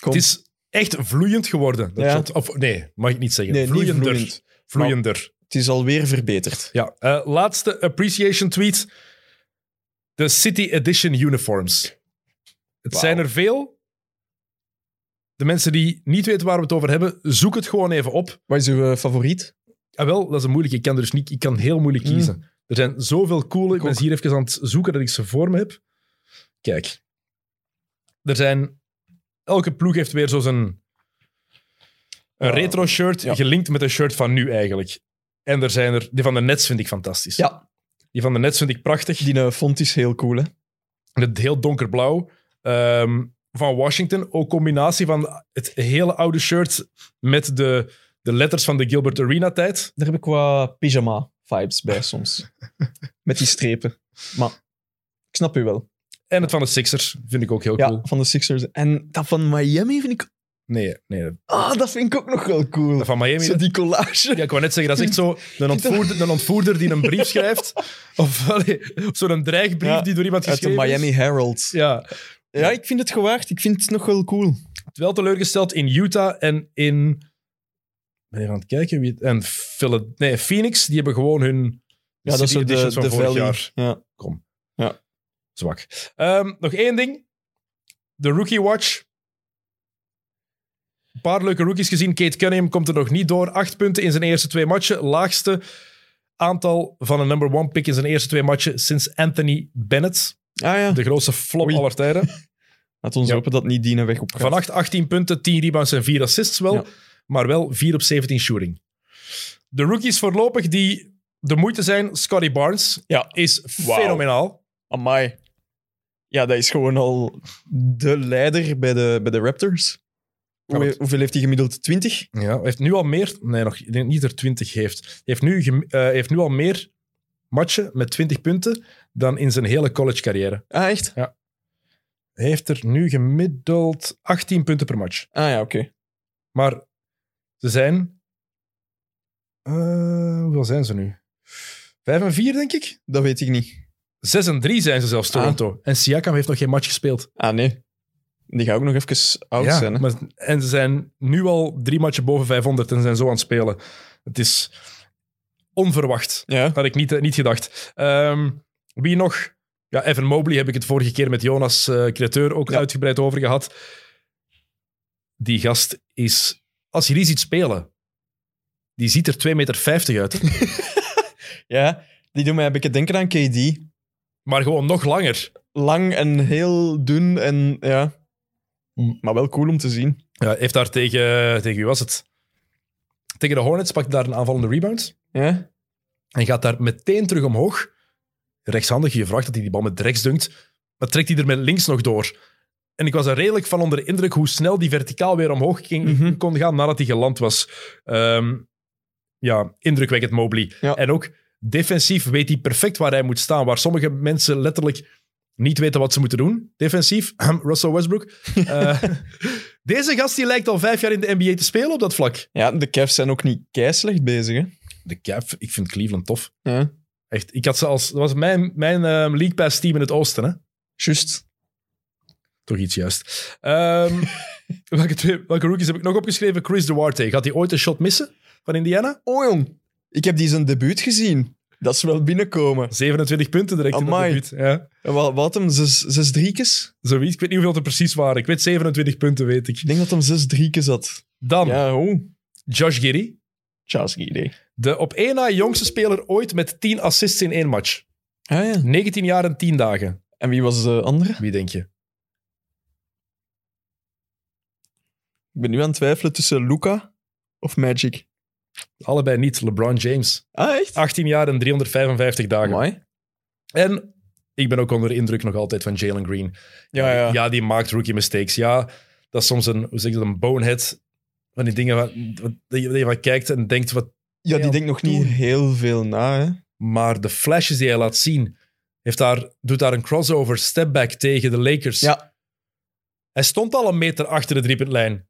Speaker 2: Kom.
Speaker 1: Het is echt vloeiend geworden. Dat
Speaker 2: Ja.
Speaker 1: shot. Of nee, mag ik niet zeggen.
Speaker 2: Nee, niet
Speaker 1: vloeiender.
Speaker 2: vloeiend.
Speaker 1: Vloeiender.
Speaker 2: Het is alweer verbeterd.
Speaker 1: Ja, eh, laatste appreciation tweet. De City Edition uniforms. Het
Speaker 2: Wauw.
Speaker 1: zijn er veel. De mensen die niet weten waar we het over hebben, zoek het gewoon even op.
Speaker 2: Wat is uw eh, favoriet?
Speaker 1: Ah, wel, dat is een moeilijke. Ik kan, er dus niet, ik kan heel moeilijk
Speaker 2: Mm.
Speaker 1: kiezen. Er zijn zoveel coole. Ik ben
Speaker 2: ook.
Speaker 1: ze hier even aan het zoeken dat ik ze voor me heb. Kijk. Er zijn... Elke ploeg heeft weer zo zijn... Een
Speaker 2: Ja.
Speaker 1: retro shirt,
Speaker 2: Ja.
Speaker 1: gelinkt met een shirt van nu eigenlijk. En er zijn er... Die van de Nets vind ik fantastisch.
Speaker 2: Ja.
Speaker 1: Die van de Nets vind ik prachtig.
Speaker 2: Die eh, font is heel cool, hè?
Speaker 1: Het heel donkerblauw. Ehm, van Washington. Ook combinatie van het hele oude shirt met de, de letters van de Gilbert Arena-tijd.
Speaker 2: Daar heb ik wat pyjama-vibes bij soms. Met die strepen. Maar ik snap u wel.
Speaker 1: En het van de Sixers vind ik ook heel
Speaker 2: Ja,
Speaker 1: cool.
Speaker 2: van de Sixers. En dat van Miami vind ik...
Speaker 1: Nee, nee.
Speaker 2: Ah, dat vind ik ook nog wel cool.
Speaker 1: Dat van Miami.
Speaker 2: Zo die collage.
Speaker 1: Ja, ik wou net zeggen, dat is echt zo een ontvoerder, een ontvoerder die een brief schrijft. Of, allee, of zo'n dreigbrief
Speaker 2: Ja,
Speaker 1: die door iemand
Speaker 2: Uit de
Speaker 1: geschreven
Speaker 2: Miami
Speaker 1: is.
Speaker 2: Herald. Ja.
Speaker 1: Ja,
Speaker 2: ik vind het gewaagd. Ik vind het nog wel cool.
Speaker 1: wel teleurgesteld in Utah en in... Ik ben even aan het kijken wie het... En Phila- nee, Phoenix, die hebben gewoon hun
Speaker 2: Ja, dat is
Speaker 1: City
Speaker 2: zo de,
Speaker 1: Editions van
Speaker 2: de
Speaker 1: vorig
Speaker 2: Valley.
Speaker 1: jaar.
Speaker 2: Ja.
Speaker 1: Zwak. Ehm, nog één ding. De Rookie Watch. Een paar leuke rookies gezien. Kate Cunningham komt er nog niet door. Acht punten in zijn eerste twee matchen. Laagste aantal van een number one pick in zijn eerste twee matchen sinds Anthony Bennett.
Speaker 2: Ah ja.
Speaker 1: De grootste flop
Speaker 2: Oei.
Speaker 1: aller tijden.
Speaker 2: Laat ons
Speaker 1: Ja.
Speaker 2: hopen dat niet Dina weg opgaat.
Speaker 1: Vannacht 18 punten, 10 rebounds en 4 assists wel.
Speaker 2: Ja.
Speaker 1: Maar wel 4 op 17 shooting. De rookies voorlopig die de moeite zijn. Scotty Barnes
Speaker 2: Ja.
Speaker 1: is
Speaker 2: Wauw.
Speaker 1: fenomenaal.
Speaker 2: Amai. Ja, dat is gewoon al de leider bij de, bij de Raptors. Hoe-
Speaker 1: Klopt.
Speaker 2: hoeveel heeft hij gemiddeld? 20?
Speaker 1: Ja, hij heeft nu al meer. Nee, nog, ik denk niet dat er 20 heeft. Hij heeft nu, gem- eh, hij heeft nu al meer matchen met 20 punten dan in zijn hele collegecarrière.
Speaker 2: Ah, echt?
Speaker 1: Hij heeft er nu gemiddeld 18 punten per match.
Speaker 2: Ah ja, oké.
Speaker 1: Maar ze zijn. eh, hoeveel zijn ze nu? 5 en 4, denk ik.
Speaker 2: Dat weet ik niet.
Speaker 1: 6 en 3 zijn ze zelfs, Toronto. En Siakam heeft nog geen match gespeeld.
Speaker 2: Ah, nee. Die gaat ook nog even oud
Speaker 1: Ja,
Speaker 2: zijn. Hè?
Speaker 1: maar, en ze zijn nu al drie matchen boven 500 en ze zijn zo aan het spelen. Het is onverwacht.
Speaker 2: Ja.
Speaker 1: Had ik niet, eh, niet gedacht. Ehm, wie nog? Ja, Evan Mobley heb ik het vorige keer met Jonas eh Createur ook
Speaker 2: Ja.
Speaker 1: uitgebreid over gehad. Die gast is... Als je die ziet spelen, die ziet er 2,50 meter uit. hè.
Speaker 2: ja, die doen mij een beetje denken aan KD.
Speaker 1: maar gewoon nog langer.
Speaker 2: Lang en heel dun en ja.
Speaker 1: Mm.
Speaker 2: Maar wel cool om te zien.
Speaker 1: Ja, heeft daar tegen... Tegen wie was het? Tegen de Hornets pakt daar een aanvallende rebound.
Speaker 2: Ja?
Speaker 1: En gaat daar meteen terug omhoog. Rechtshandig, je verwacht dat hij die bal met rechts dunkt. Maar trekt hij er met links nog door. En ik was er redelijk van onder de indruk hoe snel die verticaal weer omhoog ging,
Speaker 2: Mhm.
Speaker 1: kon gaan nadat hij geland was. Ehm, ja, indrukwekkend Mobley.
Speaker 2: Ja.
Speaker 1: En ook defensief weet hij perfect waar hij moet staan. Waar sommige mensen letterlijk niet weten wat ze moeten doen. Defensief, Russell Westbrook. Eh, deze gast die lijkt al vijf jaar in de NBA te spelen op dat vlak.
Speaker 2: ja, de Cavs zijn ook niet keislecht bezig. Hè?
Speaker 1: De Cavs, ik vind Cleveland tof.
Speaker 2: Ja.
Speaker 1: Echt, ik had ze als... Dat was mijn, mijn ehm, League Pass team in het oosten, hè?
Speaker 2: Juist.
Speaker 1: Toch iets juist. Ehm, welke, twee- welke rookies heb ik nog opgeschreven? Chris Duarte. Gaat hij ooit een shot missen van Indiana?
Speaker 2: Oh jong, ik heb die zijn debuut gezien. Dat is wel binnenkomen.
Speaker 1: 27 punten direct
Speaker 2: Amai.
Speaker 1: in de debuut. Ja.
Speaker 2: En Wat, wat hem, zes, zes driekes?
Speaker 1: Zoiets. Ik weet niet hoeveel er precies waren. Ik weet 27 punten, weet ik.
Speaker 2: Ik denk dat hem zes driekes had.
Speaker 1: Dan
Speaker 2: Ja, oh.
Speaker 1: Josh Giddy.
Speaker 2: Charles idee.
Speaker 1: De op één na jongste speler ooit met 10 assists in één match.
Speaker 2: Ah ja.
Speaker 1: 19 jaar en 10 dagen.
Speaker 2: En wie was de andere?
Speaker 1: Wie denk je?
Speaker 2: Ik ben nu aan het twijfelen tussen Luca of Magic.
Speaker 1: Allebei niet. LeBron James.
Speaker 2: Ah, echt?
Speaker 1: 18 jaar en 355 dagen.
Speaker 2: Mooi.
Speaker 1: En ik ben ook onder de indruk nog altijd van Jalen Green.
Speaker 2: Ja, ja.
Speaker 1: ja, die maakt rookie mistakes. Ja, dat is soms een, hoe zeg je dat, een bonehead. Van die dingen waar, wat- dat je dat je van kijkt en denkt, wat,
Speaker 2: Ja, die
Speaker 1: Ja,
Speaker 2: denkt nog niet
Speaker 1: toen.
Speaker 2: heel veel na, hè.
Speaker 1: maar de flashes die hij laat zien, heeft daar, doet daar een crossover stepback tegen de Lakers.
Speaker 2: Ja.
Speaker 1: Hij stond al een meter achter de driepuntlijn.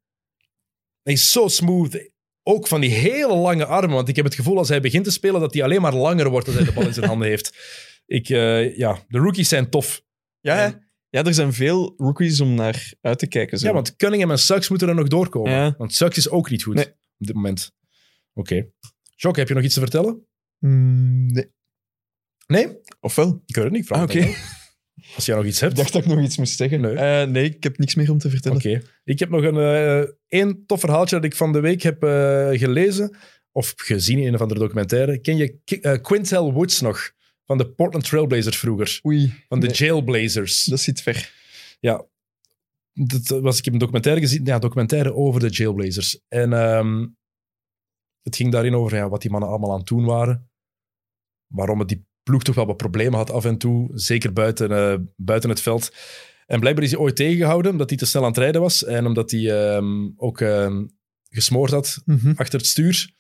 Speaker 1: Hij is zo smooth. Ook van die hele lange armen. Want ik heb het gevoel als hij begint te spelen dat hij alleen maar langer wordt als hij de bal in zijn handen heeft. Ik, eh, ja, de rookies zijn tof.
Speaker 2: Ja,
Speaker 1: En
Speaker 2: hè. Ja, er zijn veel rookies om naar uit te kijken. Zo.
Speaker 1: Ja, want Cunningham en Sucks moeten er nog doorkomen.
Speaker 2: Ja.
Speaker 1: Want Sucks is ook niet goed
Speaker 2: Nee.
Speaker 1: op dit moment. Oké. Jock, heb je nog iets te vertellen?
Speaker 2: Mm, nee.
Speaker 1: Nee?
Speaker 2: Ofwel?
Speaker 1: Ik hoor het niet. ik vraag
Speaker 2: Ah,
Speaker 1: het
Speaker 2: oké.
Speaker 1: aan jou. Als jij nog iets hebt.
Speaker 2: Ik dacht dat ik nog iets moest zeggen.
Speaker 1: Nee.
Speaker 2: Eh, nee, ik heb niks meer om te vertellen.
Speaker 1: Oké. Ik heb nog een eh, één tof verhaaltje dat ik van de week heb eh, gelezen. Of gezien in een of andere documentaire. Ken je Ki- eh, Quintel Woods nog? Van de Portland Trailblazers vroeger.
Speaker 2: Oei.
Speaker 1: Van de
Speaker 2: Nee,
Speaker 1: Jailblazers.
Speaker 2: dat zit ver.
Speaker 1: dat eh, was, ik heb een documentaire gezien, ja, documentaire over de Jailblazers. En ehm, het ging daarin over ja, wat die mannen allemaal aan het doen waren. Waarom het die ploeg toch wel wat problemen had af en toe, zeker buiten, eh, buiten het veld. En blijkbaar is hij ooit tegengehouden, omdat hij te snel aan het rijden was. En omdat hij ehm, ook ehm, gesmoord had achter het stuur.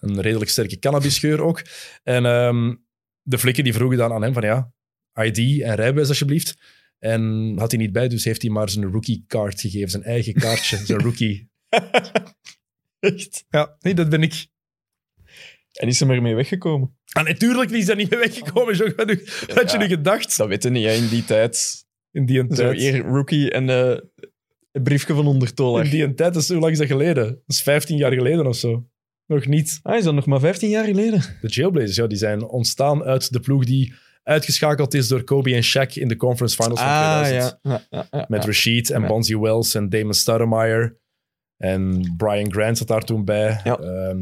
Speaker 1: Een redelijk sterke cannabisgeur ook. En ehm, de flikken die vroegen dan aan hem van ja, ID en rijbewijs alsjeblieft. En had hij niet bij, dus heeft hij maar zijn rookie kaart gegeven. Zijn eigen kaartje, zijn rookie.
Speaker 2: Echt?
Speaker 1: Ja, nee, dat ben ik.
Speaker 2: En is ze maar mee weggekomen?
Speaker 1: En natuurlijk is dat niet meer weggekomen, Jacques. Wat had je nu gedacht?
Speaker 2: Dat weten niet, hè, in die tijd.
Speaker 1: In die een
Speaker 2: Zo,
Speaker 1: tijd.
Speaker 2: hier, rookie en eh, een briefje van 100 dollar.
Speaker 1: In die een tijd, dat is, hoe lang is dat geleden? Dat is 15 jaar geleden of zo. Nog niet.
Speaker 2: Ah, is dat nog maar 15 jaar geleden?
Speaker 1: De Jailblazers, ja, die zijn ontstaan uit de ploeg die uitgeschakeld is door Kobe en Shaq in de conference finals van 2000.
Speaker 2: Ah, ja. ja, ja,
Speaker 1: Met
Speaker 2: ja.
Speaker 1: Rashid en
Speaker 2: Ja.
Speaker 1: Bonzi Wells en Damon Stoudemire. En Brian Grant zat daar toen bij.
Speaker 2: Ja.
Speaker 1: Ehm,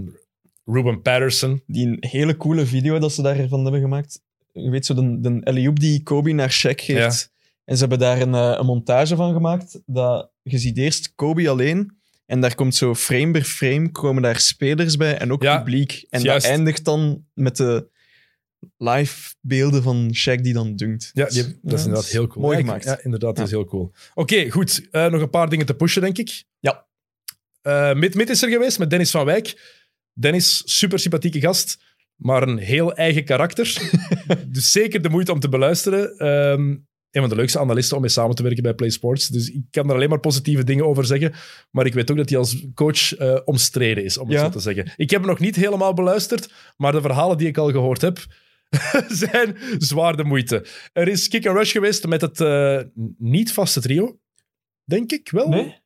Speaker 1: Ruben Patterson.
Speaker 2: Die een hele coole video dat ze daarvan hebben gemaakt. Je weet zo, de, de alley-oop die Kobe naar Shaq geeft. En ze hebben daar een, eh, een montage van gemaakt. Dat, je ziet eerst Kobe alleen. En daar komt zo frame per frame komen daar spelers bij en ook
Speaker 1: Ja,
Speaker 2: publiek. En
Speaker 1: juist.
Speaker 2: dat eindigt dan met de live beelden van Shaq die dan dunkt.
Speaker 1: Ja,
Speaker 2: Dus,
Speaker 1: die- dat is inderdaad heel cool.
Speaker 2: Mooi
Speaker 1: Ja, ik-
Speaker 2: gemaakt.
Speaker 1: Ja, inderdaad, dat is
Speaker 2: Ja.
Speaker 1: heel cool. Oké, goed. Eh, nog een paar dingen te pushen, denk ik.
Speaker 2: Ja.
Speaker 1: Eh, Mid, Mid is er geweest met Dennis van Wijk. Dennis, super sympathieke gast, maar een heel eigen karakter. dus zeker de moeite om te beluisteren. Ehm een van de leukste analisten om mee samen te werken bij Play Sports. Dus ik kan er alleen maar positieve dingen over zeggen. Maar ik weet ook dat hij als coach eh, omstreden is, om het
Speaker 2: Ja.
Speaker 1: zo te zeggen. Ik heb hem nog niet helemaal beluisterd, maar de verhalen die ik al gehoord heb, zijn zwaar de moeite. Er is kick and rush geweest met het eh, niet vaste trio. Denk ik wel.
Speaker 2: Nee?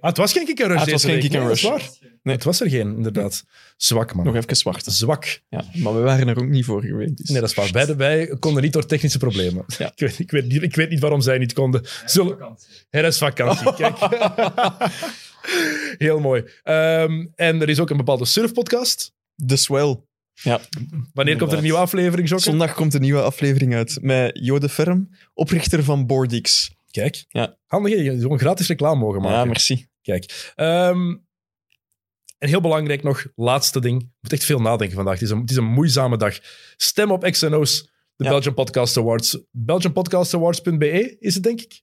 Speaker 1: Ah, het was geen kick and rush.
Speaker 2: Ah, het was
Speaker 1: deze
Speaker 2: geen
Speaker 1: week.
Speaker 2: kick and
Speaker 1: Nee, dat is
Speaker 2: rush.
Speaker 1: waar. Het was er geen, inderdaad. Zwak, man.
Speaker 2: Nog even zwart.
Speaker 1: Zwak.
Speaker 2: Ja, maar we waren er ook niet voor geweest. Dus.
Speaker 1: Nee, dat is waar. Wij, wij konden niet door technische problemen.
Speaker 2: Ja.
Speaker 1: Ik, weet, ik, weet niet, ik weet niet waarom zij niet konden. Zullen... Het is vakantie, kijk. Heel mooi. Ehm, en er is ook een bepaalde surfpodcast.
Speaker 2: De Swell. Ja.
Speaker 1: Wanneer komt er een
Speaker 2: Inderdaad.
Speaker 1: nieuwe aflevering, Jokke?
Speaker 2: Zondag komt een nieuwe aflevering uit met Jode Ferm, oprichter van Boardix.
Speaker 1: Kijk.
Speaker 2: Ja.
Speaker 1: Handig, hè? je gewoon gratis reclame mogen maken.
Speaker 2: Ja, merci.
Speaker 1: Kijk. ehm, en heel belangrijk nog, laatste ding. Ik moet echt veel nadenken vandaag. Het is een, het is een moeizame dag. Stem op XNO's, de
Speaker 2: Ja.
Speaker 1: Belgian Podcast Awards. BelgianPodcastAwards.be E is het, denk ik?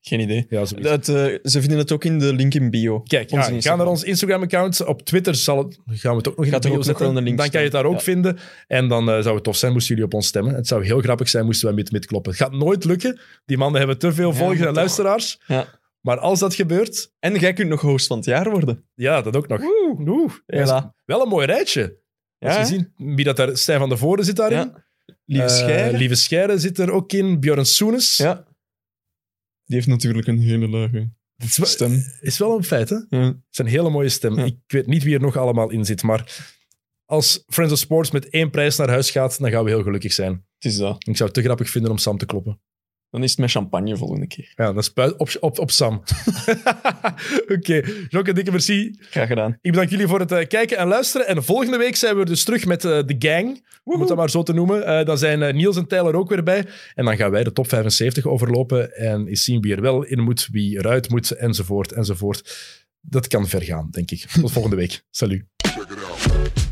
Speaker 2: Geen idee.
Speaker 1: Ja, zo.
Speaker 2: Dat, eh, ze vinden het ook in de link in bio.
Speaker 1: Kijk,
Speaker 2: Onze
Speaker 1: ja, ga
Speaker 2: Instagram.
Speaker 1: naar ons Instagram-account. Op Twitter zal het, gaan we het ook nog in
Speaker 2: Gaat
Speaker 1: de
Speaker 2: er
Speaker 1: bio
Speaker 2: ook nog
Speaker 1: zetten.
Speaker 2: wel een link
Speaker 1: dan kan je het daar ook
Speaker 2: staan,
Speaker 1: vinden. En dan eh, zou het tof zijn moesten jullie op ons stemmen. Het zou heel grappig zijn moesten wij met mid kloppen. Het gaat nooit lukken. Die mannen hebben te veel
Speaker 2: Ja,
Speaker 1: volgers
Speaker 2: maar
Speaker 1: en
Speaker 2: toch.
Speaker 1: luisteraars.
Speaker 2: Ja.
Speaker 1: Maar als dat gebeurt,
Speaker 2: En jij kunt nog host van het jaar worden.
Speaker 1: ja, dat ook nog. Oeh,
Speaker 2: Hela.
Speaker 1: Wel een mooi rijtje. Als je ziet wie dat daar... Stijn van de Voorde zit daarin.
Speaker 2: Ja. Lieve
Speaker 1: Eh,
Speaker 2: Scheire.
Speaker 1: Lieve Scheire zit er ook in. Björn Soenes.
Speaker 2: Ja. Die heeft natuurlijk een hele lage
Speaker 1: Het is, wel,
Speaker 2: stem.
Speaker 1: is wel een feit, hè?
Speaker 2: Ja.
Speaker 1: Het is een hele mooie stem.
Speaker 2: Ja.
Speaker 1: Ik weet niet wie er nog allemaal in zit, maar als Friends of Sports met één prijs naar huis gaat, dan gaan we heel gelukkig zijn.
Speaker 2: Het is dat.
Speaker 1: Ik zou het te grappig vinden om Sam te kloppen.
Speaker 2: Dan is het met champagne volgende keer.
Speaker 1: Ja, dan spuit op, op, op Sam. Oké, Jocke, dikke merci.
Speaker 2: Graag gedaan.
Speaker 1: Ik bedank jullie voor het eh, kijken en luisteren. En volgende week zijn we dus terug met eh, de gang, om het dat maar zo te noemen. Eh, dan zijn eh, Niels en Tyler ook weer bij. En dan gaan wij de top 75 overlopen en eens zien wie er wel in moet, wie eruit moet, enzovoort, enzovoort. Dat kan ver gaan, denk ik. Tot volgende week. Salut.
Speaker 3: Check it out.